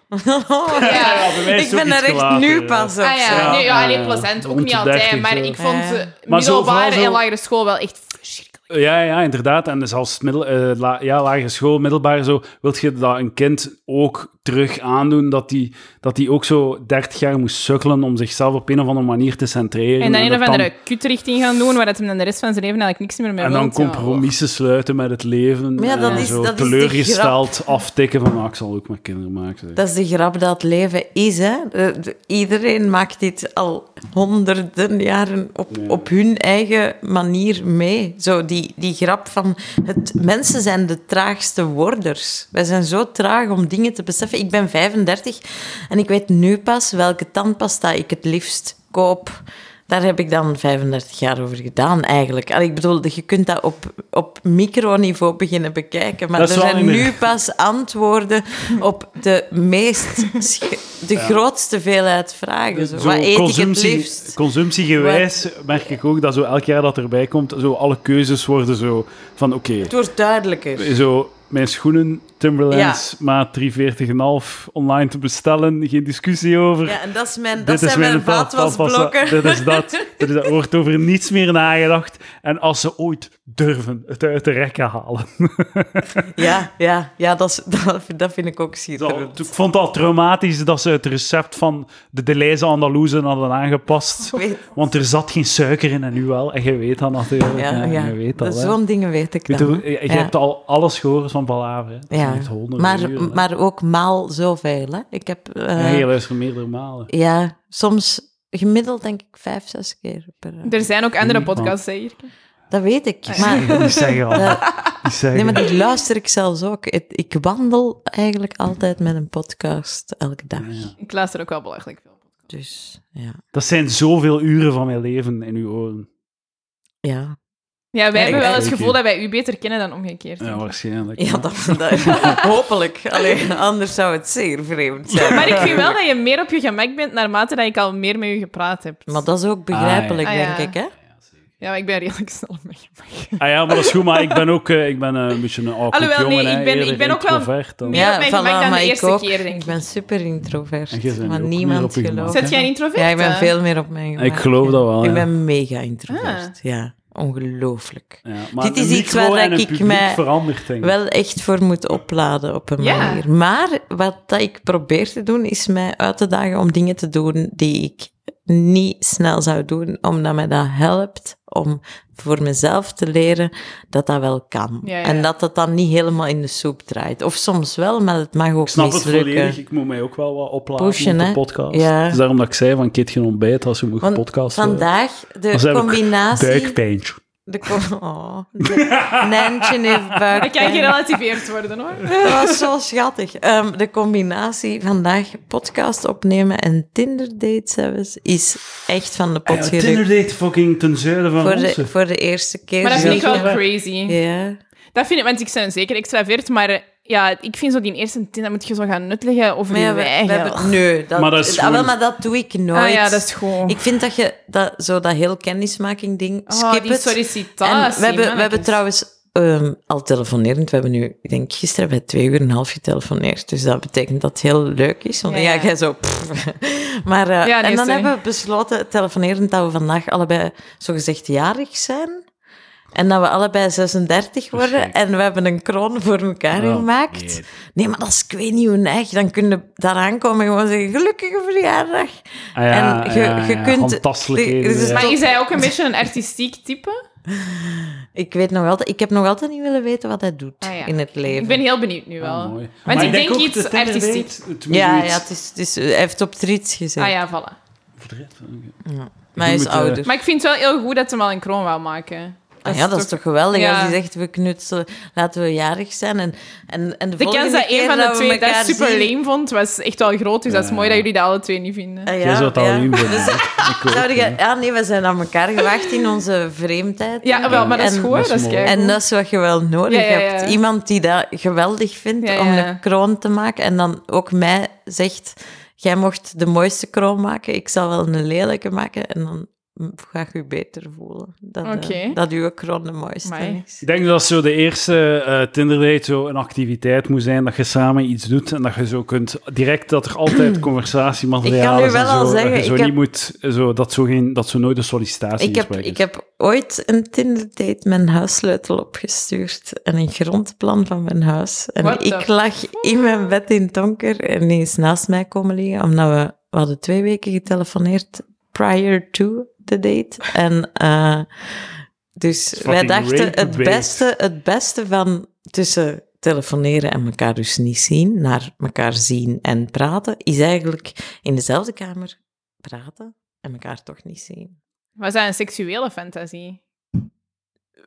Speaker 3: ja.
Speaker 2: Ja, bij mij is
Speaker 1: ik
Speaker 2: het ook
Speaker 1: ben
Speaker 2: iets
Speaker 1: er echt
Speaker 2: gelater,
Speaker 1: nu
Speaker 2: ja.
Speaker 1: pas op.
Speaker 3: Ah ja,
Speaker 2: Ja,
Speaker 3: nee, ja,
Speaker 2: ja,
Speaker 3: alleen
Speaker 2: ja.
Speaker 3: plezant. Ook
Speaker 2: Rond
Speaker 3: niet
Speaker 2: de
Speaker 3: altijd,
Speaker 2: 30
Speaker 3: maar
Speaker 2: zo.
Speaker 3: ik vond eh,
Speaker 1: Ja.
Speaker 2: Maar zo
Speaker 3: middelbare
Speaker 2: vooral zo-
Speaker 3: en lagere school wel echt verschrikkelijk.
Speaker 2: Ja, ja, inderdaad. En dus als middel, eh, la- ja, lagere school, middelbaar zo, wilt je dat een kind ook terug aandoen, dat die, dat die ook zo 30 jaar moest sukkelen om zichzelf op een of andere manier te centreren.
Speaker 3: En dan een
Speaker 2: dat
Speaker 3: of andere kutrichting gaan doen, waar dat hem dan de rest van zijn leven eigenlijk niks meer mee
Speaker 2: En
Speaker 3: wil.
Speaker 2: dan compromissen sluiten met het leven.
Speaker 1: Maar ja, dat
Speaker 2: en
Speaker 1: is-
Speaker 2: zo
Speaker 1: dat is de
Speaker 2: teleurgesteld aftikken van, ah, ik zal ook met kinderen maken. zeg.
Speaker 1: Dat is de grap dat het leven is, hè. De- de- iedereen maakt dit al honderden jaren op,
Speaker 2: Ja.
Speaker 1: op hun eigen manier mee. Zo die, die grap van het, mensen zijn de traagste worders. Wij zijn zo traag om dingen te beseffen. Ik ben 35 en ik weet nu pas welke tandpasta ik het liefst koop. Daar heb ik dan 35 jaar over gedaan, eigenlijk. Allee, Ik bedoel, je kunt dat op, op microniveau beginnen bekijken. Maar
Speaker 2: Dat
Speaker 1: er
Speaker 2: is wel
Speaker 1: zijn
Speaker 2: niet
Speaker 1: nu
Speaker 2: meer.
Speaker 1: pas antwoorden op de meest... sch- de grootste veelheid vragen. Zo.
Speaker 2: Zo
Speaker 1: Wat eet ik het
Speaker 2: consumptie-
Speaker 1: liefst?
Speaker 2: Consumptiegewijs merk ik ook dat zo elk jaar dat erbij komt, zo alle keuzes worden zo van oké,
Speaker 1: Het wordt duidelijker.
Speaker 2: zo mijn schoenen Timberlands maat 340,5 online te bestellen, geen discussie over.
Speaker 1: Ja, en dat, is mijn, dat
Speaker 2: Dit is
Speaker 1: zijn
Speaker 2: mijn
Speaker 1: mijn
Speaker 2: val-
Speaker 1: vaatwasblokken.
Speaker 2: valvast- Dit is dat. Dit is dat. Er wordt over niets meer nagedacht. En als ze ooit durven het uit de rekken halen.
Speaker 1: Ja, ja, ja dat, is, dat, dat vind ik ook schitterend.
Speaker 2: Dat- ik vond het al traumatisch dat ze het recept van de Deleuze Andalouse hadden aangepast.
Speaker 1: Ik weet-
Speaker 2: Want er zat geen suiker in en nu wel. En je weet dat natuurlijk.
Speaker 1: Ja, ja.
Speaker 2: Je weet dat,
Speaker 1: Dat-
Speaker 2: hè.
Speaker 1: Zo'n dingen weet ik
Speaker 2: Ik
Speaker 1: dan.
Speaker 2: bedoel, je je
Speaker 1: Ja.
Speaker 2: hebt al alles gehoord van Palaver. hè. Dat
Speaker 1: Ja.
Speaker 2: heeft honderden
Speaker 1: Maar,
Speaker 2: uren, hè.
Speaker 1: maar ook maal zoveel. Hè. Ik heb... eh,
Speaker 2: Ja, je luistert meerdere malen.
Speaker 1: ja, soms gemiddeld denk ik vijf, zes keer per...
Speaker 3: Er zijn ook andere
Speaker 2: Niet, man.
Speaker 3: podcasts, hè, Jirke?
Speaker 1: Dat weet ik.
Speaker 2: Die
Speaker 1: Maar,
Speaker 2: zeggen al.
Speaker 1: dat-
Speaker 2: Die zeggen.
Speaker 1: nee, maar die luister ik zelfs ook. Ik, ik wandel eigenlijk altijd met een podcast elke dag.
Speaker 2: Ja.
Speaker 3: Ik luister ook wel belachelijk veel.
Speaker 1: Dus ja.
Speaker 2: Dat zijn zoveel uren van mijn leven in uw oren.
Speaker 1: Ja,
Speaker 3: Ja, wij
Speaker 1: Ja,
Speaker 3: hebben
Speaker 1: ik-
Speaker 3: wel het
Speaker 2: Oké.
Speaker 3: gevoel dat wij u beter kennen dan omgekeerd.
Speaker 2: Ja, waarschijnlijk.
Speaker 1: Ja, dat, dat- hopelijk. Allee, anders zou het zeer vreemd zijn.
Speaker 3: Maar ik vind wel dat je meer op je gemak bent naarmate dat ik al meer met u gepraat heb.
Speaker 1: Maar dat is ook begrijpelijk,
Speaker 3: Ah, ja.
Speaker 1: denk ik. Hè?
Speaker 3: Ja, maar ik ben redelijk snel op mijn gemak.
Speaker 2: Ah ja, maar dat is goed, maar ik ben ook eh, ik ben, eh, een beetje een awkward
Speaker 3: Alhoewel, nee,
Speaker 2: jongen. hè.
Speaker 3: ik ben- ik
Speaker 2: Eerder
Speaker 3: ben ook wel-
Speaker 2: introvert dan-
Speaker 3: Meer op mijn gemak dan de eerste keer, denk ik.
Speaker 1: ik ben super introvert.
Speaker 2: En jij bent
Speaker 1: Maar
Speaker 2: ook meer op
Speaker 1: niemand
Speaker 2: je gemak.
Speaker 1: gelooft.
Speaker 3: Zet jij een introvert?
Speaker 1: Ja, ik ben
Speaker 3: hè?
Speaker 1: veel meer op mijn gemak.
Speaker 2: Ik geloof dat wel,
Speaker 1: Ik
Speaker 2: ja. Ah.
Speaker 1: ben mega introvert. Ja, ongelooflijk.
Speaker 2: Ja, maar
Speaker 1: Dit is
Speaker 2: een
Speaker 1: iets
Speaker 2: micro
Speaker 1: waar
Speaker 2: en een
Speaker 1: ik
Speaker 2: publiek
Speaker 1: mij
Speaker 2: verandert, denk ik.
Speaker 1: Wel echt voor moet opladen op een
Speaker 3: Ja.
Speaker 1: manier. Maar wat dat ik probeer te doen, is mij uit te dagen om dingen te doen die ik niet snel zou doen, omdat mij dat helpt om voor mezelf te leren dat dat wel kan.
Speaker 3: Ja, ja.
Speaker 1: En dat dat dan niet helemaal in de soep draait. Of soms wel, maar het mag ook
Speaker 2: Ik snap het
Speaker 1: mislukken.
Speaker 2: volledig. Ik moet mij ook wel wat opladen
Speaker 1: Pushen,
Speaker 2: met de
Speaker 1: hè.
Speaker 2: podcast.
Speaker 1: Ja.
Speaker 2: Dus daarom dat ik zei van kit geen ontbijt als je moet
Speaker 1: Want
Speaker 2: podcasten.
Speaker 1: Vandaag,
Speaker 2: Als
Speaker 1: de
Speaker 2: heb ik
Speaker 1: combinatie...
Speaker 2: Duikpijntje.
Speaker 1: De co- oh, de- Nijntje heeft buikpijn.
Speaker 3: Dat kan gerelativeerd worden, hoor.
Speaker 1: Dat was zo schattig. Ehm, de combinatie vandaag podcast opnemen en Tinder dates hebben is echt van de pot
Speaker 2: Ja,
Speaker 1: gerukt.
Speaker 2: Tinder date fucking ten zuiden van
Speaker 1: voor,
Speaker 2: ons.
Speaker 1: de, voor de eerste keer.
Speaker 3: Maar dat vind ik
Speaker 1: zeker.
Speaker 3: wel crazy.
Speaker 1: Ja.
Speaker 3: Dat vind ik, want ik ben zeker extravert, maar eh, ja, ik vind zo die eerste tint, dat moet je zo gaan nutleggen over
Speaker 1: Maar ja,
Speaker 3: je
Speaker 1: we, we
Speaker 3: eigen.
Speaker 1: hebben... Nee, dat,
Speaker 2: Maar dat is
Speaker 1: ah, wel,
Speaker 2: gewoon-
Speaker 1: maar dat doe ik nooit.
Speaker 3: ah ja, dat is gewoon...
Speaker 1: Ik vind dat je dat, zo dat heel kennismaking ding,
Speaker 3: Oh,
Speaker 1: skip
Speaker 3: die
Speaker 1: het. En
Speaker 3: sollicitatie.
Speaker 1: we hebben, we hebben
Speaker 3: mannetjes.
Speaker 1: trouwens ehm, al telefonerend. We hebben nu, ik denk, gisteren bij twee uur en een half getelefoneerd. Dus dat betekent dat het heel leuk is. Want
Speaker 3: Ja,
Speaker 1: ja,
Speaker 3: ja.
Speaker 1: jij zo. pff. Maar, eh,
Speaker 3: Ja, nee,
Speaker 1: en dan
Speaker 3: sorry.
Speaker 1: hebben we besloten, telefonerend, dat we vandaag allebei zogezegd jarig zijn. En dat we allebei 36 worden.
Speaker 2: Perfect.
Speaker 1: En we hebben een kroon voor elkaar
Speaker 2: Oh,
Speaker 1: gemaakt.
Speaker 2: jee.
Speaker 1: Nee, maar dat is, ik weet niet hoe neig. Dan kun je daaraan komen en gewoon zeggen, gelukkige verjaardag.
Speaker 2: Ah ja,
Speaker 1: en je,
Speaker 2: ja,
Speaker 1: je
Speaker 2: ja,
Speaker 1: kunt...
Speaker 2: handtastelijkheden,
Speaker 1: er is
Speaker 2: ja.
Speaker 3: Maar
Speaker 1: toch-
Speaker 3: is hij ook een beetje een artistiek type?
Speaker 1: ik weet nog altijd, ik heb nog altijd niet willen weten wat hij doet
Speaker 3: Ah, ja.
Speaker 1: in het leven.
Speaker 3: Ik ben heel benieuwd nu wel.
Speaker 2: Ah, mooi.
Speaker 3: Want
Speaker 2: Maar
Speaker 3: ik denk,
Speaker 2: ook
Speaker 3: iets
Speaker 2: dat Tinder
Speaker 3: artistiek.
Speaker 2: date, het moet
Speaker 1: Ja,
Speaker 2: iets-
Speaker 1: ja het is, het is, hij heeft op triets gezet.
Speaker 3: Ah ja, voilà.
Speaker 2: Voor de rest, oké.
Speaker 1: Maar hij
Speaker 2: Je
Speaker 1: is
Speaker 2: moet, eh,
Speaker 1: ouder.
Speaker 3: Maar ik vind het wel heel goed dat ze hem al een kroon wou maken.
Speaker 1: Ah ja, dat is toch geweldig
Speaker 3: Ja.
Speaker 1: als hij zegt, we knutselen, laten we jarig zijn. En, en, en de,
Speaker 3: De
Speaker 1: volgende
Speaker 3: kans dat
Speaker 1: keer
Speaker 3: een van de
Speaker 1: we
Speaker 3: twee dat
Speaker 1: elkaar
Speaker 3: super
Speaker 1: zien-
Speaker 3: lame vond, was echt wel groot. Dus dat is
Speaker 2: Ja.
Speaker 3: mooi dat jullie dat alle twee niet vinden.
Speaker 1: Ah,
Speaker 2: Jij zou het al
Speaker 1: ja.
Speaker 2: invinden, hè. Ik ook,
Speaker 1: Zou
Speaker 2: hè.
Speaker 1: je- ja, nee, we zijn aan elkaar gewacht in onze vreemdheid.
Speaker 3: Ja, wel, maar dat is
Speaker 1: En-
Speaker 3: goed.
Speaker 2: dat is
Speaker 3: Dat is
Speaker 2: mooi.
Speaker 3: keigoed.
Speaker 1: En dat is wat je wel nodig
Speaker 3: Ja, ja, ja.
Speaker 1: hebt. Iemand die dat geweldig vindt
Speaker 3: Ja,
Speaker 1: om
Speaker 3: ja.
Speaker 1: een kroon te maken en dan ook mij zegt, jij mocht de mooiste kroon maken, ik zal wel een lelijke maken en dan ga je je beter voelen. Dat, eh,
Speaker 3: Oké.
Speaker 1: dat uw kroon de mooiste
Speaker 3: Amai.
Speaker 1: is.
Speaker 2: Ik denk dat zo de eerste eh Tinder date zo een activiteit moet zijn dat je samen iets doet en dat je zo kunt direct dat er altijd conversatiemateriaal
Speaker 1: Ik
Speaker 2: is.
Speaker 1: kan u
Speaker 2: en
Speaker 1: wel
Speaker 2: zo,
Speaker 1: al zeggen,
Speaker 2: dat je zo
Speaker 1: ik
Speaker 2: niet
Speaker 1: heb-
Speaker 2: moet eh, zo, dat zo geen dat zo nooit een sollicitatie
Speaker 1: Ik heb, ik heb ooit een Tinder-date mijn huissleutel opgestuurd en een grondplan van mijn huis. En
Speaker 3: What the
Speaker 1: ik lag in mijn bed in het donker en die is naast mij komen liggen, omdat we, we hadden twee weken getelefoneerd prior to the date. En eh, dus wij
Speaker 2: fucking
Speaker 1: dachten,
Speaker 2: rape
Speaker 1: het
Speaker 2: bait.
Speaker 1: beste, het beste van tussen telefoneren en elkaar dus niet zien, naar elkaar zien en praten, is eigenlijk in dezelfde kamer praten. en elkaar toch niet zien.
Speaker 3: Was dat een seksuele fantasie?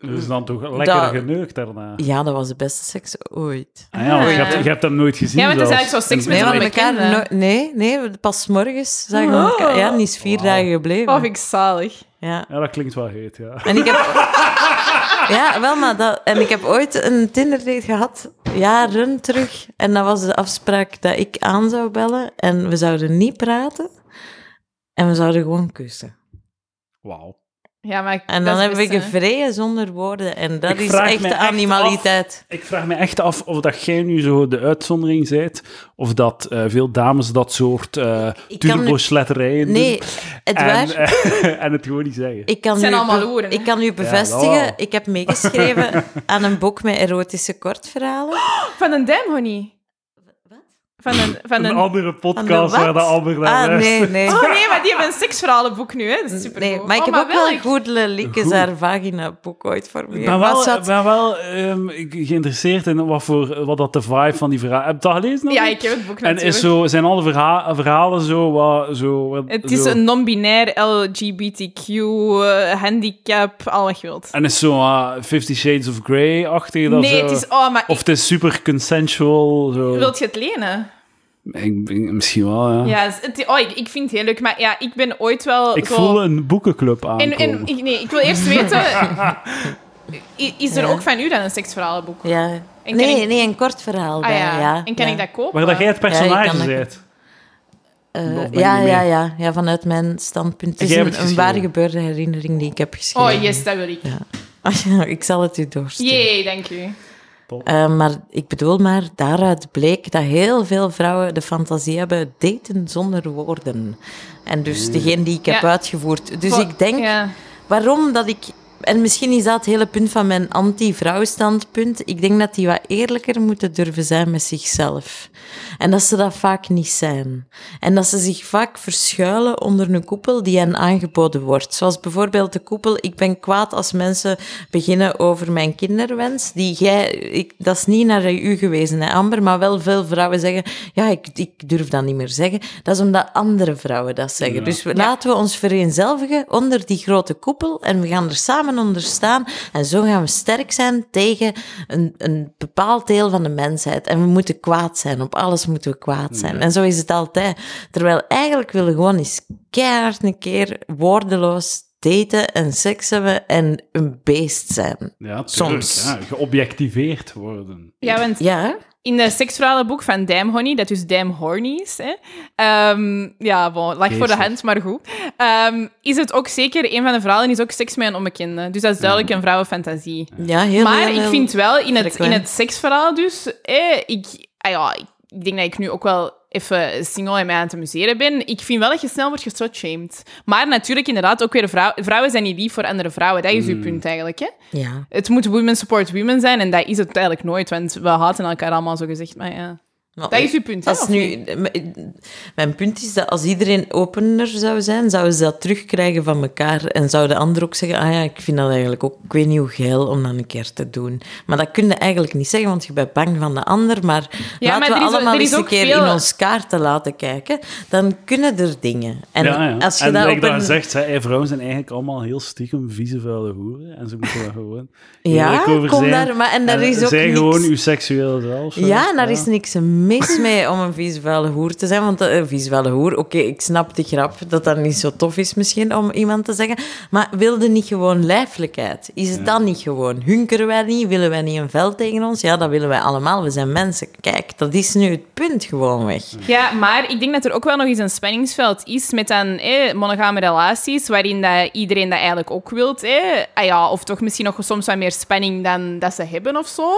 Speaker 2: Dus dan toch lekker
Speaker 1: Mm, Dat-
Speaker 2: geneukt daarna.
Speaker 1: Ja, dat was de beste seks ooit.
Speaker 2: Ah ja, want je,
Speaker 3: Ja.
Speaker 2: hebt, je hebt hem nooit gezien.
Speaker 3: Ja, want het is
Speaker 2: zelfs.
Speaker 3: eigenlijk zo seks
Speaker 2: En-
Speaker 1: Nee,
Speaker 3: met
Speaker 1: want
Speaker 3: een
Speaker 1: elkaar no-
Speaker 3: bekende.
Speaker 1: nee, nee, pas morgens zagen we
Speaker 3: Oh.
Speaker 1: elkaar. Ja, niet vier
Speaker 2: Wauw.
Speaker 1: dagen gebleven.
Speaker 3: Of ik zalig.
Speaker 1: Ja.
Speaker 2: Ja, dat klinkt wel heet, ja.
Speaker 1: En ik heb... ja, wel, maar dat... En ik heb ooit een Tinder-date gehad, jaren terug. En dat was de afspraak dat ik aan zou bellen. En we zouden niet praten. En we zouden gewoon kussen.
Speaker 2: Wauw.
Speaker 3: Ja, maar
Speaker 1: En dan hebben we gevreden zonder woorden. En dat
Speaker 2: Ik
Speaker 1: is
Speaker 2: vraag me
Speaker 1: echt
Speaker 2: echt
Speaker 1: de
Speaker 2: af-
Speaker 1: animaliteit.
Speaker 2: Ik vraag me echt af of dat jij nu zo de uitzondering bent, of dat eh, veel dames dat soort eh
Speaker 1: Ik kan nu-
Speaker 2: turbosletterijen
Speaker 1: Nee,
Speaker 2: doen.
Speaker 1: het
Speaker 2: en,
Speaker 1: waar.
Speaker 2: eh, en het gewoon niet zeggen.
Speaker 1: Ik kan
Speaker 3: Het zijn
Speaker 1: nu
Speaker 3: allemaal
Speaker 1: be-
Speaker 3: loeren, hè?
Speaker 1: Ik kan u bevestigen,
Speaker 2: Ja, wel.
Speaker 1: ik heb meegeschreven aan een boek met erotische kortverhalen.
Speaker 3: Van een duimhonie. Van een... Van
Speaker 2: Een
Speaker 3: een...
Speaker 2: andere podcast
Speaker 1: wat?
Speaker 2: waar de ander naar
Speaker 1: Ah, nee,
Speaker 2: luistert.
Speaker 1: nee.
Speaker 3: Oh nee, maar die hebben een seksverhalenboek nu, hè. Dat is Oh, super
Speaker 1: Nee, maar ik heb ook wel een goedele Likkes haar vagina boek ooit voor me.
Speaker 2: Ik ben wel,
Speaker 1: Was dat-
Speaker 2: ben wel ehm, ik- geïnteresseerd in wat, voor, wat dat de vibe van die verhaal... Heb je dat gelezen? nog
Speaker 3: Ja,
Speaker 2: niet?
Speaker 3: ik heb het boek
Speaker 2: En
Speaker 3: natuurlijk.
Speaker 2: is zo, zijn alle verha- verhalen zo... Wat, zo wat-
Speaker 3: Het is
Speaker 2: zo-
Speaker 3: een non-binair LGBTQ eh, handicap, al wat je wilt.
Speaker 2: En is zo eh, Fifty Shades of Grey-achtig? dat
Speaker 3: Nee,
Speaker 2: zo-
Speaker 3: het is... Oh, maar
Speaker 2: Of het is super consensual? Zo.
Speaker 3: ik- wilt je het lenen?
Speaker 2: Ik- ik- misschien wel, ja.
Speaker 3: Ja, het, oh, ik, ik vind het heel leuk. Maar ja, ik ben ooit wel
Speaker 2: Ah. ik
Speaker 3: zo...
Speaker 2: voel een boekenclub aankomen.
Speaker 3: En, en, ik- nee, ik wil eerst weten... i- Is er
Speaker 1: Ja.
Speaker 3: ook van u dan een seksverhalenboek?
Speaker 1: Ja.
Speaker 3: kan
Speaker 1: Nee,
Speaker 3: ik-
Speaker 1: nee, een kort verhaal.
Speaker 3: Ah
Speaker 1: dan,
Speaker 3: ja.
Speaker 1: ja.
Speaker 3: En kan
Speaker 1: ja.
Speaker 3: ik dat kopen?
Speaker 2: Waar dat jij het
Speaker 1: Ja, je
Speaker 2: personage
Speaker 1: kan dat-
Speaker 2: bent.
Speaker 1: Eh,
Speaker 2: Of ben je
Speaker 1: ja,
Speaker 2: niet
Speaker 1: ja,
Speaker 2: mee?
Speaker 1: ja, ja, vanuit mijn standpunt. Het
Speaker 2: En
Speaker 1: is
Speaker 2: jij
Speaker 1: een,
Speaker 2: hebt het
Speaker 1: een waar
Speaker 2: geschreven?
Speaker 1: gebeurde herinnering die ik heb
Speaker 3: Oh,
Speaker 1: geschreven.
Speaker 3: yes, dat wil ik.
Speaker 1: Ah, ja, ik zal het u doorsturen.
Speaker 3: Jee, dank u.
Speaker 1: Eh, maar ik bedoel maar, daaruit bleek dat heel veel vrouwen de fantasie hebben daten zonder woorden. En dus degene die ik heb
Speaker 3: Ja.
Speaker 1: uitgevoerd. Dus
Speaker 3: Vol-
Speaker 1: ik denk
Speaker 3: Ja.
Speaker 1: waarom dat ik. En misschien is dat het hele punt van mijn anti-vrouwenstandpunt. Ik denk dat die wat eerlijker moeten durven zijn met zichzelf. En dat ze dat vaak niet zijn. En dat ze zich vaak verschuilen onder een koepel die hen aangeboden wordt. Zoals bijvoorbeeld de koepel, ik ben kwaad als mensen beginnen over mijn kinderwens. Die jij, ik, dat is niet naar u gewezen, hè, Amber, maar wel veel vrouwen zeggen, ja, ik, ik durf dat niet meer zeggen. Dat is omdat andere vrouwen dat zeggen.
Speaker 2: Ja.
Speaker 1: Dus we, laten we ons vereenzelvigen onder die grote koepel en we gaan er samen onder staan. En zo gaan we sterk zijn tegen een, een bepaald deel van de mensheid. En we moeten kwaad zijn, op alles moeten we kwaad zijn. En zo is het altijd. Terwijl eigenlijk willen we gewoon eens keihard een keer woordeloos daten en seks hebben en een beest zijn.
Speaker 2: Ja, tuurlijk,
Speaker 1: Soms.
Speaker 2: Ja, geobjectiveerd worden.
Speaker 3: ja, want
Speaker 1: Ja,
Speaker 3: in het seksverhalenboek van Damn Honey, dat dus Damn Horny is, hè, ehm, ja, bon, lag voor de
Speaker 2: Geestig.
Speaker 3: hand, maar goed, ehm, is het ook zeker, een van de verhalen is ook seks met een onbekende. Dus dat is
Speaker 2: Mm.
Speaker 3: duidelijk een vrouwenfantasie.
Speaker 1: ja heel
Speaker 3: Maar
Speaker 1: heel,
Speaker 3: ik
Speaker 1: heel-
Speaker 3: vind wel, in het, in
Speaker 1: frequent.
Speaker 3: het seksverhaal dus, eh, ik, ah ja, ik ik denk dat ik nu ook wel even single en mij aan het amuseren ben. Ik vind wel dat je snel wordt gestotshamed. Maar natuurlijk inderdaad ook weer vrouw, vrouwen zijn niet lief voor andere vrouwen. Dat is uw punt eigenlijk, hè?
Speaker 1: Ja.
Speaker 3: Het moet women support women zijn en dat is het eigenlijk nooit, want we haten elkaar allemaal zo gezegd. Maar ja,
Speaker 1: Maar-
Speaker 3: dat is uw punt, hè?
Speaker 1: Als
Speaker 3: of niet?
Speaker 1: nu, mijn punt is dat als iedereen opener zou zijn, zouden ze dat terugkrijgen van elkaar. En zou de ander ook zeggen, ah ja, ik vind dat eigenlijk ook, ik weet niet hoe geil om dat een keer te doen. Maar dat kun je eigenlijk niet zeggen, want je bent bang van de ander. Maar
Speaker 3: Ja,
Speaker 1: laten
Speaker 3: maar er
Speaker 1: we
Speaker 3: is-
Speaker 1: allemaal
Speaker 3: er is
Speaker 1: eens een
Speaker 3: ook
Speaker 1: keer
Speaker 3: veel-
Speaker 1: in ons kaarten laten kijken, dan kunnen er dingen. En
Speaker 2: ja, ja.
Speaker 1: als je
Speaker 2: en
Speaker 1: dat
Speaker 2: like
Speaker 1: op
Speaker 2: daar
Speaker 1: een...
Speaker 2: zegt, hè, hey, vrouwen zijn eigenlijk allemaal heel stiekem vieze vuile hoeren. En ze moeten daar gewoon
Speaker 1: Ja,
Speaker 2: eerlijk over
Speaker 1: kom
Speaker 2: zijn.
Speaker 1: daar- maar- en daar is ook
Speaker 2: Zij
Speaker 1: niks-
Speaker 2: gewoon uw seksueel zelf. hè.
Speaker 1: Ja, en daar is niks mis mee om een vies vuile hoer te zijn. Want eh, een vies vuile hoer, oké, ik snap de grap dat dat niet zo tof is misschien om iemand te zeggen. Maar wilde niet gewoon lijfelijkheid? Is het dan niet gewoon? Hunkeren wij niet? Willen wij niet een vel tegen ons? Ja, dat willen wij allemaal. We zijn mensen. Kijk, dat is nu het punt gewoon weg.
Speaker 3: Ja, maar ik denk dat er ook wel nog eens een spanningsveld is met dan eh, monogame relaties, waarin dat iedereen dat eigenlijk ook wilt. Eh. Ah ja, of toch misschien nog soms wat meer spanning dan dat ze hebben of zo.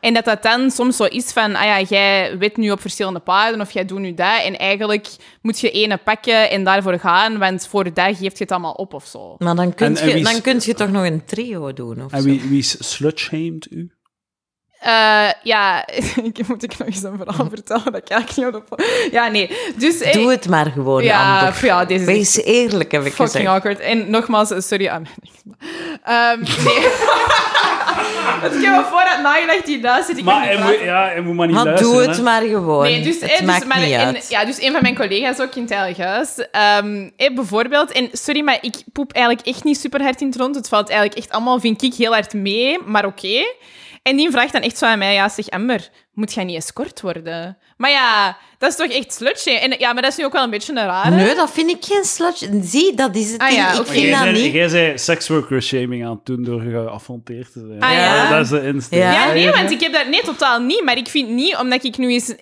Speaker 3: En dat dat dan soms zo is van, ah ja, jij weet nu op verschillende paarden of jij doet nu dat. En eigenlijk moet je ene pakken en daarvoor gaan, want voor dat geeft je het allemaal op of zo.
Speaker 1: Maar dan kun,
Speaker 2: En- en
Speaker 1: je,
Speaker 2: wie is-
Speaker 1: dan kun je toch nog een trio doen of
Speaker 2: En
Speaker 1: zo.
Speaker 2: wie, wie slutshamed u?
Speaker 3: Eh, ja, ik moet ik nog eens een verhaal vertellen, dat kijk ik niet op. de- Ja, nee. Dus, eh,
Speaker 1: Doe het maar gewoon,
Speaker 3: Ja,
Speaker 1: Amber.
Speaker 3: ja, deze is
Speaker 1: Wees eerlijk, heb ik
Speaker 3: Fucking
Speaker 1: gezegd.
Speaker 3: ah, awkward. En nogmaals, sorry aan mijn Ehm, nee. Want ik heb me vooruit nagedacht, die luistert. Ik
Speaker 2: Maar
Speaker 3: kan niet
Speaker 2: hij moet,
Speaker 3: praten.
Speaker 2: ja, hij moet maar niet
Speaker 1: Maar
Speaker 2: luisteren.
Speaker 1: doe het
Speaker 2: hè.
Speaker 1: maar gewoon.
Speaker 3: Nee, dus,
Speaker 1: het
Speaker 3: eh, dus,
Speaker 1: maakt
Speaker 3: maar
Speaker 1: niet
Speaker 3: en-
Speaker 1: uit.
Speaker 3: Ja, dus een van mijn collega's ook in het Heilig Huis. ehm, eh, bijvoorbeeld, en sorry, maar ik poep eigenlijk echt niet super hard in het rond. Het valt eigenlijk echt allemaal, vind ik, heel hard mee, maar oké. En die vraagt dan echt zo aan mij, ja, zeg Amber, moet jij niet escort worden? Maar ja, dat is toch echt slutje. En ja, maar dat is nu ook wel een beetje een rare.
Speaker 1: Nee, dat vind ik geen slutje. Zie, dat is het
Speaker 3: Ah
Speaker 1: ding.
Speaker 3: ja,
Speaker 1: ik
Speaker 3: oké.
Speaker 1: vind
Speaker 2: Jij
Speaker 1: dat
Speaker 2: zei-
Speaker 1: niet.
Speaker 2: Jij zei seksworker shaming aan toen door geafronteerd te zijn.
Speaker 3: Ah, ja.
Speaker 2: Dat is de insteek.
Speaker 1: Ja.
Speaker 3: Ja, nee, want ik heb dat nee, totaal niet. Maar ik vind niet, omdat ik nu eens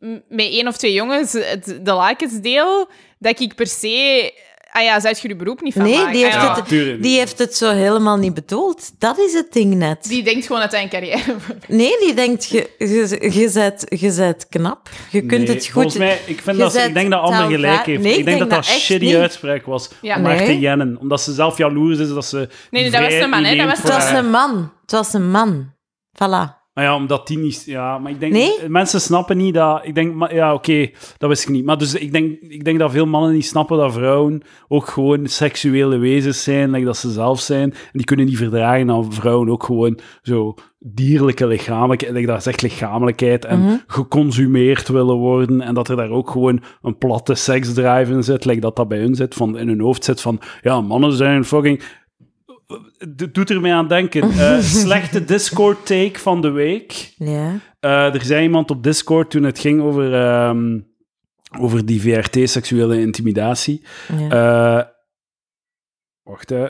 Speaker 3: m- met één of twee jongens het, de lakens deel, dat ik per se... Ah ja, zou je je beroep niet van
Speaker 1: Nee,
Speaker 3: maken?
Speaker 1: die heeft,
Speaker 3: Ah ja.
Speaker 2: Ja,
Speaker 1: het,
Speaker 2: tuurlijk.
Speaker 1: die heeft het zo helemaal niet bedoeld. Dat is het ding net.
Speaker 3: Die denkt gewoon dat hij een carrière wordt.
Speaker 1: Nee, die denkt, je, je, je, bent, je bent knap. Je kunt
Speaker 2: Nee,
Speaker 1: het goed...
Speaker 2: Volgens mij, ik, vind
Speaker 1: je
Speaker 2: dat, ze- ik
Speaker 1: bent
Speaker 2: denk dat Amber
Speaker 1: taalvaar-
Speaker 2: gelijk heeft.
Speaker 1: Nee,
Speaker 2: ik denk dat dat
Speaker 1: echt
Speaker 2: shitty
Speaker 1: niet.
Speaker 2: uitspraak was
Speaker 3: Ja.
Speaker 2: om haar
Speaker 1: Nee.
Speaker 2: te jennen. Omdat ze zelf jaloers is dat ze
Speaker 3: Nee, nee, dat was
Speaker 2: vrij
Speaker 3: een man, hè. Dat
Speaker 2: inneemt
Speaker 3: was-
Speaker 1: Het
Speaker 2: voor
Speaker 1: was
Speaker 2: haar.
Speaker 1: een man. Het was een man. Voilà.
Speaker 2: Maar ja, omdat die niet... Ja, maar ik denk...
Speaker 1: Nee?
Speaker 2: Mensen snappen niet dat... Ik denk... maar ja, oké, dat wist ik niet. Maar dus ik denk, ik denk dat veel mannen niet snappen dat vrouwen ook gewoon seksuele wezens zijn, like dat ze zelf zijn. En die kunnen niet verdragen dat vrouwen ook gewoon zo dierlijke lichamelijkheid... Like dat is echt lichamelijkheid en geconsumeerd willen worden. En dat er daar ook gewoon een platte seksdrive in zit, like dat dat bij hun zit, van, in hun hoofd zit van... Ja, mannen zijn fucking... D- Doet er mij aan denken. Eh, slechte Discord-take van de week.
Speaker 1: Ja.
Speaker 2: Eh, er zei iemand op Discord toen het ging over, ehm, over die VRT, seksuele intimidatie.
Speaker 1: ja.
Speaker 2: Eh, wacht, hè.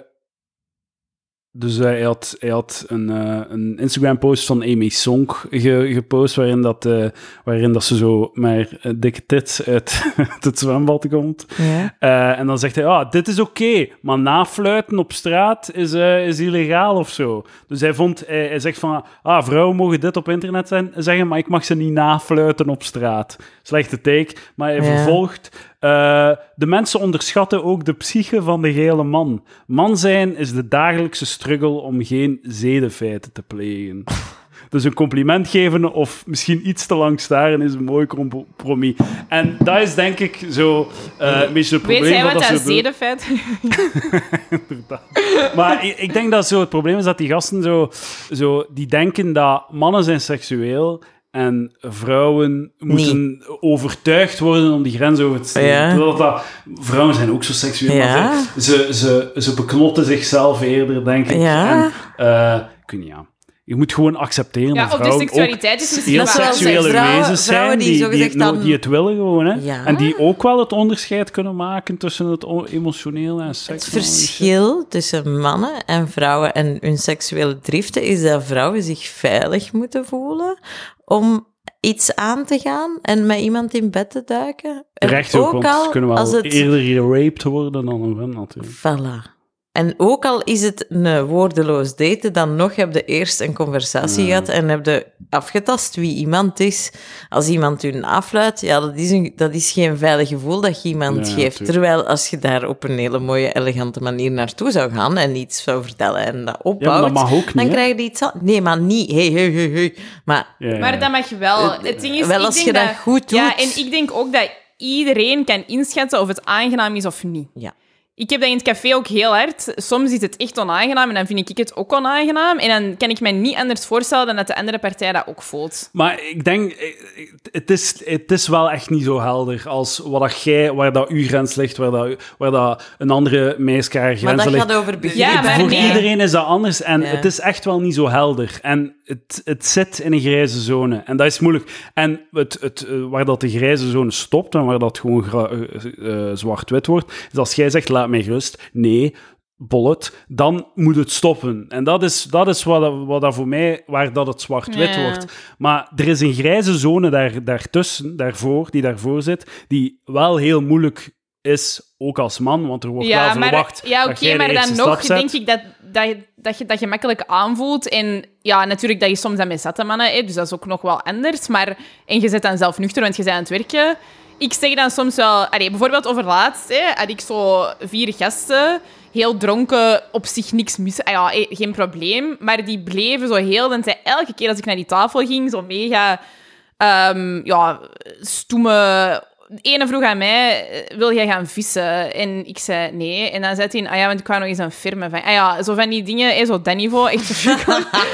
Speaker 2: Dus hij had, hij had een, eh, een Instagram-post van Amy Song ge- gepost, waarin dat, eh, waarin dat ze zo maar eh, dikke tits uit het zwembad komt.
Speaker 1: ja.
Speaker 2: Eh, en dan zegt hij, ah, dit is oké, maar nafluiten op straat is, eh, is illegaal of zo. Dus hij, vond, hij, hij zegt van, ah, vrouwen mogen dit op internet zijn, zeggen, maar ik mag ze niet nafluiten op straat. Slechte take, maar hij
Speaker 1: Ja.
Speaker 2: vervolgt, eh, de mensen onderschatten ook de psyche van de gele man. Man zijn is de dagelijkse struggle om geen zedenfeiten te plegen. Dus een compliment geven of misschien iets te lang staren is een mooi compromis. En dat is denk ik zo eh een beetje het probleem.
Speaker 3: Weet jij
Speaker 2: van
Speaker 3: wat dat
Speaker 2: soort beeld.
Speaker 3: zedenfeit
Speaker 2: Maar ik, ik denk dat zo het probleem is dat die gasten zo, zo... Die denken dat mannen zijn seksueel en vrouwen moeten overtuigd worden om die grens over te steken.
Speaker 1: Ja.
Speaker 2: Terwijl dat, vrouwen zijn ook zo seksueel,
Speaker 1: Ja.
Speaker 2: maar ze, ze, ze, ze beknotten zichzelf eerder, denk ik.
Speaker 1: Ja.
Speaker 2: En, eh, ik weet niet, ja. Je moet gewoon accepteren
Speaker 3: Ja,
Speaker 2: dat
Speaker 3: of de
Speaker 2: vrouwen ook
Speaker 3: seksualiteit is misschien
Speaker 2: heel
Speaker 1: Dat zoals
Speaker 2: seksuele
Speaker 1: vrouwen-
Speaker 2: wezens zijn
Speaker 1: vrouwen die
Speaker 2: die, die,
Speaker 1: zogezegd
Speaker 2: het, no-
Speaker 1: dan-
Speaker 2: die het willen gewoon. Hè?
Speaker 1: Ja.
Speaker 2: En die ook wel het onderscheid kunnen maken tussen het o- emotionele en seks.
Speaker 1: Het verschil tussen mannen en vrouwen en hun seksuele driften is dat vrouwen zich veilig moeten voelen om iets aan te gaan en met iemand in bed te duiken. En
Speaker 2: Terecht ook, want ze kunnen wel
Speaker 1: als het...
Speaker 2: eerder geraped worden dan een man natuurlijk.
Speaker 1: Voilà. En ook al is het een woordeloos daten, dan nog heb je eerst een conversatie
Speaker 2: Hmm.
Speaker 1: gehad en heb je afgetast wie iemand is. Als iemand u afluit, ja, dat is, een, dat is geen veilig gevoel dat je iemand
Speaker 2: Ja,
Speaker 1: geeft.
Speaker 2: tuurlijk.
Speaker 1: Terwijl als je daar op een hele mooie, elegante manier naartoe zou gaan en iets zou vertellen en dat opbouwt,
Speaker 2: mag ook niet,
Speaker 1: dan
Speaker 2: hè?
Speaker 1: krijg je iets aan. Nee, maar niet. Hey, hey, hey, hey. Maar
Speaker 2: Ja, ja, ja.
Speaker 3: Maar dat mag wel. Het ding is,
Speaker 1: wel
Speaker 3: ik
Speaker 1: als
Speaker 3: denk
Speaker 1: je dat goed doet.
Speaker 3: Ja, en ik denk ook dat iedereen kan inschatten of het aangenaam is of niet.
Speaker 1: Ja.
Speaker 3: Ik heb dat in het café ook heel hard. Soms is het echt onaangenaam en dan vind ik het ook onaangenaam. En dan kan ik mij niet anders voorstellen dan dat de andere partij dat ook voelt.
Speaker 2: Maar ik denk, eh, eh, het is, het is wel echt niet zo helder als wat dat jij, waar dat uw grens ligt, waar dat, waar dat een andere meisje haar grens
Speaker 1: maar dat
Speaker 2: ligt.
Speaker 1: gaat over begrip.
Speaker 3: Ja,
Speaker 1: hè?
Speaker 3: maar
Speaker 2: Voor
Speaker 3: nee.
Speaker 2: iedereen is dat anders en
Speaker 1: Ja.
Speaker 2: het is echt wel niet zo helder. En het, het zit in een grijze zone en dat is moeilijk. En het, het, eh, waar dat de grijze zone stopt en waar dat gewoon gra- eh, eh, zwart-wit wordt, is als jij zegt: laat mij rust. Nee. Bollet, dan moet het stoppen. En dat is, dat is wat, dat- wat dat voor mij, waar dat het zwart-wit
Speaker 3: Ja.
Speaker 2: wordt. Maar er is een grijze zone daar, daartussen, daarvoor, die daarvoor zit, die wel heel moeilijk is, ook als man, want er wordt wel verwacht.
Speaker 3: ja,
Speaker 2: dat
Speaker 3: oké,
Speaker 2: jij de
Speaker 3: maar
Speaker 2: eerste
Speaker 3: dan
Speaker 2: stap
Speaker 3: nog
Speaker 2: zet.
Speaker 3: denk ik dat, dat, je- dat je dat je makkelijk aanvoelt. En ja, natuurlijk dat je soms dat met zatte mannen hebt, dus dat is ook nog wel anders. Maar, en je zit dan zelf nuchter, want je bent aan het werken. Ik zeg dan soms wel... Allee, bijvoorbeeld over laatst hè, had ik zo vier gasten, heel dronken, op zich niks mis. Ah ja, eh, geen probleem. Maar die bleven zo heel... En zij elke keer als ik naar die tafel ging, zo mega... ehm, ja, stoeme de ene vroeg aan mij, eh, wil jij gaan vissen? En ik zei nee. En dan zei hij, ah ja, want ik kwam nog eens aan firmen van, ah ja, zo van die dingen, eh, zo dat niveau, echt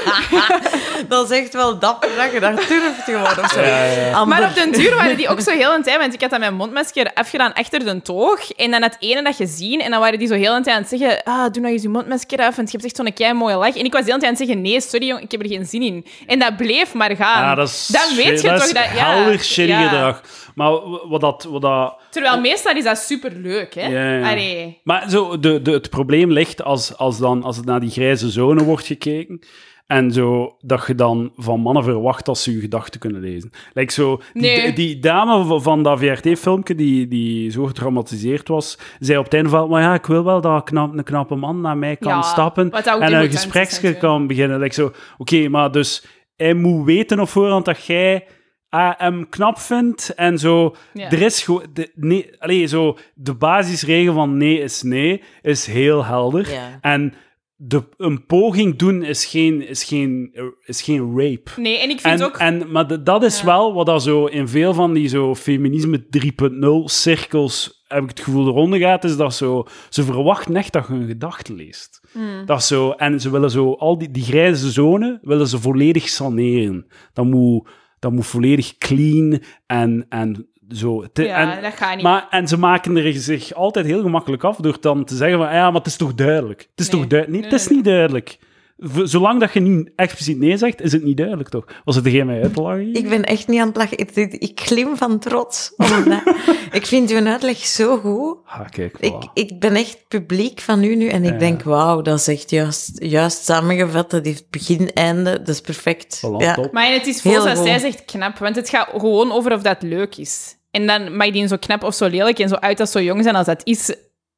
Speaker 1: Dat is echt wel dapper dat je daar durft gewoon of zo.
Speaker 2: Ja, ja.
Speaker 1: Amber.
Speaker 3: Maar op den duur waren die ook zo heel een tijd, want ik had dan mijn mondmasker afgedaan achter de toog. En dan had ene dat gezien en dan waren die zo heel een tijd aan het zeggen, ah, doe nou eens je mondmasker af, want je hebt echt zo'n kei mooie lach. En ik was heel een tijd aan het zeggen, nee, sorry jong, ik heb er geen zin in. En dat bleef maar gaan.
Speaker 2: Ah, dat is,
Speaker 3: dan weet je
Speaker 2: dat
Speaker 3: toch
Speaker 2: is
Speaker 3: dat... Ja,
Speaker 2: helder shitty
Speaker 3: ja.
Speaker 2: gedrag. Maar w- wat dat... Wat dat
Speaker 3: Terwijl meestal is dat superleuk, hè?
Speaker 2: ja, ja.
Speaker 3: Allee.
Speaker 2: Maar zo, de, de, het probleem ligt als, als, dan, als het naar die grijze zone wordt gekeken. En zo, dat je dan van mannen verwacht dat ze je gedachten kunnen lezen. Like zo, die,
Speaker 3: Nee.
Speaker 2: die dame v- van dat VRT-filmpje die, die zo getraumatiseerd was, zei op het einde van, maar ja, ik wil wel dat een knap- een knappe man naar mij kan
Speaker 3: Ja,
Speaker 2: stappen
Speaker 3: wat ook
Speaker 2: en
Speaker 3: demotant
Speaker 2: een
Speaker 3: is
Speaker 2: gespreksje
Speaker 3: natuurlijk.
Speaker 2: kan beginnen. Like zo, oké, maar dus hij moet weten op voorhand dat jij AM knap vindt en zo.
Speaker 3: Ja.
Speaker 2: Er is gewoon. de- Nee, allee, zo. De basisregel van nee is nee is heel helder.
Speaker 1: Ja.
Speaker 2: En de, een poging doen is geen, is geen, is geen rape.
Speaker 3: Nee, en ik vind
Speaker 2: En,
Speaker 3: ook...
Speaker 2: en, maar de- dat is wel wat dat zo in veel van die zo feminisme 3.0 cirkels, heb ik het gevoel, eronder gaat, is dat zo, ze verwachten echt dat je een gedachte leest.
Speaker 3: Hmm.
Speaker 2: Dat zo, en ze willen zo, al die, die grijze zone willen ze volledig saneren. Dat moet, dat moet volledig clean en, en zo. Het-
Speaker 3: ja,
Speaker 2: en,
Speaker 3: dat gaat niet.
Speaker 2: maar, en ze maken er zich altijd heel gemakkelijk af door dan te zeggen van, "Ah ja, maar het is toch duidelijk. Het is
Speaker 3: Nee.
Speaker 2: toch duidelijk. Nee,
Speaker 3: Nee,
Speaker 2: het is
Speaker 3: nee.
Speaker 2: niet duidelijk. V- Zolang dat je niet expliciet nee zegt, is het niet duidelijk, toch? Was het degene mij uit te lachen? hier?
Speaker 1: Ik ben echt niet aan het lachen. Ik, ik- ik glim van trots. Omdat- ik vind uw uitleg zo goed.
Speaker 2: Ah, kijk, voilà.
Speaker 1: Ik, ik ben echt publiek van u nu en ik
Speaker 2: Ja.
Speaker 1: denk, wauw, dat is echt juist, juist samengevat. Dat heeft begin, einde, dat is perfect.
Speaker 2: Voilà,
Speaker 1: ja.
Speaker 2: top.
Speaker 3: Maar het is
Speaker 1: Heel
Speaker 3: volgens
Speaker 1: goed.
Speaker 3: zij zegt knap, want het gaat gewoon over of dat leuk is. En dan mag die zo knap of zo lelijk en zo uit als zo jong zijn als dat is.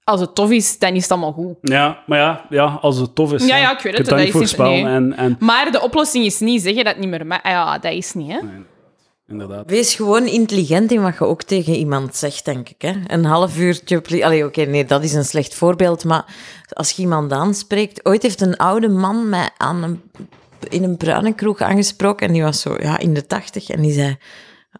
Speaker 3: Als het tof is, dan is het allemaal goed.
Speaker 2: Ja, maar ja, ja, als het tof is.
Speaker 3: Ja,
Speaker 2: hè.
Speaker 3: ja, ik weet
Speaker 2: Je
Speaker 3: het,
Speaker 2: kunt
Speaker 3: dat
Speaker 2: niet
Speaker 3: is niet-
Speaker 2: voorspellen.
Speaker 3: nee.
Speaker 2: En, en
Speaker 3: Maar de oplossing is niet zeggen dat het niet meer ma- Ah Ja, dat is niet, hè?
Speaker 2: inderdaad.
Speaker 1: Wees gewoon intelligent in wat je ook tegen iemand zegt, denk ik. Hè? Een half uurtje... plie- Allee, oké, nee, dat is een slecht voorbeeld, maar als je iemand aanspreekt... Ooit heeft een oude man mij aan een, in een bruine kroeg aangesproken en die was zo ja, in de tachtig en die zei...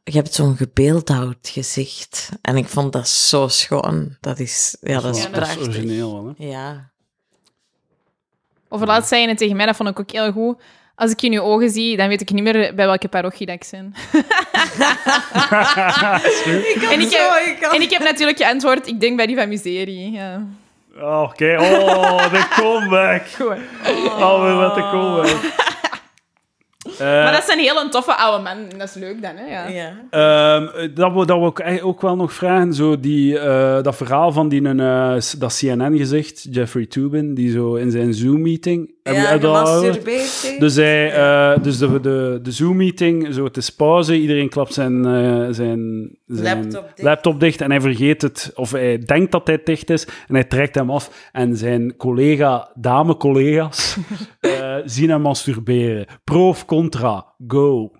Speaker 1: Je hebt zo'n gebeeldhouwd gezicht. En ik vond dat zo schoon. Dat is, ja, dat is
Speaker 2: Ja, dat is
Speaker 1: prachtig.
Speaker 2: origineel, wel, hè.
Speaker 1: ja.
Speaker 3: Of laatst zei je het tegen mij, dat vond ik ook heel goed. Als ik in je ogen zie, dan weet ik niet meer bij welke parochie dat ik ben. en, ik
Speaker 1: zo, ik
Speaker 3: heb,
Speaker 1: kan-
Speaker 3: en ik heb natuurlijk geantwoord, ik denk bij die van miserie. Ja.
Speaker 2: Oh, Oké, oh, de comeback. Oh,
Speaker 3: Goed.
Speaker 2: Alweer met de
Speaker 1: Oh.
Speaker 2: comeback. Eh,
Speaker 3: Maar dat is een heel toffe oude man. Dat is leuk dan, hè? Ja.
Speaker 1: ja.
Speaker 2: Ehm, dat we, dat we ook, eigenlijk ook wel nog vragen, zo die, eh, dat verhaal van die, eh, s- dat CNN-gezicht, Jeffrey Toobin, die zo in zijn Zoom-meeting... Heb je-
Speaker 1: Ja,
Speaker 2: heb je dat al gehoord?
Speaker 1: gemasturbeerd.
Speaker 2: Dus, hij, eh, dus de, de, de Zoom-meeting, zo, het is pauze, iedereen klapt zijn, eh, zijn, zijn
Speaker 1: Laptop dicht.
Speaker 2: laptop dicht en hij vergeet het, of hij denkt dat hij dicht is, en hij trekt hem af. En zijn collega, dame-collega's, eh, zien hem masturberen. Pro of contra, go.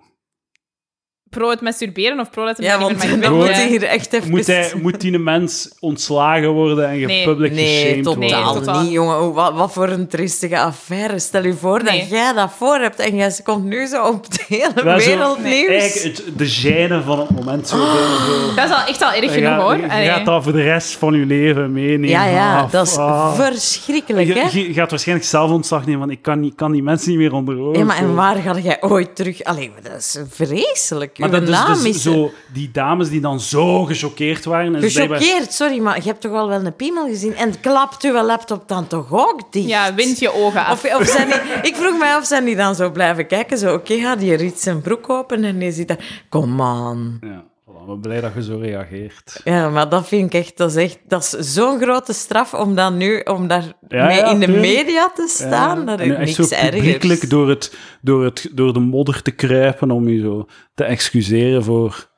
Speaker 3: Pro het masturberen of pro dat hij
Speaker 1: Ja,
Speaker 3: niet meer
Speaker 1: want
Speaker 3: mag
Speaker 1: dan moet
Speaker 3: werken?
Speaker 1: hij hier echt even...
Speaker 2: Moet, hij, moet die mens ontslagen worden en
Speaker 3: Nee.
Speaker 2: gepublic
Speaker 1: Nee,
Speaker 2: geshamed worden?
Speaker 1: totaal
Speaker 3: Nee, totaal.
Speaker 1: niet, jongen. Oh, wat, wat voor een triestige affaire. Stel je voor
Speaker 3: Nee.
Speaker 1: dat jij dat voor hebt en jij komt nu zo op de hele
Speaker 2: Dat is zo-
Speaker 1: wereldnieuws.
Speaker 2: Eigenlijk het, de gijnen van het moment. Zo, zo-
Speaker 3: Dat is al echt al erg
Speaker 2: Je
Speaker 3: genoeg,
Speaker 2: gaat-
Speaker 3: hoor.
Speaker 2: Je
Speaker 3: Allee.
Speaker 2: gaat dat voor de rest van je leven meenemen.
Speaker 1: ja, ja,
Speaker 2: Ah,
Speaker 1: dat is
Speaker 2: ah.
Speaker 1: verschrikkelijk, hè?
Speaker 2: Je, je gaat waarschijnlijk zelf ontslag nemen, want ik kan, niet, kan die mensen niet meer onder ogen
Speaker 1: Ja, maar en
Speaker 2: komen.
Speaker 1: waar ga jij ooit terug... Allee, maar dat is vreselijk.
Speaker 2: Maar
Speaker 1: Uw
Speaker 2: dat
Speaker 1: naam
Speaker 2: is
Speaker 1: is...
Speaker 2: dus zo, die dames die dan zo gechoqueerd waren. En ze blijkbaar-
Speaker 1: Gechoqueerd, sorry, maar je hebt toch al wel een piemel gezien? En klapt uw laptop dan toch ook dicht?
Speaker 3: Ja, wind je ogen af.
Speaker 1: Of, of zijn die, ik vroeg mij af, zijn die dan zo blijven kijken? Zo, oké, gaat die riet zijn broek open en die zit daar... Come on.
Speaker 2: Ja, voilà, ik ben blij dat je zo reageert.
Speaker 1: Ja, maar dat vind ik echt, dat is echt, dat is zo'n grote straf om dan nu, om daar
Speaker 2: Ja,
Speaker 1: mee
Speaker 2: ja,
Speaker 1: in de
Speaker 2: tuurlijk.
Speaker 1: media te staan.
Speaker 2: Ja.
Speaker 1: Dat
Speaker 2: En
Speaker 1: is
Speaker 2: echt
Speaker 1: niks
Speaker 2: zo
Speaker 1: ergers.
Speaker 2: publiekelijk door, het, door, het, door de modder te kruipen om je zo te excuseren voor...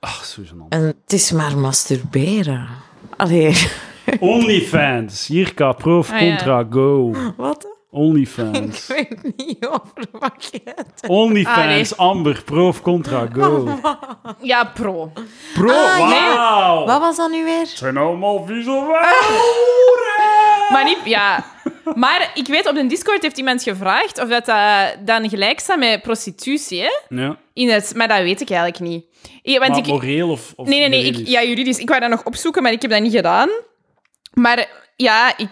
Speaker 2: Ach, zo gênant.
Speaker 1: En het is maar masturberen. Allee,
Speaker 2: Onlyfans. Jirka, proof,
Speaker 3: Ah, ja.
Speaker 2: contra, go.
Speaker 1: wat? Ik
Speaker 2: Onlyfans.
Speaker 1: weet niet over wat je het...
Speaker 2: Onlyfans, Amber, proof, contra,
Speaker 3: Oh,
Speaker 2: go.
Speaker 3: Ja, pro.
Speaker 2: Pro,
Speaker 1: Ah, ja.
Speaker 2: wauw.
Speaker 1: Wat was dat nu weer?
Speaker 3: Oh.
Speaker 2: zijn allemaal vieze wijven.
Speaker 3: Maar niet, ja. Maar ik weet, op de Discord heeft iemand gevraagd of dat, dat dan gelijk staat met prostitutie. Hè?
Speaker 2: Ja.
Speaker 3: In het, maar dat weet ik eigenlijk niet. Ik- Want
Speaker 2: Maar
Speaker 3: ik,
Speaker 2: moreel of, of
Speaker 3: nee, nee, nee. Ik,
Speaker 2: juridisch?
Speaker 3: ja, juridisch. Ik wou dat nog opzoeken, maar ik heb dat niet gedaan. Maar ja, ik,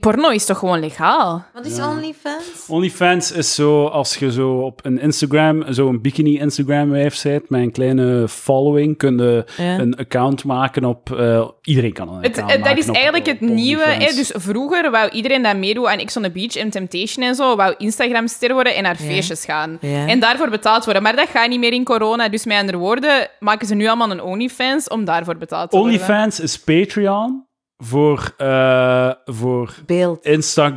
Speaker 3: porno is toch gewoon legaal?
Speaker 1: Wat is OnlyFans?
Speaker 2: OnlyFans is zo, als je zo op een Instagram, zo'n bikini-Instagram-wijf bent, met een kleine following, kun je
Speaker 1: Ja.
Speaker 2: een account maken op... eh, iedereen kan een
Speaker 3: Het,
Speaker 2: account
Speaker 3: het- eh,
Speaker 2: maken
Speaker 3: dat is
Speaker 2: op-
Speaker 3: eigenlijk het
Speaker 2: op
Speaker 3: nieuwe.
Speaker 2: OnlyFans.
Speaker 3: Hè? Dus vroeger wou iedereen dat meedoet aan X on the Beach en Temptation en zo, wou Instagram-ster worden en naar feestjes gaan.
Speaker 1: Ja.
Speaker 3: En daarvoor betaald worden. Maar dat gaat niet meer in corona. Dus met andere woorden, maken ze nu allemaal een OnlyFans om daarvoor betaald te worden.
Speaker 2: OnlyFans is Patreon voor, eh, voor
Speaker 1: Beeld.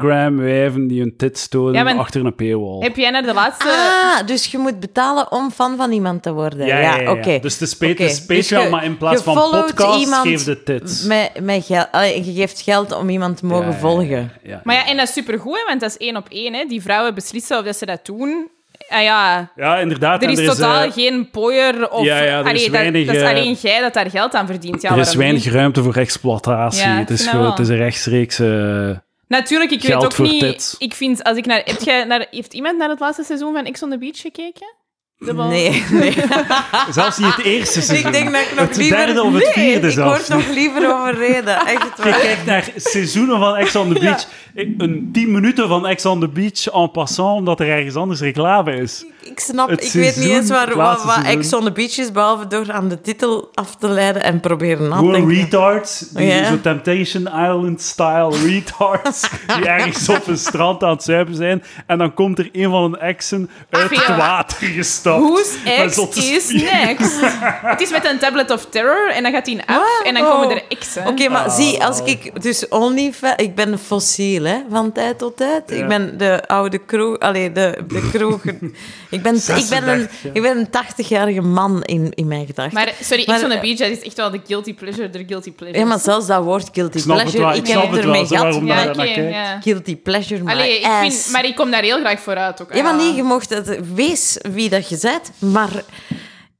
Speaker 2: Instagram-wijven die hun tit stoten
Speaker 3: Ja, maar-
Speaker 2: achter een paywall.
Speaker 3: Heb jij naar de laatste...
Speaker 1: Ah, dus je moet betalen om fan van iemand te worden. Ja, oké.
Speaker 2: Dus het is, pa- het
Speaker 1: Oké,
Speaker 2: is Patreon,
Speaker 1: dus je-
Speaker 2: maar in plaats
Speaker 1: je
Speaker 2: van
Speaker 1: followt
Speaker 2: podcast
Speaker 1: iemand
Speaker 2: geef de tits.
Speaker 1: Met, met geld, allee, je geeft geld om iemand te mogen
Speaker 2: Ja, ja, ja,
Speaker 1: volgen.
Speaker 2: ja, ja.
Speaker 3: Maar ja, en dat is supergoed, hè, want dat is één op één. Hè. Die vrouwen beslissen of dat ze dat doen. Ah ja,
Speaker 2: Ja, inderdaad.
Speaker 3: er
Speaker 2: en
Speaker 3: is, totaal
Speaker 2: eh,
Speaker 3: geen pooier of...
Speaker 2: Ja, ja, er is
Speaker 3: Allee, dat-
Speaker 2: weinig,
Speaker 3: dat, is
Speaker 2: eh,
Speaker 3: alleen jij dat daar geld aan verdient. Ja,
Speaker 2: er is
Speaker 3: waarom
Speaker 2: weinig
Speaker 3: niet?
Speaker 2: ruimte voor exploitatie.
Speaker 3: Ja, ik
Speaker 2: het, is
Speaker 3: vind dat
Speaker 2: gewoon,
Speaker 3: wel.
Speaker 2: het is een rechtstreekse...
Speaker 3: Natuurlijk, ik
Speaker 2: Geld
Speaker 3: weet ook
Speaker 2: voor
Speaker 3: niet...
Speaker 2: tits.
Speaker 3: Ik vind, als ik naar... Heb jij naar... Heeft iemand naar het laatste seizoen van X on the Beach gekeken? Dubbel.
Speaker 1: Nee, nee.
Speaker 2: Zelfs niet het eerste seizoen.
Speaker 1: Dus ik denk dat ik nog
Speaker 2: het
Speaker 1: liever...
Speaker 2: derde of het
Speaker 1: nee,
Speaker 2: vierde
Speaker 1: ik
Speaker 2: zelfs
Speaker 1: word nog liever overreden. Echt
Speaker 2: Je
Speaker 1: waar.
Speaker 2: kijkt naar seizoenen van Ex on the Beach. Een 10 minuten van Ex on the Beach en passant, omdat er ergens anders reclame is.
Speaker 1: Ik snap,
Speaker 2: Het
Speaker 1: ik weet niet
Speaker 2: seizoen,
Speaker 1: eens waar,
Speaker 2: het
Speaker 1: wat,
Speaker 2: laatste
Speaker 1: wat
Speaker 2: seizoen.
Speaker 1: Ex on the Beach is, behalve door aan de titel af te leiden en proberen na te
Speaker 2: Gewoon
Speaker 1: denken.
Speaker 2: retards, die
Speaker 1: Oh, Ja.
Speaker 2: zo Temptation Island-style retards, die ergens op een strand aan het zuipen zijn. En dan komt er een van hun exen uit
Speaker 3: Veel.
Speaker 2: het water gestapt.
Speaker 3: Who's
Speaker 2: Met
Speaker 3: ex
Speaker 2: zotte
Speaker 3: is
Speaker 2: spieren.
Speaker 3: next? het is met een tablet of terror en dan gaat hij af
Speaker 1: Wow.
Speaker 3: en dan komen er exen.
Speaker 1: Oh. Oké, maar
Speaker 2: Ah.
Speaker 1: zie, als ik dus OnlyFans... Ik ben een fossiel, hè, van tijd tot tijd.
Speaker 2: Ja.
Speaker 1: Ik ben de oude kroeg... Allee, de, de kroeg... ik, ben, ik, ben een,
Speaker 2: 36, ja.
Speaker 1: ik ben een 80-jarige man in, in mijn gedachten.
Speaker 3: Maar sorry,
Speaker 1: Maar,
Speaker 3: X on the
Speaker 1: eh,
Speaker 3: Beach, dat is echt wel de guilty pleasure der guilty pleasure.
Speaker 1: ja, maar zelfs dat woord guilty
Speaker 2: Ik snap het
Speaker 1: pleasure,
Speaker 2: wel,
Speaker 1: ik
Speaker 2: ik snap
Speaker 1: heb
Speaker 2: het wel,
Speaker 1: ermee
Speaker 2: zo
Speaker 1: gehad.
Speaker 2: waarom
Speaker 3: Ja,
Speaker 2: daar
Speaker 3: oké,
Speaker 2: naar kijkt.
Speaker 3: ja.
Speaker 1: Guilty pleasure, maar
Speaker 3: Allee, ik vind, maar ik kom daar heel graag voor uit ook.
Speaker 1: Ja, maar
Speaker 3: Ah.
Speaker 2: Ehm.
Speaker 1: nee, je mocht het... Wees wie dat je bent, maar...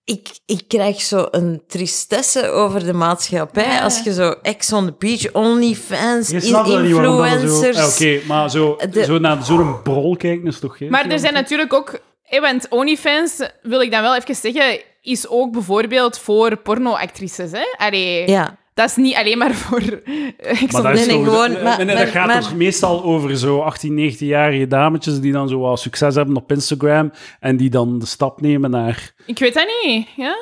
Speaker 1: Ik, ik krijg zo een tristesse over de maatschappij. Als je zo ex on the beach, onlyfans,
Speaker 2: Je snapt dat niet waarom dat er zo...
Speaker 1: influencers...
Speaker 2: Ja, Oké, maar zo,
Speaker 1: De-
Speaker 2: zo naar zo'n brol kijken is toch geen...
Speaker 3: Maar er zijn natuurlijk ook... eh, Want OnlyFans, wil ik dan wel even zeggen, is ook bijvoorbeeld voor pornoactrices. Hè? Allee,
Speaker 1: Ja.
Speaker 3: dat is niet alleen maar voor eh, X
Speaker 2: Maar
Speaker 3: on
Speaker 2: dat
Speaker 3: the
Speaker 2: is
Speaker 1: Nee, nee,
Speaker 2: toch-
Speaker 1: gewoon-
Speaker 2: nee,
Speaker 1: maar-
Speaker 2: nee,
Speaker 1: maar-
Speaker 2: dat gaat
Speaker 1: maar-
Speaker 2: toch meestal over zo 18, 19-jarige dametjes die dan zo wat succes hebben op Instagram en die dan de stap nemen naar...
Speaker 3: Ik weet dat niet, ja?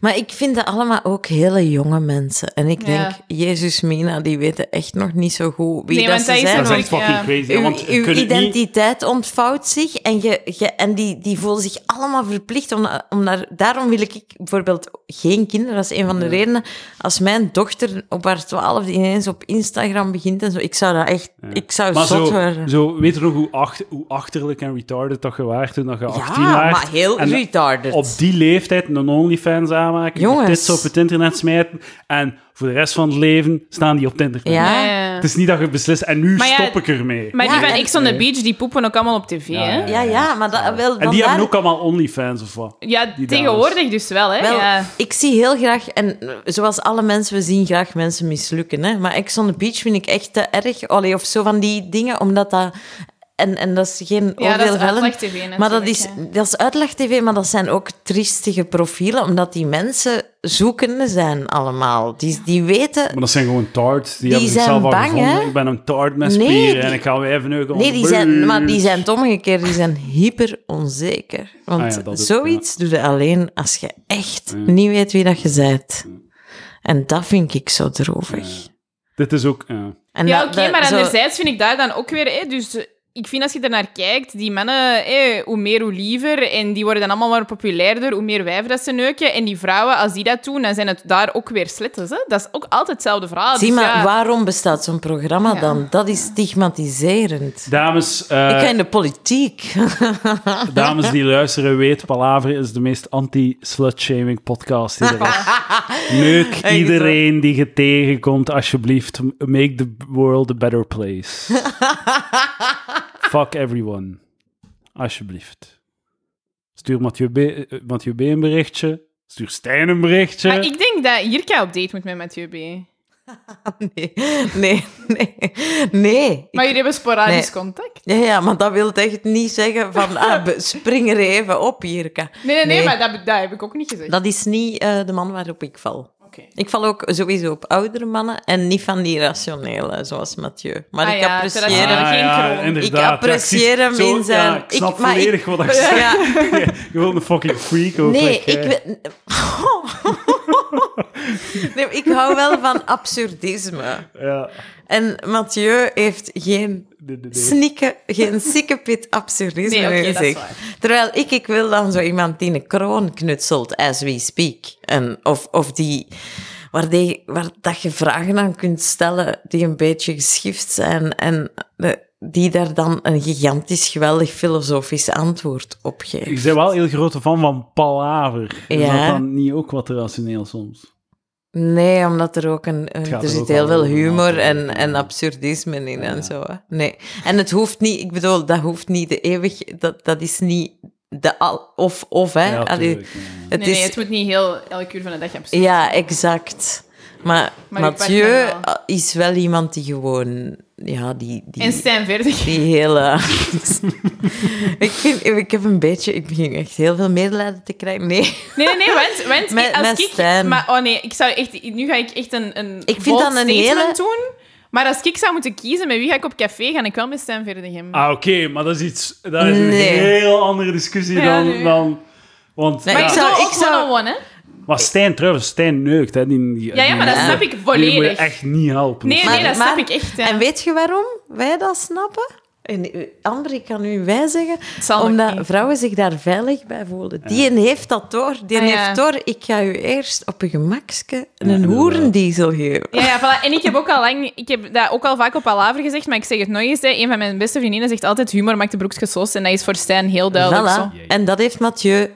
Speaker 1: Maar ik vind dat allemaal ook hele jonge mensen. En ik
Speaker 3: Ja.
Speaker 1: denk, Jezus, Mina, die weten echt nog niet zo goed wie
Speaker 3: Nee,
Speaker 1: dat
Speaker 3: want
Speaker 1: ze
Speaker 3: dat is
Speaker 1: zijn.
Speaker 2: Dat is
Speaker 3: want-
Speaker 2: echt fucking
Speaker 3: ja.
Speaker 2: crazy. hè,
Speaker 1: Uw,
Speaker 2: want je
Speaker 1: uw
Speaker 2: kunt het niet-
Speaker 1: identiteit ontvouwt zich en, je, je, en die, die voelen zich allemaal verplicht om, om daar... Daarom wil ik bijvoorbeeld geen kinderen. Dat is een van de redenen. Als mijn dochter op haar twaalfde ineens op Instagram begint en zo, ik zou dat echt... Ik zou
Speaker 2: Maar
Speaker 1: zot
Speaker 2: zo,
Speaker 1: worden.
Speaker 2: zo, weet je nog hoe, acht- hoe achterlijk en retarded dat je waard toen dat je 18
Speaker 1: ja,
Speaker 2: waart?
Speaker 1: maar heel
Speaker 2: En
Speaker 1: retarded.
Speaker 2: Op die leeftijd een OnlyFans aanmaken,
Speaker 1: Jongens.
Speaker 2: je tits op het internet smijten en voor de rest van het leven staan die op het internet.
Speaker 1: Ja.
Speaker 3: Ja, ja, ja.
Speaker 2: Het is niet dat je beslist en nu
Speaker 3: Maar ja,
Speaker 2: stop ik ermee.
Speaker 3: Maar
Speaker 1: Ja,
Speaker 3: die
Speaker 1: en-
Speaker 3: van X on the Beach, die poepen ook allemaal op tv, hè? Ja,
Speaker 1: Ja, ja, maar dat, wel,
Speaker 2: En die
Speaker 1: vandaar-
Speaker 2: hebben ook allemaal OnlyFans of wat? Die
Speaker 3: tegenwoordig dus wel, hè?
Speaker 1: Wel,
Speaker 3: ja.
Speaker 1: ik zie heel graag, en eh, zoals alle mensen, we zien graag mensen mislukken. Hè? Maar Ex on the Beach vind ik echt te erg. Allee, of zo van die dingen, omdat dat... En, en dat is geen
Speaker 3: Ja, dat is
Speaker 1: oordeelvellend,
Speaker 3: uitleg-tv natuurlijk,
Speaker 1: Maar dat is, dat is uitleg-tv, maar dat zijn ook triestige profielen, omdat die mensen zoekende zijn allemaal. Die, die weten...
Speaker 2: Maar dat zijn gewoon tards. Die, hebben
Speaker 1: zijn
Speaker 2: zichzelf al
Speaker 1: bang,
Speaker 2: gevonden.
Speaker 1: hè?
Speaker 2: Ik ben een tard met
Speaker 1: Nee,
Speaker 2: spieren
Speaker 1: die-
Speaker 2: en ik ga weer even neuken.
Speaker 1: Nee,
Speaker 2: op
Speaker 1: die
Speaker 2: de
Speaker 1: zijn,
Speaker 2: beurt.
Speaker 1: maar die zijn het omgekeerd. Die zijn hyper onzeker.
Speaker 2: Ah
Speaker 1: Want
Speaker 2: ja, dat ook,
Speaker 1: zoiets doe je alleen als je echt niet weet wie dat je bent. En dat vind ik zo droevig.
Speaker 2: Dit is ook... ja.
Speaker 1: En
Speaker 3: Ja,
Speaker 1: dat-
Speaker 3: oké,
Speaker 1: dat-
Speaker 3: maar
Speaker 1: zo-
Speaker 3: anderzijds vind ik daar dan ook weer... Hè, dus eh, ik vind als je ernaar kijkt, die mannen, hè, hoe meer, hoe liever. En die worden dan allemaal maar populairder, hoe meer wijven dat ze neuken. En die vrouwen, als die dat doen, dan zijn het daar ook weer slitters. Hè? Dat is ook altijd hetzelfde verhaal.
Speaker 1: Zie
Speaker 3: dus
Speaker 1: maar,
Speaker 3: ja,
Speaker 1: waarom bestaat zo'n programma
Speaker 3: Ja.
Speaker 1: dan? Dat is stigmatiserend.
Speaker 2: Dames, eh,
Speaker 1: ik ga in de politiek.
Speaker 2: dames die luisteren, weet, Palaver is de meest anti-slutshaming podcast die er is. Neuk iedereen die je tegenkomt, alsjeblieft. Make the world a better place. Fuck everyone. Alsjeblieft. Stuur Mathieu B, eh, Mathieu B een berichtje. Stuur Stijn een berichtje.
Speaker 3: maar ik denk dat Jirka op date moet met Mathieu B.
Speaker 1: Nee, nee, nee. nee.
Speaker 3: Maar jullie hebben sporadisch
Speaker 1: Nee.
Speaker 3: contact.
Speaker 1: Ja, ja, maar dat wil echt niet zeggen van ah, be- spring er even op, Jirka.
Speaker 3: Nee, nee, nee,
Speaker 1: Nee.
Speaker 3: maar dat, dat heb ik ook niet gezegd.
Speaker 1: Dat is niet eh, de man waarop ik val.
Speaker 3: Oké.
Speaker 1: Ik val ook sowieso op oudere mannen en niet van die rationele, zoals Mathieu. Maar
Speaker 3: Ah
Speaker 1: ik
Speaker 3: ja,
Speaker 1: apprecieer
Speaker 3: terwijl-
Speaker 1: hem.
Speaker 3: geen kroon.
Speaker 2: Ah, inderdaad.
Speaker 1: Ik apprecieer
Speaker 2: Ja,
Speaker 1: hem
Speaker 2: zie-
Speaker 1: in zijn-
Speaker 2: Ja, ik snap
Speaker 1: ik- maar ik-
Speaker 2: volledig wat ik
Speaker 1: Ja.
Speaker 2: zeg. Je wilt een fucking freak ook.
Speaker 1: Nee,
Speaker 2: like,
Speaker 1: ik,
Speaker 2: eh.
Speaker 1: wil- nee, ik hou wel van absurdisme.
Speaker 2: Ja,
Speaker 1: En Mathieu heeft geen
Speaker 2: nee, nee, nee.
Speaker 1: snikken, geen sikkepit absurdisme
Speaker 3: Nee, oké,
Speaker 1: in
Speaker 3: dat is
Speaker 1: zich.
Speaker 3: waar.
Speaker 1: Terwijl ik, ik wil dan zo iemand die een kroon knutselt as we speak. En, of, of die, waar, die, waar dat je vragen aan kunt stellen die een beetje geschift zijn en de- die daar dan een gigantisch geweldig filosofisch antwoord op geeft.
Speaker 2: Ik ben wel heel grote fan van palaver. Is
Speaker 1: Ja.
Speaker 2: dat dan niet ook wat rationeel soms?
Speaker 1: Nee, omdat er ook een. een-
Speaker 2: gaat
Speaker 1: er
Speaker 2: er ook
Speaker 1: zit heel
Speaker 2: wel
Speaker 1: veel
Speaker 2: over
Speaker 1: humor
Speaker 2: na te
Speaker 1: en,
Speaker 2: denken,
Speaker 1: en
Speaker 2: ja.
Speaker 1: absurdisme in
Speaker 2: Ja.
Speaker 1: en zo. hè. Nee. En het hoeft niet, ik bedoel, dat hoeft niet de eeuwig. Dat, dat is niet de al. Of, of, hè?
Speaker 2: Ja,
Speaker 1: Eh, Allee,
Speaker 2: tuurlijk, ja.
Speaker 1: het
Speaker 3: nee, nee,
Speaker 1: is,
Speaker 3: het moet niet heel elke uur van de dag hebben.
Speaker 1: Ja, exact. Maar,
Speaker 3: Maar uw
Speaker 1: Mathieu
Speaker 3: partner
Speaker 1: is wel iemand die gewoon. Ja, die. die
Speaker 3: En Stijn verder.
Speaker 1: die hele... ik, vind, ik heb een beetje... Ik begin echt heel veel medelijden te krijgen. Nee.
Speaker 3: Nee, nee, want, want
Speaker 1: Met-
Speaker 3: als
Speaker 1: met
Speaker 3: ik...
Speaker 1: Stijn.
Speaker 3: Maar, oh nee, ik zou echt, nu ga ik echt een, een
Speaker 1: Ik vind
Speaker 3: bold
Speaker 1: dat een
Speaker 3: statement doen. Maar als ik zou moeten kiezen met wie ga ik op café, ga ik wel met Stijn verder
Speaker 2: Ah, oké, maar dat is iets... Dat is een
Speaker 1: Nee.
Speaker 2: heel andere discussie
Speaker 3: Ja,
Speaker 2: dan...
Speaker 3: nee.
Speaker 2: dan want,
Speaker 1: Nee,
Speaker 2: ja.
Speaker 3: Maar
Speaker 1: ik
Speaker 3: ik
Speaker 1: zou-
Speaker 3: zou,
Speaker 1: ik zou-
Speaker 3: one hè?
Speaker 2: maar Stijn, trouwens, Stijn neukt. Hè, die, die-
Speaker 3: Ja, ja, maar dat
Speaker 2: die-
Speaker 3: snap ik
Speaker 2: Die moet je
Speaker 3: volledig.
Speaker 2: echt niet helpen.
Speaker 3: Nee,
Speaker 2: of
Speaker 3: nee,
Speaker 2: zo.
Speaker 3: dat snap ik echt. hè.
Speaker 1: En weet je waarom wij dat snappen? En eh, Amber, ik kan nu wij zeggen,
Speaker 3: zal nog
Speaker 1: omdat
Speaker 3: niet.
Speaker 1: vrouwen zich daar veilig bij voelen. Die een heeft dat door. Die
Speaker 3: Ah, ja.
Speaker 1: heeft door, ik ga u eerst op een gemakske
Speaker 2: Ja,
Speaker 1: een
Speaker 2: inderdaad.
Speaker 1: hoerendiesel geven.
Speaker 3: Ja, ja voilà. en ik heb ook al lang, ik heb dat ook al vaak op Palaver gezegd, maar ik zeg het nooit eens. Hè. Een van mijn beste vriendinnen zegt altijd: humor maakt de broekjes los. En dat is voor Stijn heel duidelijk. Zo.
Speaker 1: Voilà. En dat heeft Mathieu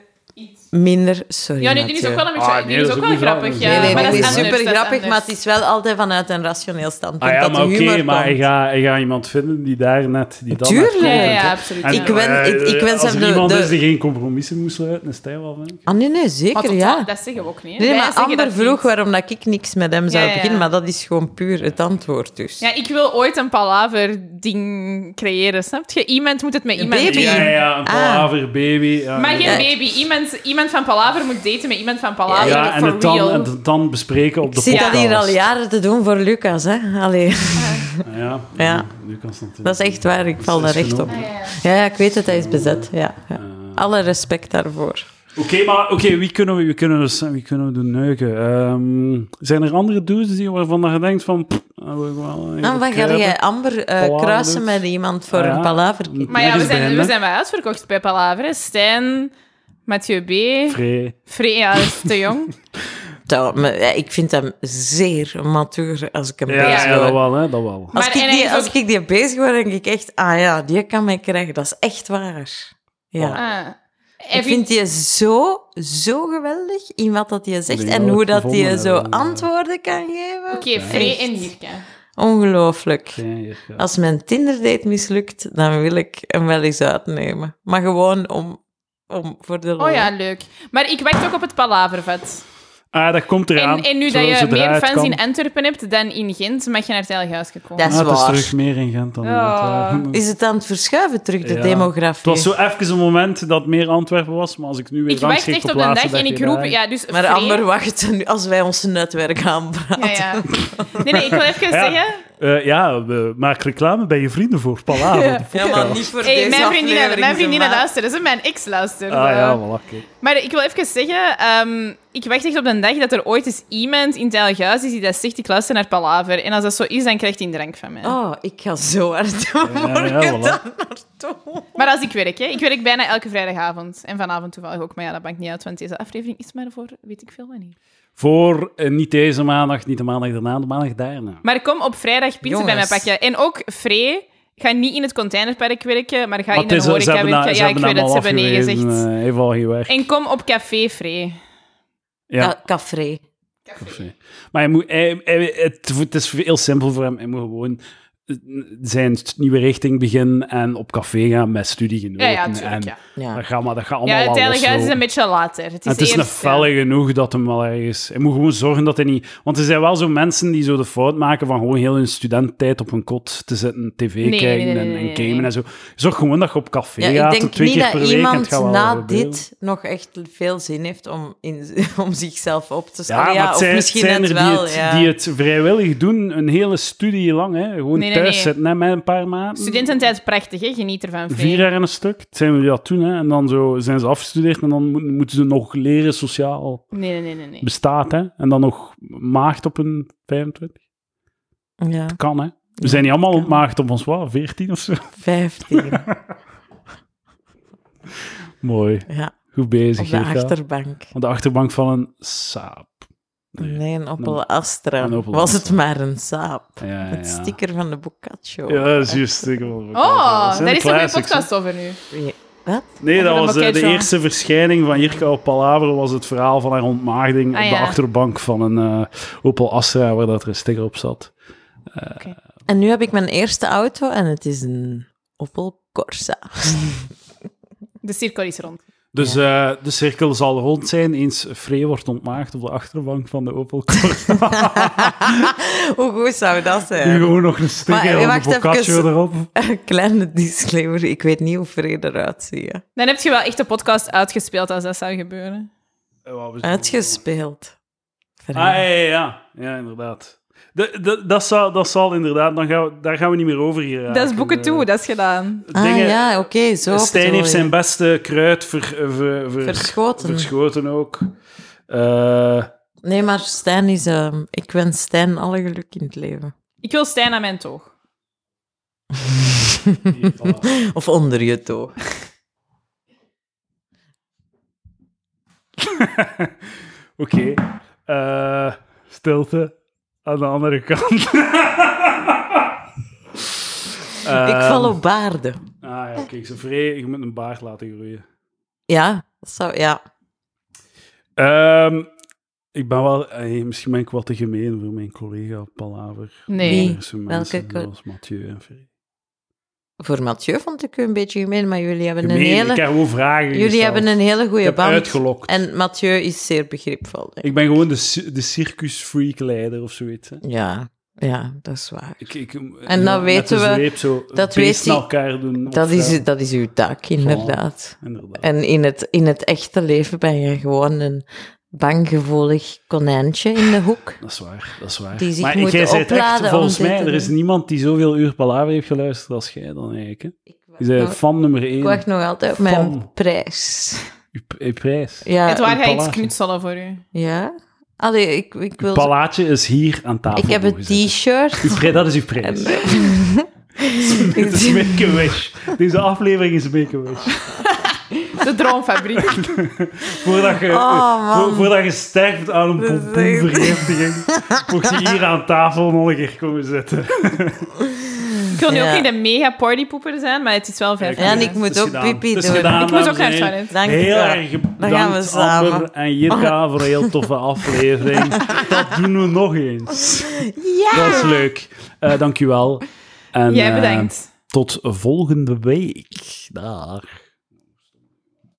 Speaker 1: minder... Sorry,
Speaker 3: Ja, nee, die is ook
Speaker 1: Mathieu.
Speaker 3: wel een beetje,
Speaker 2: Ah, nee,
Speaker 3: die is
Speaker 2: dat
Speaker 3: ook
Speaker 2: is
Speaker 3: wel
Speaker 2: ook niet
Speaker 3: grappig.
Speaker 2: grappig.
Speaker 3: Ja,
Speaker 1: Nee, nee,
Speaker 3: maar
Speaker 1: nee,
Speaker 3: dat is
Speaker 1: is
Speaker 3: anders,
Speaker 1: super
Speaker 3: dat is
Speaker 1: grappig, maar
Speaker 3: anders.
Speaker 1: het is wel altijd vanuit een rationeel standpunt
Speaker 2: Ah ja,
Speaker 1: dat de
Speaker 2: maar oké,
Speaker 1: humor
Speaker 2: maar
Speaker 1: komt.
Speaker 2: ik ga, ik ga iemand vinden die daar net... Die dat
Speaker 1: Tuurlijk.
Speaker 2: net
Speaker 3: Ja, ja,
Speaker 2: klopt,
Speaker 3: ja,
Speaker 2: hè.
Speaker 3: absoluut.
Speaker 2: En,
Speaker 3: ja.
Speaker 1: Ik wens- ik- ik
Speaker 2: eh,
Speaker 1: wens
Speaker 2: als
Speaker 1: hem
Speaker 2: er
Speaker 1: de-
Speaker 2: iemand
Speaker 1: de-
Speaker 2: is die geen compromissen moest sluiten, is Stijn wel van.
Speaker 1: Ah, nee, nee,
Speaker 3: Maar
Speaker 1: zeker,
Speaker 3: totaal,
Speaker 1: ja.
Speaker 3: dat zeggen we ook niet. hè.
Speaker 1: Nee,
Speaker 3: Wij
Speaker 1: maar
Speaker 3: zeggen
Speaker 1: Amber
Speaker 3: dat
Speaker 1: vroeg
Speaker 3: niet.
Speaker 1: waarom dat ik niks met hem zou
Speaker 3: Ja, ja, ja.
Speaker 1: beginnen, maar dat is gewoon puur het antwoord dus.
Speaker 3: Ja, ik wil ooit een Palaver-ding creëren, snap je? Iemand moet het met iemand
Speaker 1: baby.
Speaker 3: doen.
Speaker 2: Ja, ja, ja, een
Speaker 1: Ah.
Speaker 2: palaver, baby. Ja,
Speaker 3: Maar
Speaker 2: ja.
Speaker 3: geen baby. Iemand, iemand van Palaver moet daten met iemand van Palaver.
Speaker 2: Ja, en
Speaker 3: for
Speaker 2: het dan,
Speaker 3: real.
Speaker 2: en het dan bespreken op de
Speaker 1: Ik zie dat
Speaker 3: podcast.
Speaker 1: hier al jaren te doen voor Lucas, hè. Allee,
Speaker 2: Ah, Ja,
Speaker 1: Ja.
Speaker 2: nu kan het natuurlijk.
Speaker 1: dat is echt waar, ik val
Speaker 2: Dat
Speaker 1: daar
Speaker 2: is
Speaker 1: echt op.
Speaker 2: genomen.
Speaker 3: Ah, Ja, ja.
Speaker 1: Ja, ja, ik weet dat hij is bezet, ja. ja.
Speaker 2: Eh.
Speaker 1: Alle respect daarvoor.
Speaker 2: Oké, maar oké, wie kunnen we, wie kunnen we, zijn- wie kunnen we doen neuken? Ehm, zijn er andere dudes die waarvan dat je denkt van... pff, dat wil ik wel
Speaker 1: Dan wat ga jij Amber eh,
Speaker 2: Palaver.
Speaker 1: kruisen met iemand voor
Speaker 2: Ah, ja.
Speaker 1: een palaver?
Speaker 3: Maar ja,
Speaker 2: Nergens
Speaker 3: we
Speaker 2: bij
Speaker 3: zijn,
Speaker 2: hen,
Speaker 3: we
Speaker 2: hè?
Speaker 3: zijn wel uitverkocht bij Palaver. hè. Stijn, Mathieu B.
Speaker 2: Vrij.
Speaker 3: Free, ja, dat is te jong.
Speaker 1: Dat- maar, ja, Ik vind hem zeer matuur als ik hem
Speaker 2: Ja,
Speaker 1: bezig
Speaker 2: ja,
Speaker 1: hoor.
Speaker 2: dat wel, hè, dat wel.
Speaker 1: Als,
Speaker 3: Maar-
Speaker 1: ik
Speaker 3: en
Speaker 1: die,
Speaker 3: hij is
Speaker 1: als
Speaker 3: ook-
Speaker 1: ik die bezig word, denk ik echt, ah ja, die kan mij krijgen. Dat is echt waar. Ja.
Speaker 3: Ah.
Speaker 1: Ik vind die zo, zo geweldig in wat dat je zegt
Speaker 2: denk
Speaker 1: en
Speaker 2: dat we
Speaker 1: hoe
Speaker 2: het
Speaker 1: dat die
Speaker 2: gevonden
Speaker 1: zo
Speaker 2: hebben, ja.
Speaker 1: antwoorden kan geven.
Speaker 3: Oké, Free
Speaker 1: Echt.
Speaker 3: en Jirka.
Speaker 1: Ongelooflijk.
Speaker 2: Ja, hier, ja.
Speaker 1: Als mijn Tinder-date mislukt, dan wil ik hem wel eens uitnemen. Maar gewoon om, om voor de lol.
Speaker 3: Oh ja, leuk. Maar ik wacht ook op het Palavervet.
Speaker 2: Ah, dat komt
Speaker 3: En,
Speaker 2: eraan.
Speaker 3: en nu dat
Speaker 2: Zo-
Speaker 3: je
Speaker 2: zodra
Speaker 3: meer
Speaker 2: het
Speaker 3: fans
Speaker 2: kan.
Speaker 3: in Antwerpen hebt dan in Gent, mag je naar het Heilige Huis komen.
Speaker 1: Dat
Speaker 2: Ah, het is
Speaker 1: Zwaar.
Speaker 2: terug meer in Gent dan in
Speaker 3: Ja.
Speaker 2: Antwerpen.
Speaker 1: Is het aan het verschuiven terug, de
Speaker 2: Ja. Het
Speaker 1: demografie?
Speaker 2: was zo even een moment dat meer Antwerpen was, maar als ik nu weer
Speaker 3: Ik wacht
Speaker 2: rangschik
Speaker 3: echt op een
Speaker 2: plaatsen,
Speaker 3: dag en
Speaker 2: dacht
Speaker 3: ik roep...
Speaker 2: daar-
Speaker 3: Ja, dus
Speaker 1: Maar
Speaker 3: Free-
Speaker 1: Amber wacht nu als wij ons netwerk aanpraten.
Speaker 3: Ja, ja. Nee, nee, ik wil even
Speaker 2: Ja.
Speaker 3: zeggen...
Speaker 2: Eh, ja, we- maak reclame bij je vrienden voor Palaver. de
Speaker 1: Ja,
Speaker 2: podcast.
Speaker 1: maar niet voor
Speaker 3: Hey,
Speaker 1: deze
Speaker 3: mijn vriendinnen,
Speaker 1: aflevering,
Speaker 3: mijn vriendinnen
Speaker 1: maar.
Speaker 3: luisteren. Ze mijn ex luisteren.
Speaker 2: Ah ja, wel oké.
Speaker 3: Maar ik wil even zeggen, ehm, ik wacht echt op de dag dat er ooit eens iemand in het Heilige Huis is die dat zegt, ik luister naar Palaver. En als dat zo is, dan krijgt hij een drank van mij.
Speaker 1: Oh, ik ga zo hard morgen
Speaker 2: ja, voilà.
Speaker 1: daar naartoe.
Speaker 3: Maar als ik werk, hè. Ik werk bijna elke vrijdagavond. En vanavond toevallig ook. Maar ja, dat maakt niet uit, want deze aflevering is maar voor weet ik veel wanneer.
Speaker 2: Voor eh, niet deze maandag, niet de maandag daarna, de maandag daarna.
Speaker 3: Maar kom op vrijdag pinsen bij mij
Speaker 1: Jongens.
Speaker 3: pakken. En ook Free, ga niet in het containerpark werken, maar ga
Speaker 2: Maar
Speaker 3: in
Speaker 2: het
Speaker 3: de
Speaker 2: is- eh, ze
Speaker 3: horeca
Speaker 2: hebben
Speaker 3: werken.
Speaker 2: dat- ze
Speaker 3: ja, ik
Speaker 2: hebben
Speaker 3: weet
Speaker 2: dat
Speaker 3: het, ze
Speaker 2: al
Speaker 3: hebben nee
Speaker 2: afgewezen,
Speaker 3: gezegd.
Speaker 2: eh, Heeft al gewerkt.
Speaker 3: En kom op café Free.
Speaker 2: Ja,
Speaker 1: Ka- Café.
Speaker 2: of zo. Maar hij moet, hij- hij- het, het is heel simpel voor hem. Hij moet gewoon eh, zijn st- nieuwe richting beginnen en op café gaan met studiegenoten.
Speaker 3: Ja, ja, tuurlijk,
Speaker 2: en
Speaker 3: ja.
Speaker 1: Ja.
Speaker 2: Dat, gaat, maar, dat gaat allemaal
Speaker 3: Ja,
Speaker 2: wel
Speaker 3: uiteindelijk
Speaker 2: los
Speaker 3: is het
Speaker 2: lopen.
Speaker 3: een beetje later. Het is,
Speaker 2: En het is een
Speaker 3: eerst,
Speaker 2: felle genoeg dat hem wel ergens... Hij moet gewoon zorgen dat hij niet... Want er zijn wel zo mensen die zo de fout maken van gewoon heel hun studenttijd op een kot te zitten, tv
Speaker 3: nee,
Speaker 2: kijken
Speaker 3: nee,
Speaker 2: en,
Speaker 3: nee,
Speaker 2: en
Speaker 3: nee,
Speaker 2: gamen
Speaker 3: nee.
Speaker 2: en zo. Zorg gewoon dat je op café
Speaker 1: Ja,
Speaker 2: gaat,
Speaker 1: ik denk
Speaker 2: twee
Speaker 1: niet
Speaker 2: keer
Speaker 1: dat
Speaker 2: per week. en het
Speaker 1: iemand
Speaker 2: gaat wel
Speaker 1: na
Speaker 2: gebeuren.
Speaker 1: dit nog echt veel zin heeft om, in, om zichzelf op te
Speaker 2: Ja,
Speaker 1: stellen. Ja,
Speaker 2: maar het
Speaker 1: of
Speaker 2: zijn,
Speaker 1: misschien
Speaker 2: het zijn
Speaker 1: net
Speaker 2: er
Speaker 1: wel.
Speaker 2: die, het,
Speaker 1: ja.
Speaker 2: die het vrijwillig doen, een hele studie lang. Hè. Gewoon
Speaker 3: Nee, nee,
Speaker 2: thuis
Speaker 3: nee.
Speaker 2: zitten hè, met een paar maanden.
Speaker 3: Studententijd prachtig, hè? geniet ervan. veel.
Speaker 2: Vier jaar en een stuk. Het zijn we dat toen. Hè. En dan zo zijn ze afgestudeerd en dan mo- moeten ze nog leren sociaal
Speaker 3: Nee, nee, nee, nee. nee.
Speaker 2: bestaat. Hè. En dan nog maagd op een 25.
Speaker 1: Ja,
Speaker 2: Kan, hè. We zijn niet allemaal
Speaker 1: kan.
Speaker 2: maagd op ons, wat, 14 of zo?
Speaker 1: 15.
Speaker 2: Mooi.
Speaker 1: Ja,
Speaker 2: Goed bezig,
Speaker 1: op de
Speaker 2: Geerka.
Speaker 1: achterbank.
Speaker 2: Op de achterbank van een saap. Nee.
Speaker 1: Nee, een Opel Astra.
Speaker 2: Een Opel
Speaker 1: Was
Speaker 2: Astra.
Speaker 1: het maar een saap.
Speaker 2: Ja, ja,
Speaker 1: Het
Speaker 2: ja.
Speaker 1: sticker van de Boccaccio.
Speaker 2: Ja, dat is juist. Ik wil- Dat
Speaker 3: Oh,
Speaker 2: zijn
Speaker 3: daar
Speaker 2: de
Speaker 3: is nog een
Speaker 2: classics, hè.
Speaker 3: podcast over nu.
Speaker 1: Ja. Wat?
Speaker 2: Nee,
Speaker 3: Over
Speaker 2: dat
Speaker 3: de
Speaker 2: was eh, de
Speaker 3: Boccaccio.
Speaker 2: eerste verschijning van Jirka op Palaver was het verhaal van haar ontmaagding
Speaker 3: Ah,
Speaker 2: op de
Speaker 3: ja.
Speaker 2: achterbank van een eh, Opel Astra waar dat er een sticker op zat.
Speaker 1: En nu heb ik mijn eerste auto en het is een Opel Corsa.
Speaker 3: De cirkel is rond.
Speaker 2: Dus eh, de cirkel zal rond zijn eens Free wordt ontmaagd op de achterbank van de Opel Corsa.
Speaker 1: Hoe goed zou dat
Speaker 2: Nu
Speaker 1: zijn?
Speaker 2: gewoon nog een sticker
Speaker 1: Maar, eh,
Speaker 2: van
Speaker 1: wacht
Speaker 2: de Boccaccio
Speaker 1: even.
Speaker 2: erop.
Speaker 1: Een kleine disclaimer, ik weet niet hoe vrede eruit ziet. hè.
Speaker 3: Dan heb je wel echt de podcast uitgespeeld als dat zou gebeuren.
Speaker 2: Eh, wat was het?
Speaker 1: Uitgespeeld.
Speaker 2: Ah, ja, ja, ja. Ja, inderdaad. De, de- dat, zal, dat zal inderdaad, dan gaan we, daar gaan we niet meer over hier.
Speaker 3: dat is boeken
Speaker 2: eh,
Speaker 3: toe, dat is gedaan.
Speaker 1: Ah, ja, oké, zo.
Speaker 2: Stijn
Speaker 1: bedoel
Speaker 2: heeft
Speaker 1: je.
Speaker 2: zijn beste kruid ver, eh, ver- ver-
Speaker 1: Verschoten.
Speaker 2: verschoten ook. Eh,
Speaker 1: Nee, maar Stijn is... ehm, ik wens Stijn alle geluk in het leven.
Speaker 3: Ik wil Stijn aan mijn toog.
Speaker 2: hier, voilà.
Speaker 1: Of onder je toog.
Speaker 2: Oké. Eh, stilte aan de andere kant. Ehm,
Speaker 1: ik val op baarden.
Speaker 2: Ah ja, kijk, ze vrij. Je moet een baard laten groeien.
Speaker 1: Ja, dat zou... Ja.
Speaker 2: Ehm, ik ben wel... eh, misschien ben ik wel te gemeen voor mijn collega op Palaver.
Speaker 3: Nee.
Speaker 1: Nee.
Speaker 2: Er zijn
Speaker 1: Welke
Speaker 2: mensen
Speaker 1: co-
Speaker 2: zoals Mathieu en Vrij.
Speaker 1: Voor Mathieu vond ik u een beetje gemeen, maar jullie hebben
Speaker 2: Gemeen,
Speaker 1: een
Speaker 2: ik
Speaker 1: hele...
Speaker 2: heb gewoon vragen
Speaker 1: Jullie
Speaker 2: gesteld.
Speaker 1: hebben een hele
Speaker 2: Ik
Speaker 1: goede
Speaker 2: heb
Speaker 1: band.
Speaker 2: uitgelokt.
Speaker 1: En Mathieu is zeer begripvol. denk ik.
Speaker 2: Ik ben gewoon de, cir- de circusfreak-leider of zoiets. Hè.
Speaker 1: Ja, ja, dat is waar.
Speaker 2: Ik, ik, eh,
Speaker 1: dan weten we- dat
Speaker 2: dat weet
Speaker 1: weet hij-
Speaker 2: elkaar doen.
Speaker 1: Dat
Speaker 2: of,
Speaker 1: is,
Speaker 2: eh,
Speaker 1: dat is uw taak, inderdaad.
Speaker 2: Inderdaad.
Speaker 1: En in het, in het echte leven ben je gewoon een banggevoelig konijntje in de hoek.
Speaker 2: Dat is waar, dat is waar.
Speaker 1: Die zich
Speaker 2: maar
Speaker 1: moeten
Speaker 2: jij zei het echt,
Speaker 1: opladen om
Speaker 2: volgens
Speaker 1: dit
Speaker 2: mij,
Speaker 1: te
Speaker 2: er is
Speaker 1: doen.
Speaker 2: niemand die zoveel uur Palaver heeft geluisterd als jij dan eigenlijk. Hè?
Speaker 1: Ik
Speaker 2: Je bent
Speaker 1: wacht, nog,
Speaker 2: fan nummer één.
Speaker 1: ik wacht nog altijd op
Speaker 2: Van.
Speaker 1: mijn prijs.
Speaker 2: Uw p- uw prijs.
Speaker 1: Ja,
Speaker 3: Het waar ga
Speaker 2: een
Speaker 3: iets
Speaker 2: palaver.
Speaker 3: knutselen voor u.
Speaker 1: ja. Allee, ik, ik
Speaker 2: Uw
Speaker 1: wil...
Speaker 2: palaatje is hier aan tafel.
Speaker 1: Ik heb een
Speaker 2: toegezet.
Speaker 1: t-shirt.
Speaker 2: Uw pri- dat is uw prijs. Het is
Speaker 1: Ik-
Speaker 2: Make-A-Wish. Deze aflevering is Make-A-Wish.
Speaker 3: De droomfabriek.
Speaker 2: Voordat je,
Speaker 1: Oh, man.
Speaker 2: vo- voordat je sterft aan een
Speaker 1: Dat is echt-
Speaker 2: pompoenvergiftiging, mocht je hier aan tafel nog een keer komen zitten.
Speaker 3: Ik wil nu
Speaker 1: Ja.
Speaker 3: ook niet de mega partypoeper zijn, maar het is wel vijf
Speaker 1: Ja, en
Speaker 3: jaar.
Speaker 1: ik moet
Speaker 2: Het is
Speaker 1: ook
Speaker 2: gedaan.
Speaker 1: pipi
Speaker 2: Het is
Speaker 1: doen.
Speaker 2: gedaan,
Speaker 3: Ik moet
Speaker 2: dames
Speaker 3: ook naar
Speaker 2: en
Speaker 3: het
Speaker 2: heren.
Speaker 3: toilet.
Speaker 1: Dank u
Speaker 2: Heel
Speaker 1: wel.
Speaker 2: erg bedankt,
Speaker 1: Dan gaan we samen.
Speaker 2: Amber en Jirka, voor een heel toffe aflevering. Dat doen we nog eens.
Speaker 1: Ja!
Speaker 2: Dat is leuk. Eh dankjewel. En,
Speaker 3: Jij
Speaker 2: eh,
Speaker 3: bedankt.
Speaker 2: tot volgende week. Dag.